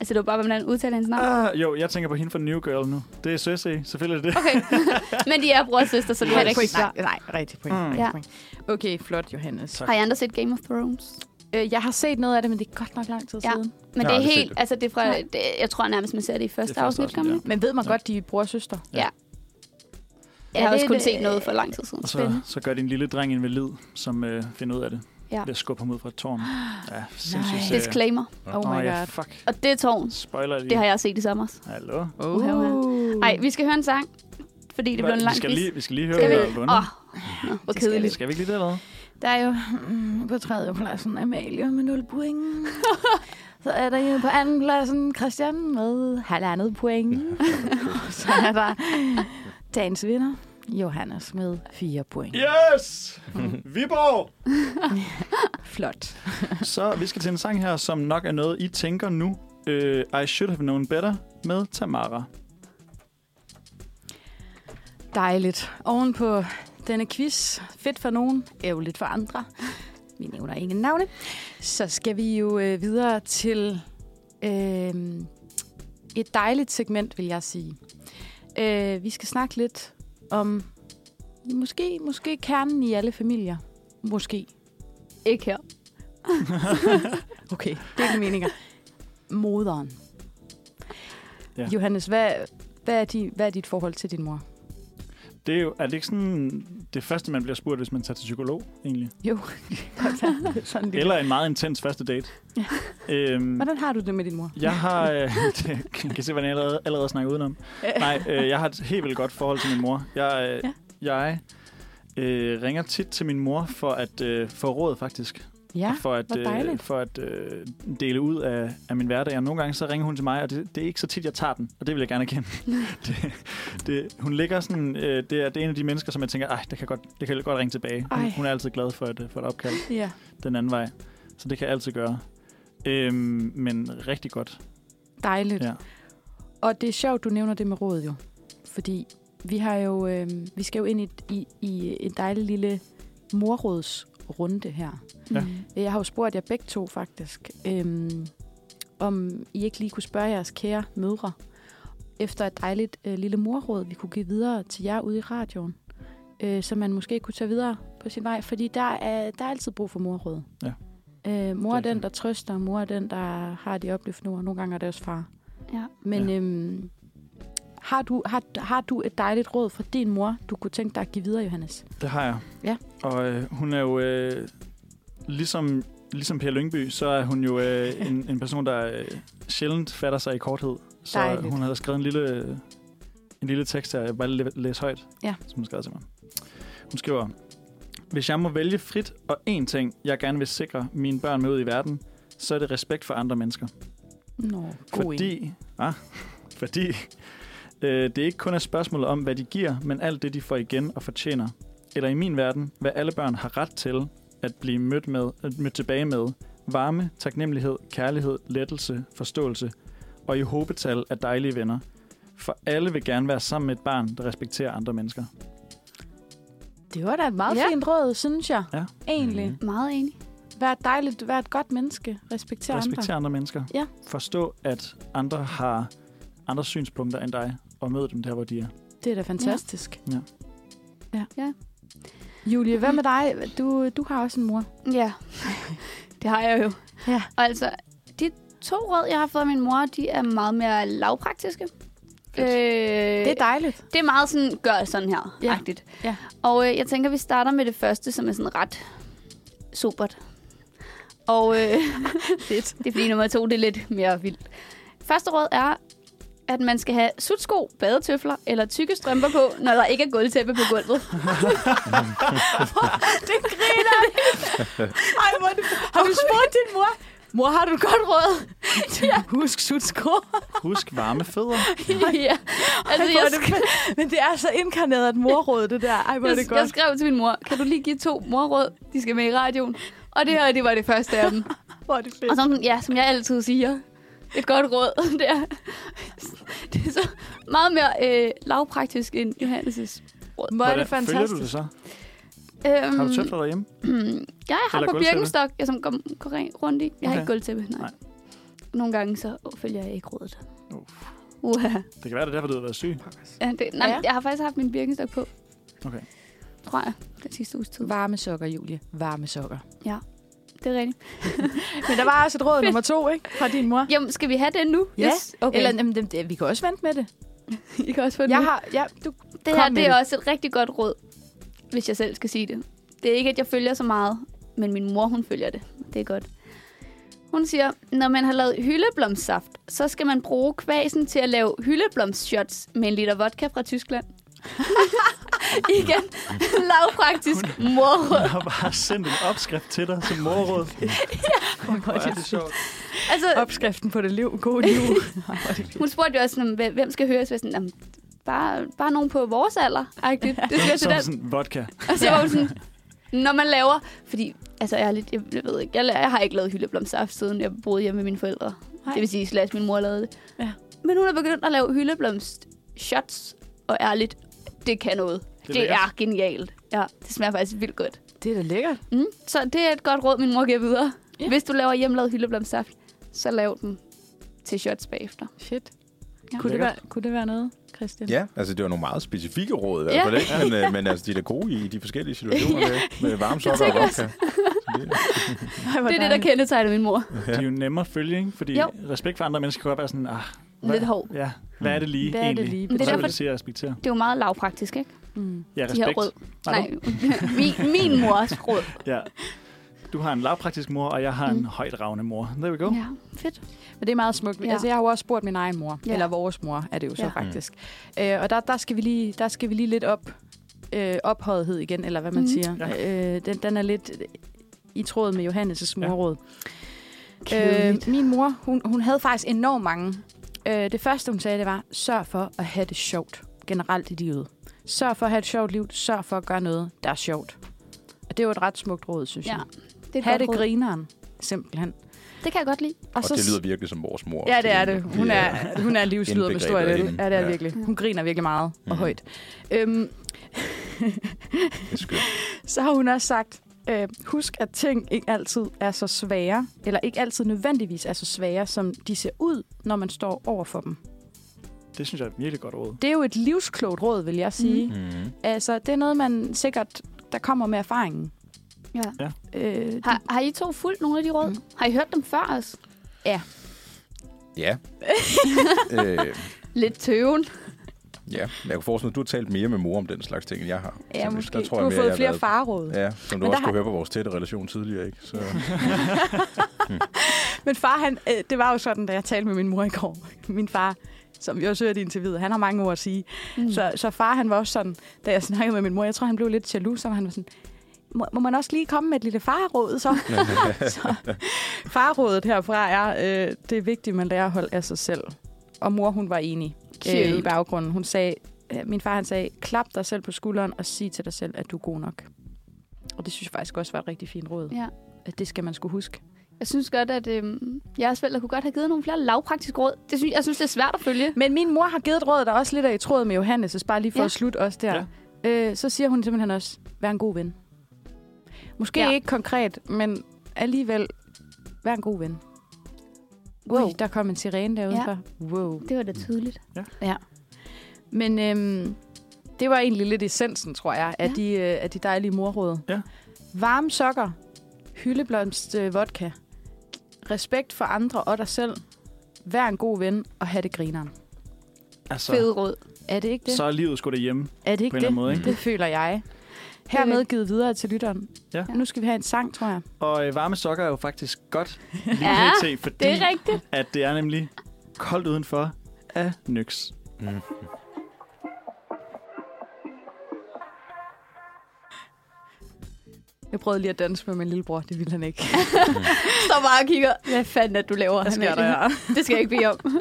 Altså, det var bare, hvordan man udtaler hendes navn.
Ah, jo, jeg tænker på hende fra New Girl nu. Det er Cersei, selvfølgelig er det det.
(laughs)
Okay. Men de er bror og søster, så det var
Nej,
et rigtigt svar.
nej, nej, rigtig point.
Mm.
Mm.
Ja.
Ja. Okay, flot, Johannes.
Har I andre set Game of Thrones?
Øh, jeg har set noget af det, men det er godt nok lang tid
Ja.
ja. siden.
Men
Jeg
det
har
er
aldrig set
helt,
det.
altså det er fra,
Nej.
det, jeg tror nærmest, man ser det i første,
første
afsnit,
afsnit,
gør man
ja.
ikke?
Men ved man
Ja.
godt, de er bror og søster?
Jeg har
det
også
er
kun
det-
set noget for lang tid siden.
Og så, så gør din lille dreng invalid, som øh, finder ud af det.
Ja.
Ved at skubbe ham ud fra et
(gasps)
tårn. Ja,
Nej.
sindssygt serie.
Disclaimer.
Oh
Åh,
my
ja,
god.
fuck.
Og det er tårn.
Spoiler lige.
Det har jeg set i sommer.
Hallo?
Oh.
Uha, Nej, vi skal høre en sang, fordi det blev en
vi,
lang
skal
quiz.
lige, vi skal lige høre,
Skal vi?
hvad der er
Åh,
vundet.
oh, hvor kedeligt.
Skal vi ikke lige det, eller hvad?
Der er jo mm, på tredje pladsen Amalie med 0 (laughs) point. Så er der jo på anden pladsen Christian med halvandet point. (laughs) Så er der dagens vinder, Johannes med 4 point.
(laughs)
Yes! Viborg!
Flot.
Så vi skal til en sang her, som nok er noget, I tænker nu. Uh, I Should Have Known Better med Tamara.
Dejligt. Oven på denne quiz, fedt for nogen, ærgerligt for andre. Vi nævner ingen navne. Så skal vi jo øh, videre til øh, et dejligt segment, vil jeg sige. Øh, vi skal snakke lidt om måske, måske kernen i alle familier. Måske.
Ikke her.
Okay, det er ikke meninger. Moderen.
Ja.
Ja. Johannes, hvad, hvad, er di, hvad er dit forhold til din mor?
Det er jo, er det ikke sådan det første, man bliver spurgt, hvis man tager til psykolog, egentlig?
Jo, sådan lidt.
Eller en meget intens første date.
Ja.
Øhm,
Hvordan har du det med din mor?
jeg har... Øh, (laughs) det, kan I se, hvordan jeg allerede, allerede snakker udenom? Nej, øh, jeg har et helt vildt godt forhold til min mor. Jeg, øh, jeg øh, ringer tit til min mor for at øh, få råd, faktisk.
Ja.
og for at,
hvor dejligt.
for at øh, dele ud af, af min hverdag. Og nogle gange så ringer hun til mig, og det, det er ikke så tit, jeg tager den. Og det vil jeg gerne
(laughs)
erkende. det, det, hun ligger sådan... Øh, det, er, det er en af de mennesker, som jeg tænker, ej, det kan godt, det kan godt ringe tilbage. Hun,
Ej.
hun er altid glad for et, øh, for et opkald
Ja.
den anden vej. Så det kan jeg altid gøre. Øhm, men rigtig godt.
Dejligt.
Ja.
Ja. Og det er sjovt, du nævner det med råd jo. Fordi vi, har jo, øh, vi skal jo ind i, i, i en dejlig lille morrådsrunde her.
Ja.
Øh, Jeg har jo spurgt jer begge to faktisk, øh, om I ikke lige kunne spørge jeres kære mødre efter et dejligt øh, lille morråd, vi kunne give videre til jer ude i radioen, øh, som man måske kunne tage videre på sin vej. Fordi der er, der er altid brug for morråd.
Ja.
Øh, mor er
Det er
den,
det.
der trøster, mor er den, der har de opløftende ord. Nogle gange er det også far.
Ja.
Men
Ja.
ja. øhm, har, du, har, har du et dejligt råd fra din mor, du kunne tænke dig at give videre, Johannes?
Det har jeg.
Ja.
Og øh, hun er jo... Øh, ligesom, ligesom Per Lyngby, så er hun jo
(laughs)
øh, en, en person, der øh, sjældent fatter sig i korthed. Så
Dejligt.
hun havde skrevet en lille, en lille tekst her, jeg vil bare læ- læse højt,
Ja.
som hun skrev til mig. Hun skriver, Hvis jeg må vælge frit og én ting, jeg gerne vil sikre mine børn med ud i verden, så er det respekt for andre mennesker.
Nå, god en.
Fordi, ah, fordi øh, det ikke kun er spørgsmålet om, hvad de giver, men alt det, de får igen og fortjener. Eller i min verden, hvad alle børn har ret til at blive mødt, med, at mødt tilbage med. Varme, taknemmelighed, kærlighed, lettelse, forståelse og i håbetal af dejlige venner. For alle vil gerne være sammen med et barn, der respekterer andre mennesker.
Det var da et meget
Ja.
fint råd, synes jeg.
Ja.
Egentlig. Mm.
Meget enig.
Vær et dejligt, vær et godt menneske. Respekter andre.
Respektere andre mennesker.
Ja.
Forstå, at andre har andre synspunkter end dig, og mød dem der, hvor de er.
Det er da fantastisk.
Ja.
Ja.
Ja.
Julie, hvad med dig? Du, du har også en mor. (laughs)
Ja, det har jeg jo.
Ja.
Og altså, de to råd, jeg har fået af min mor, de er meget mere lavpraktiske. Øh,
Det er dejligt.
det er meget sådan, gør sådan her,
Ja.
ja. agtigt.
Ja.
Og øh, jeg tænker, vi starter med det første, som er sådan ret supert. Og
(laughs)
øh, (laughs) det er fordi nummer to, det er lidt mere vildt. Første råd er, at man skal have sutsko, badetøfler eller tykke strømper på, når der ikke er gulvtæppe på
(laughs)
gulvet. (laughs)
Det griner Ej, hvor er det... Har du spurgt din mor? Mor, har du et godt råd? (laughs) ja. Husk sutsko.
Husk varme
(laughs)
fødder.
ja.
Altså,
Altså,
jeg
jeg,
det, men- men det er så inkarneret et morråd, det der. Ej, hvor er det
jeg, jeg
godt.
skrev til min mor, kan du lige give to morråd, de skal med i radioen? Og det her, det var det første af dem.
Hvor er det fedt.
Og som, ja, som jeg altid siger, et godt råd, (laughs) det er, det er så meget mere øh, lavpraktisk end Johannes' råd.
Hvor er det
Hvordan Følger du
fantastisk.
det så?
Øhm,
Har du tøfler derhjemme?
ja, Øhm, (clears throat) jeg har
Eller
på
gulvtæppe?
Birkenstock, jeg som går, går ren- rundt i. Jeg har
Okay.
ikke gulvtæppe, nej.
Nej.
nej. Nogle gange så følger jeg ikke rådet.
Uh.
Uha.
Det kan være, det er derfor, du har været syg.
Ja, det, nej,
Ja.
ja. jeg har faktisk haft min Birkenstock på,
Okay.
tror jeg, den sidste uges tid.
Varme sokker, Julie. Varme sokker.
Det er rigtigt.
Men der var også et råd nummer to, ikke? Fra din mor.
Jamen, skal vi have den nu?
Ja.
Okay.
Eller, jamen, det- det, vi kan også vente med det.
I kan også få den
Jeg
nu.
har, ja, du,
Det
Kom
her,
med
det er
det.
også et rigtig godt råd, hvis jeg selv skal sige det. Det er ikke, at jeg følger så meget, men min mor, hun følger det. Det er godt. Hun siger, når man har lavet hyldeblomstsaft, så skal man bruge kvasen til at lave hyldeblomstshots med en liter vodka fra Tyskland. (laughs) Igen, lavpraktisk morråd.
Jeg har bare sendt en opskrift til dig som morråd. Hvor er det sjovt.
Altså,
(laughs) opskriften på det liv. God
(laughs)
liv.
hun spurgte jo også, sådan, "Hvem- hvem skal høres? Så var Jeg sådan, "Jamen, bare, bare nogen på vores alder. -agtigt." Det skal jeg til
Som
den.
sådan vodka.
Og så var hun sådan, når man laver... Fordi, altså ærligt, jeg, jeg ved ikke, jeg, la- jeg har ikke lavet hyldeblomstsaft, siden jeg boede hjemme med mine forældre.
Nej.
Nej. Det vil sige, slash min mor lavede det.
Ja.
Men hun er begyndt at lave hyldeblomst shots, og ærligt, det kan noget. Det, det
lækkert.
er genialt. Ja, det smager faktisk vildt godt.
det er da lækkert.
Mm. Så det er et godt råd, min mor giver videre.
Ja.
Ja. Hvis du laver hjemmelavet hyldeblomstsaft, så lav den til shots bagefter.
Shit.
Ja.
Kunne, det være, kunne det være noget, Christian?
Ja, altså det var nogle meget specifikke råd i
Ja.
hvert fald, ikke? men, øh, men altså de er da gode i de forskellige situationer
Ja.
ja. med varme sokker og
tænker
vodka. Så det-
Ej, hvor
Det er det,
dejligt.
der kendetegner min mor.
De er jo nemmere at følge, ikke? Fordi
Jo.
respekt for andre mennesker kan godt være sådan, ah, hvad,
Lidt hård.
Ja, hvad er det lige
Hvad er det
egentlig?
lige?
Men det er
Hvad vil
derfor-
det sige at respektere?
Det er jo meget lavpraktisk, ikke?
Mm.
Ja,
De her
respekt.
råd.
Har
Nej, (laughs) min, min mors råd.
du? Ja. Du har en lavpraktisk mor, og jeg har en mm. højt ravende mor. There we go.
Ja, fedt.
Men det er meget smukt. Ja.
Ja.
Altså, jeg har jo også spurgt min egen mor, ja.
Ja.
eller vores mor er det jo så
Ja.
ja. faktisk. Øh, og der, der, skal vi lige, der skal vi lige lidt op, øh, ophøjethed igen, eller hvad man mm.
Mhm.
siger. Ja. Øh, den, den er lidt i tråd med Johannes'
Ja.
morråd. Ja. Øh,
Kedeligt.
min mor, hun, hun havde faktisk enormt mange. Øh, det første, hun sagde, det var, sørg for at have det sjovt generelt i livet. Sørg for at have et sjovt liv. Sørg for at gøre noget, der er sjovt. Og det er jo et ret smukt råd, synes
Ja,
jeg.
det er et
Ha'
godt
det
råd.
grineren, simpelthen.
Det kan jeg godt lide.
Og det lyder virkelig som vores mor.
altså, Ja, det er
fordi
det.
vi
Hun er, hun er livslyder på
indbegrebet
stor
af
del.
hende.
Ja, det er
Ja.
virkelig. Hun griner virkelig meget og
Mhm.
højt. Øhm,
det er skørt.
så har hun også sagt, øh, husk at ting ikke altid er så svære, eller ikke altid nødvendigvis er så svære, som de ser ud, når man står over for dem.
Det synes jeg er et virkelig godt råd.
Det er jo et livsklogt råd, vil jeg sige. Mm.
Mm.
Altså, det er noget, man sikkert, der kommer med erfaringen.
Ja.
Ja.
Øh,
Har, har I to fulgt nogle af de råd? Har I hørt dem før os?
(laughs)
Ja. øh,
Lidt tøven.
ja, men jeg kunne forestille mig, at du har talt mere med mor om den slags ting, end jeg har.
ja,
Så
måske.
Der tror
du
jeg
har
mere,
fået
jeg
flere
været-
farråd.
Ja, som du
Men der
også
har-
kunne høre på vores tætte relation tidligere, ikke? Så,
Men far, han, øh, det var jo sådan, da jeg talte med min mor i går. Min far, som vi også hørte i interviewet, han har mange ord at sige. Mm. Så, så far, han var også sådan, da jeg snakkede med min mor, jeg tror, han blev lidt
(laughs)
jaloux, så han var sådan, må, må man også lige komme med et lille farråd, så? så Farrådet herfra er, øh, det er vigtigt, man lærer at holde af sig selv. Og mor, hun var enig øh,
Cute.
i baggrunden. Hun sagde, øh, min far han sagde, klap dig selv på skulderen og sig til dig selv, at du er god nok. Og det synes jeg faktisk også var et rigtig fint råd.
Ja.
At det skal man skulle huske.
Jeg synes godt, at øh, jeres forældre kunne godt have givet nogle flere lavpraktiske råd. Det synes, jeg synes, det er svært at følge.
Men min mor har givet et råd, der også lidt er i tråd med Johannes, så bare lige for ja.
Ja.
at slutte også der. Ja. Øh, så siger hun simpelthen også, vær en god ven. Måske ja.
Ja.
ikke konkret, men alligevel, vær en god ven. Wow. Ui, der kom en sirene derude ja. Wow.
Det var da tydeligt.
Men øhm, det var egentlig lidt essensen, tror jeg, af, ja.
Ja.
de, øh, af de dejlige morråd.
Ja.
Varme sokker, hyldeblomst øh, vodka, respekt for andre og dig selv, vær en god ven og have det grineren.
Altså,
Fede råd.
Er det ikke det?
så er livet sgu derhjemme.
Er det ikke
på en eller
det?
anden måde, ikke?
Det føler jeg. Hermed givet videre til lytteren.
Ja.
Nu skal vi have en sang, tror jeg.
Og øh, varme sokker er jo faktisk godt
Ja,
lige pt, fordi
Det er rigtigt.
at det er nemlig koldt udenfor af nyks.
Jeg prøvede lige at danse med min lillebror. Det ville han ikke.
(laughs) Står bare og kigger. Hvad fanden er det, du laver?
Mm. Hvad sker
Amalie?
der her?
(laughs) Det skal jeg ikke bede om.
(laughs)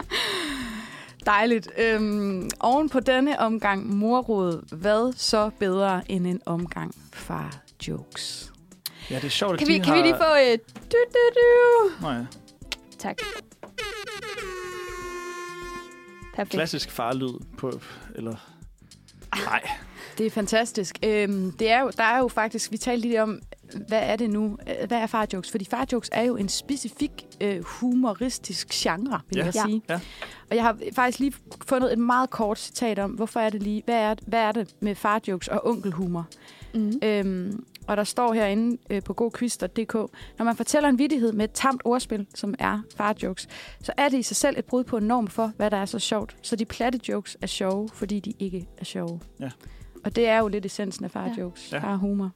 Dejligt. Øhm, oven på denne omgang morrod, hvad så bedre end en omgang far jokes?
Ja, det er sjovt, at
Kan
de
vi,
har...
kan vi lige få... Øh, du, du, du.
Nå, ja.
Tak. Perfekt.
Klassisk farlyd på... Eller... Nej.
Det er fantastisk. Øhm, det er jo, der er jo faktisk, vi talte lige om, hvad er det nu? Øh, Hvad er far jokes? Fordi far jokes er jo en specifik øh, humoristisk genre, vil
Ja.
jeg
Ja.
sige.
Ja.
Og jeg har faktisk lige fundet et meget kort citat om, hvorfor er det lige, hvad er, hvad er det med far jokes og onkelhumor?
Mm.
Øhm, og der står herinde øh, på godquiz.dk, når man fortæller en vittighed med et tamt ordspil, som er farjokes, så er det i sig selv et brud på en norm for, hvad der er så sjovt. Så de platte jokes er sjove, fordi de ikke er sjove.
Ja.
Og det er jo lidt essensen af farjokes,
Ja.
ja. farhumor.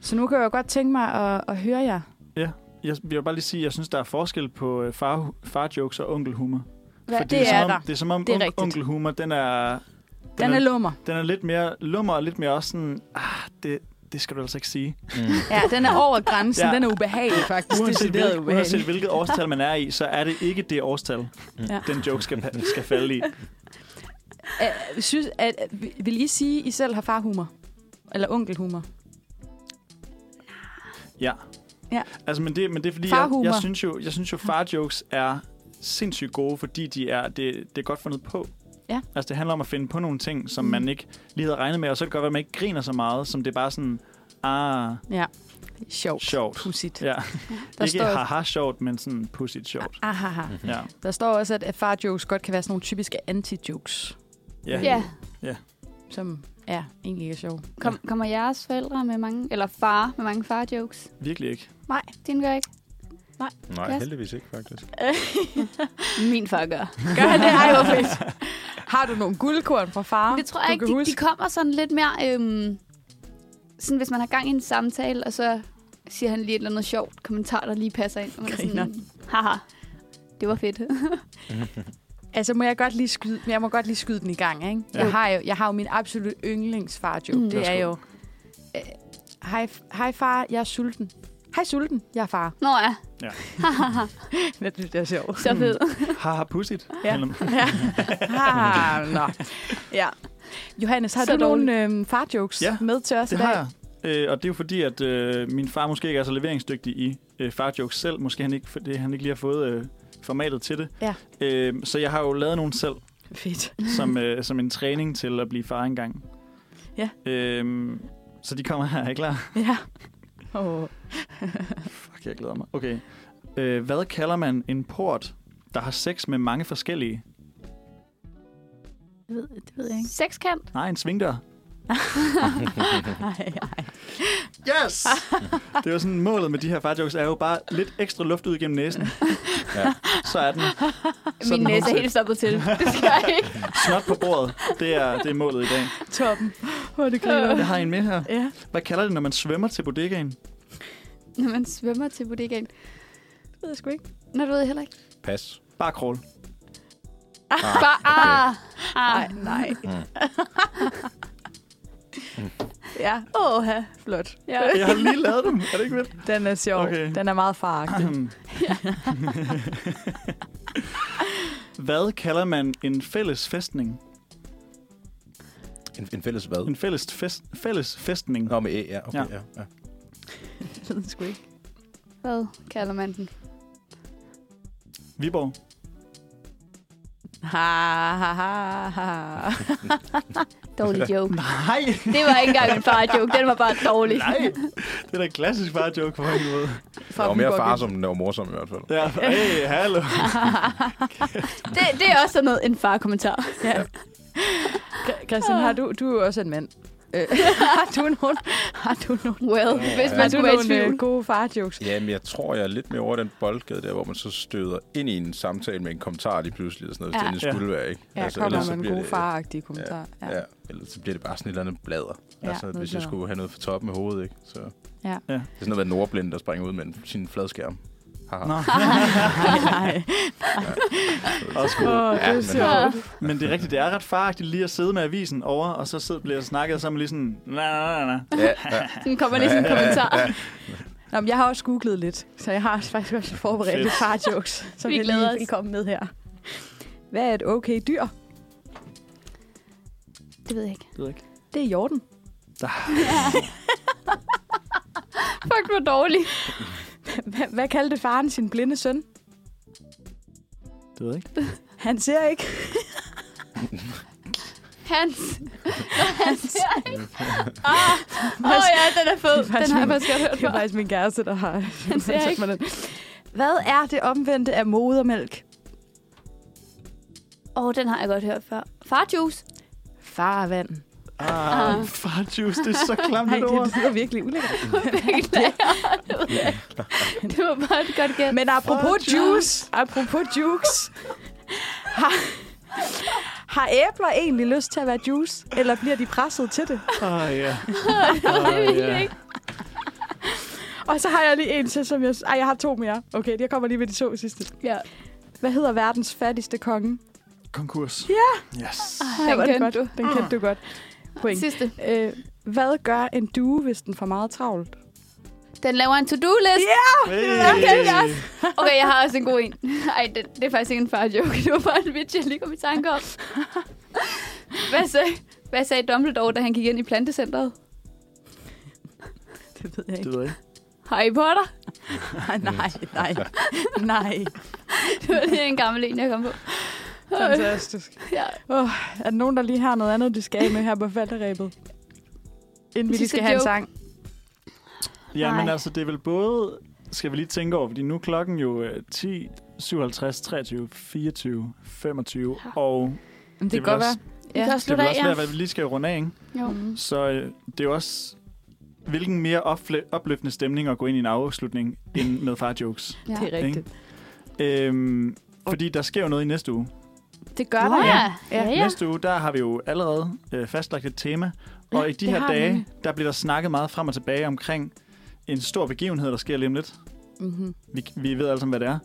Så nu kan jeg jo godt tænke mig at, at høre jer.
Jeg jeg vil bare lige sige, at jeg synes, der er forskel på øh, far, farjokes og onkelhumor.
Hvad,
Fordi
det er
som
der.
om, Det er som om
Det er
on-
rigtigt.
onkelhumor, den er... Den,
Den er lummer.
den er lidt mere lummer og lidt mere også sådan... Ah, det, det skal du altså ikke sige.
Mm.
Ja, den er over grænsen.
Ja.
Den er ubehagelig faktisk.
Uanset,
Decideret
hvil, uanset hvilket årstal man er i, så er det ikke det årstal,
Ja.
den joke skal, pa- skal falde i.
Øh, Synes, at, vil I sige, at I selv har farhumor? Eller onkelhumor?
Ja.
Ja.
Altså, men det, men det er fordi, jeg,
Farhumor.
jeg, synes jo, jeg synes jo, farjokes er sindssygt gode, fordi de er, det, det er godt fundet på.
Ja.
Altså, det handler om at finde på nogle ting, som
Mm.
mm. man ikke lige havde regnet med, og så kan det godt være, at man ikke griner så meget, som det er bare sådan, ah,
Sjovt.
sjovt.
Pudsigt.
Ja.
Der
ikke
står-
haha sjovt, men sådan pudsigt sjovt.
Aha, aha.
Ja.
ah, Der står også, at far-jokes godt kan være sådan nogle typiske anti-jokes,
Ja.
Ja.
som er egentlig ikke er sjove.
Kom, kommer jeres forældre med mange... Eller far med mange far-jokes?
Virkelig ikke.
Nej, din gør ikke.
Nej,
Yes.
heldigvis ikke,
(laughs)
faktisk.
Min far gør.
Gør han det? Ej, hvor fedt. Har du nogle guldkorn fra far?
Men det tror jeg
du
ikke,
kan
de, de
huske.
kommer sådan lidt mere... Øhm, sådan, hvis man har gang i en samtale, og så siger han lige et eller andet sjovt kommentar, der lige passer ind. Og man er
Griner.
sådan, haha, det var fedt. (laughs)
Altså, må jeg godt lige skyde, jeg må godt lige skyde den i gang, ikke? Ja. Jeg, har jo, jeg har jo min absolut yndlings far-joke. Mm.
Mm.
Det er jo... øh, Hej, hej far, jeg er sulten. Hej sulten, jeg er
(laughs)
far.
Nå ja,
Det synes jeg er sjovt.
så fedt.
Haha pudsigt.
Ja.
Eller-
Ja. ah, nå. Ja. Johannes, har
Så
du nogle øhm, far-jokes
Ja,
med til os
Det
i dag?
har jeg. Øh, og det er jo fordi, at øh, min far måske ikke er så leveringsdygtig i øh, farjokes selv. Måske han ikke, det, han ikke lige har fået øh, formatet til det.
Ja.
Øh, så jeg har jo lavet nogle
(laughs)
selv,
Fedt. (laughs)
som, øh, som en træning til at blive far engang.
Ja.
Øh, så de kommer her, er I klar? (laughs)
Ja. Oh.
Fuck, jeg glæder mig. Okay. Øh, hvad kalder man en port, der har sex med mange forskellige?
Det ved, det ved jeg
Mm.
(laughs) ikke. Sekskant.
Nej, en svingdør.
Ej, ej.
Yes! det var sådan, målet med de her farjokes er jo bare lidt ekstra luft ud gennem næsen.
Ja.
Så er den. Så
(laughs)
er
Min
den
næse er
hovedset.
helt
(laughs)
stoppet til. Det skal jeg ikke.
Snot på bordet. Det er, det er målet i dag.
Toppen. Hvor er det
Øh.
Jeg har en med her.
Ja.
Hvad kalder det, når man svømmer til bodegaen?
Når man svømmer til bodegaen.
Det ved jeg sgu ikke.
Nå, det ved jeg heller ikke.
Pas.
Bare crawl.
Bare, ah,
Nej,
ah.
nej. (laughs) Ja, åh, flot. Ja.
Jeg har lige lavet dem. Er det ikke (laughs) Øhm. vildt?
Den er sjov.
Okay.
Okay. Den er meget
(laughs)
faragtig.
Hvad kalder man en fælles festning?
En, en fælles hvad?
En fælles, fest, fælles festning.
Nå, med æ, ja. Okay, ja. ja.
det ved jeg sgu ikke.
Hvad kalder man den?
Viborg.
Ha, ha, ha, ha. (laughs)
Dårlig joke.
(laughs) Nej,
Det var ikke engang en far-joke. Den var bare dårlig.
nej. Det er da en klassisk bare joke på en måde.
Fra
Jeg var mere
Viborg
far, som den var morsom i hvert fald.
Ja, hey, hallo.
Det, det er også sådan noget, en far-kommentar.
Gym. Christian, har du, du er jo også en mand.
(laughs)
Øh, har du nogen, har du nogen,
Well, hvis
har du
man skulle være i
nogen
tvivl.
øh, gode farjokes?
Ja, men jeg tror, jeg er lidt mere over den boldgade der, hvor man så støder ind i en samtale med en kommentar lige pludselig, og sådan noget,
Ja.
ja. det
Ja.
egentlig skulle være, ikke?
Ja, altså,
ellers
kommer
så
med en
bliver
god
det-
faragtig kommentar. Ja,
(laughs)
Ja. ja. Ellers så bliver det bare sådan et eller andet blader.
Ja,
Ja, altså,
noget
hvis jeg
bladder.
skulle have noget for toppen af hovedet, ikke? Så.
Ja.
Ja.
Det er sådan at være nordblind, der springer ud med en, sin fladskærm. Haha.
Nå.
Nej,
Også
nej.
god.
Åh, det er
men-
sjovt.
Men det er rigtigt, det er ret faragtigt lige at sidde med avisen over, og så sidder, bliver der snakket sammen lige sådan, nej, nej, nej, nej.
(laughs)
Ja, ja.
Den kommer lige sådan en kommentar.
Nå, men jeg har også googlet lidt, så jeg har faktisk også forberedt
Fedt.
lidt farjokes, som
Vi
jeg
glæder
lige
os.
vil komme med her. Hvad er et okay dyr?
Det ved jeg ikke.
Det ved jeg ikke.
Det er jorden.
Fuck, hvor dårlig.
Hvad, hvad kaldte faren sin blinde søn?
Det ved jeg ikke.
Han ser ikke.
Hans. (laughs) Hans. Ah, Åh oh, ja, den er fed.
Det er faktisk
Den har jeg
min-
faktisk godt hørt
Det er
før.
faktisk min kæreste, der har
ser
sagt
ikke.
mig den. Hvad er det omvendte af modermælk?
Åh, oh, den har jeg godt hørt før. Farjuice. (laughs)
Farvand.
(laughs) Ah,
Ah.
farjuice, det er så klamt
Nej,
et ord.
det lyder virkelig ulækkert.
(laughs) Det ved jeg ikke. Det var bare et godt gæt.
Men apropos juice, apropos (laughs) juice, har, har æbler egentlig lyst til at være juice, eller bliver de presset til det?
Ah, (laughs) ja.
ved
Ah,
jeg
ja.
ikke.
Og så har jeg lige en til, som jeg... Ej, jeg har to mere. Okay, jeg kommer lige ved de to sidste.
Ja.
Hvad hedder verdens fattigste konge?
Konkurs.
Ja,
Yes.
Ej, hvor er
kendte
godt. Ah, Den kendte du Ah. godt. Point.
Sidste.
Øh, hvad gør en due, hvis den får meget travlt?
Den laver en to-do-list.
Ja!
Hey.
Okay, yes. Okay, jeg har også en god en. Ej, det, det er faktisk ikke en far joke. Det var bare en vits, jeg lige kom i tanke (laughs) om. Hvad sagde, hvad sagde Dumbledore, da han gik ind i plantecentret?
Det ved jeg
Det
ikke.
ved jeg ikke.
Harry Potter.
Nej, nej, nej. nej.
(laughs) Det var lige en gammel en, jeg kom på. Øh,
Fantastisk.
Ja.
Oh, er der nogen, der lige har noget andet, de skal af med her på falderæbet? Inden vi lige
Sidste
skal have en
joke.
sang.
Ja, men
Nej.
altså, det er vel både, skal vi lige tænke over, fordi nu er klokken jo øh, 10, 57, 23, 24, 25, og
Jamen, det, det
Det kan
kan
vil godt
godt
også-
være.
Vi kan også
det
slutte
vil
af,
også
ja.
være, hvad vi lige skal runde af, ikke?
Jo.
Mm.
Så øh, det er jo også, hvilken mere opfle- opløftende stemning at gå ind i en afslutning end med farjokes.
Ja.
Det er rigtigt.
Øhm, fordi der sker jo noget i næste uge.
Det
Gør
gør
Nå,
der.
ja. Ja, ja.
Næste uge, der har vi jo allerede øh, fastlagt et tema, og
Ja,
i de
det
her
har vi
dage,
nemlig.
der bliver der snakket meget frem og tilbage omkring en stor begivenhed, der sker lige om lidt.
Mm-hmm.
Vi, vi ved alle sammen, hvad det er.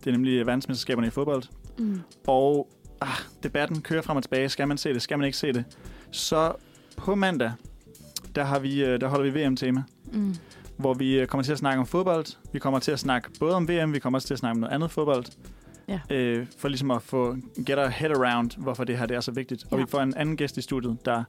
Det er nemlig verdensmesterskaberne i fodbold.
Mm.
Og ah, debatten kører frem og tilbage. Skal man se det? Skal man ikke se det? Så på mandag, der, har vi, øh, der holder vi VM-tema,
Mm.
hvor vi øh, kommer til at snakke om fodbold. Vi kommer til at snakke både om VM, vi kommer også til at snakke om noget andet fodbold.
Ja.
Øh, for ligesom at få get our head around, hvorfor det her det er så vigtigt. Ja. Og
Ja.
vi får en anden gæst i studiet, der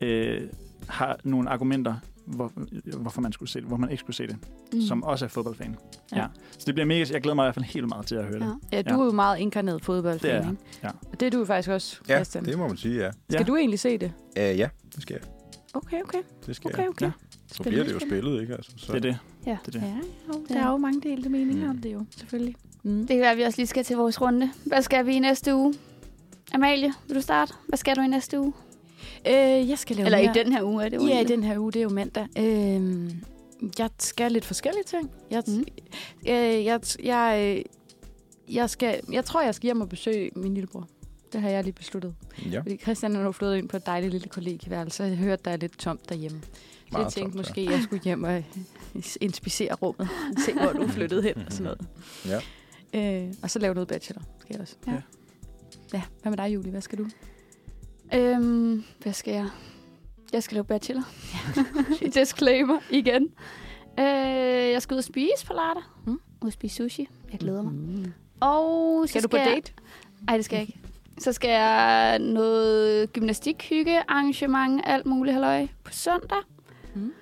øh, har nogle argumenter, hvor, øh, hvorfor man skulle se det, hvor man ikke skulle se det, mm. som også er fodboldfan.
Ja.
Så det bliver mega, jeg glæder mig i hvert fald helt meget til at høre
Ja.
det.
Ja, du
Ja.
er jo meget inkarneret fodboldfan,
Det er jeg.
ikke?
Ja.
Og Det er du jo faktisk også,
ja,
Christian.
det må man sige, ja.
Ja.
Skal du egentlig se det?
Uh, ja, det skal jeg.
Okay, okay.
Det skal
okay,
jeg.
okay.
Ja.
Så bliver det jo spillet, ikke? Altså, så.
Det er det.
Ja.
Det er det.
Ja, jo,
Ja.
der er jo mange delte meninger
Mm.
om det jo, selvfølgelig. Mm.
Det kan være, at vi også lige skal til vores runde. Hvad skal vi i næste uge? Amalie, vil du starte? Hvad skal du i næste uge?
Øh, jeg skal lave
Eller i
mere-
den her uge, er det jo
Ja, i
egentlig.
den her uge, det er jo mandag. Øhm, jeg skal lidt forskellige ting. Jeg,
Mm.
mm. øh, jeg, jeg, øh, jeg, skal, jeg tror, jeg skal hjem og besøge min lillebror. Det har jeg lige besluttet.
Ja,
Fordi Christian er nu flyttet ind på et dejligt lille kollegieværelse, og jeg hørte, der er lidt tomt derhjemme. Så jeg
Meget
tænkte
tomt, ja.
måske, jeg skulle hjem og øh, inspicere rummet. Se, hvor du er flyttet hen og sådan noget.
Ja.
Øh, og så lave noget bachelor, skal jeg også.
Ja.
ja. Hvad med dig, Julie? Hvad skal du?
Øhm, hvad skal jeg? Jeg skal lave bachelor. (laughs) Disclaimer igen. Øh, jeg skal ud og spise på lørdag. Mm. Ud og spise sushi. Jeg glæder mig.
Mm.
Og så
Skal du på
jeg-
date?
Nej, det skal jeg ikke. Så skal jeg noget gymnastikhygge, arrangement, alt muligt halløj på søndag.
Mm.
Mm.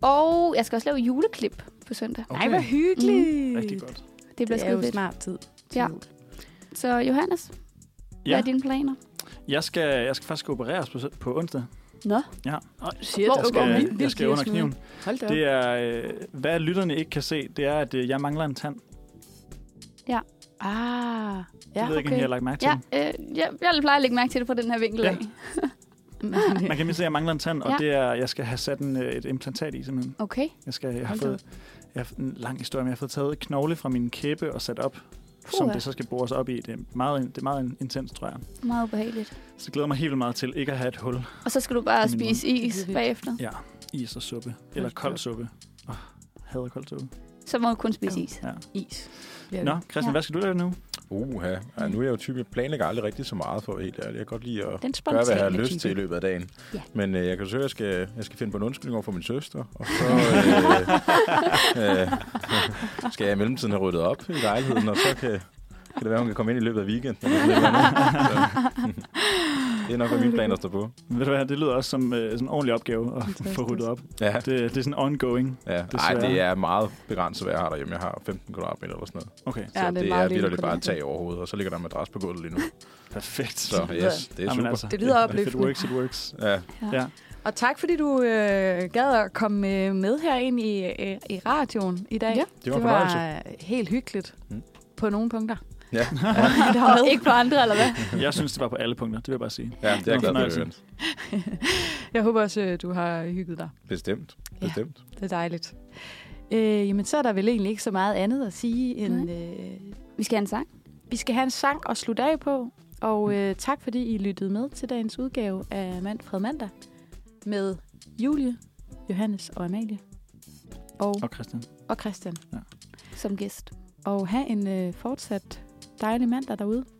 Og jeg skal også lave juleklip på søndag.
Nej, hvor
Mm.
hyggeligt.
Rigtig godt.
Det bliver
Det er jo
skide fedt.
snart tid. til
Ja.
jul.
Så Johannes, ja. hvad
Ja,
er dine planer?
jeg skal, jeg skal faktisk opereres på, på onsdag.
Nå.
Ja.
Shit,
Hvor-
Jeg
hvor vildt,
skal, jeg skal under kniven.
Hold da op.
Det er, øh, hvad lytterne ikke kan se, det er, at øh, jeg mangler en tand.
Ah,
Ja,
ja,
jeg ved ikke, om I har
okay.
lagt mærke til
Ja,
den.
øh, jeg, jeg plejer at lægge mærke til det på den her vinkel.
Ja.
Ja.
Mm,
Man kan mindst se, at jeg mangler en tand, og
Ja.
det er, jeg skal have sat en, øh, et implantat i, simpelthen.
Okay.
Jeg, skal, jeg har
Hold da
fået jeg har, en lang historie, men jeg har fået taget knogle fra min kæbe og sat op, som
Puha.
det så skal bores op i. Det er meget, det er meget intens, tror jeg.
Meget ubehageligt.
Så jeg glæder mig helt vildt meget til ikke at have et hul.
Og så skal du bare
Det er min
spise
Det er
is
vildt.
bagefter.
Ja, is og suppe. Eller
Hold da
kold
op.
suppe. Oh, hader kold suppe.
Så må du kun spise
(laughs)
is.
Ja.
(laughs) Is. Øh, Ja.
Nå, Christian,
Ja.
hvad skal du lave nu?
Uha. Ej, nu er jeg jo typen, jeg planlægger aldrig rigtig så meget for at være helt ærlig. Jeg kan godt lide at
Den
gøre, hvad jeg har
spontane
lyst til i
type.
løbet af dagen.
Ja.
Men øh, jeg kan søge, at jeg skal, jeg skal finde på en undskyldning over for min søster, og
(laughs)
så øh, øh, (laughs) skal jeg i mellemtiden have ryddet op i lejligheden, og så kan, kan det være, hun kan komme ind i løbet af weekenden. Eller sådan et eller andet. Så, det er nok, hvad mine planer står på.
Ved du hvad, det lyder også som øh, sådan en ordentlig opgave at få ryddet op.
Ja,
Det, det er sådan ongoing.
ja. Ej,
desværre.
det er meget begrænset, hvad jeg har derhjemme. Jeg har 15 kvadratmeter eller sådan noget.
Okay,
Så
Ja, det er
det
meget
er
lille
vitterligt bare et
kvadratmeter.
tag overhovedet, og så ligger der en madras på gulvet lige nu.
perfekt.
Så yes, det er
Jamen
super.
altså,
Det lyder
If it
opløftende.
works, it
(laughs)
works.
Ja,
Og tak, fordi du øh, gad at komme øh, med herind i, øh, i radioen i dag.
Ja.
det var en
det var
fornøjelse.
øh, helt hyggeligt
Mm.
på nogle punkter. (laughs)
Ja.
Og ikke på andre, eller hvad?
Jeg synes, det var på alle punkter, det vil jeg bare sige.
Ja, det er jeg glad for, at
fornøjelse.
høre.
Jeg håber også, øh, du har hygget dig.
Bestemt.
Ja.
Bestemt.
Det er dejligt. Øh, jamen, så er der vel egentlig ikke så meget andet at sige, end øh,
Vi skal have en sang.
vi skal have en sang at slutte af på. Og øh, tak, fordi I lyttede med til dagens udgave af Manfred Mandag med Julie, Johannes og Amalie. Og,
Og Christian.
og Christian.
Som gæst.
Og have en øh, fortsat dejlig mandag derude.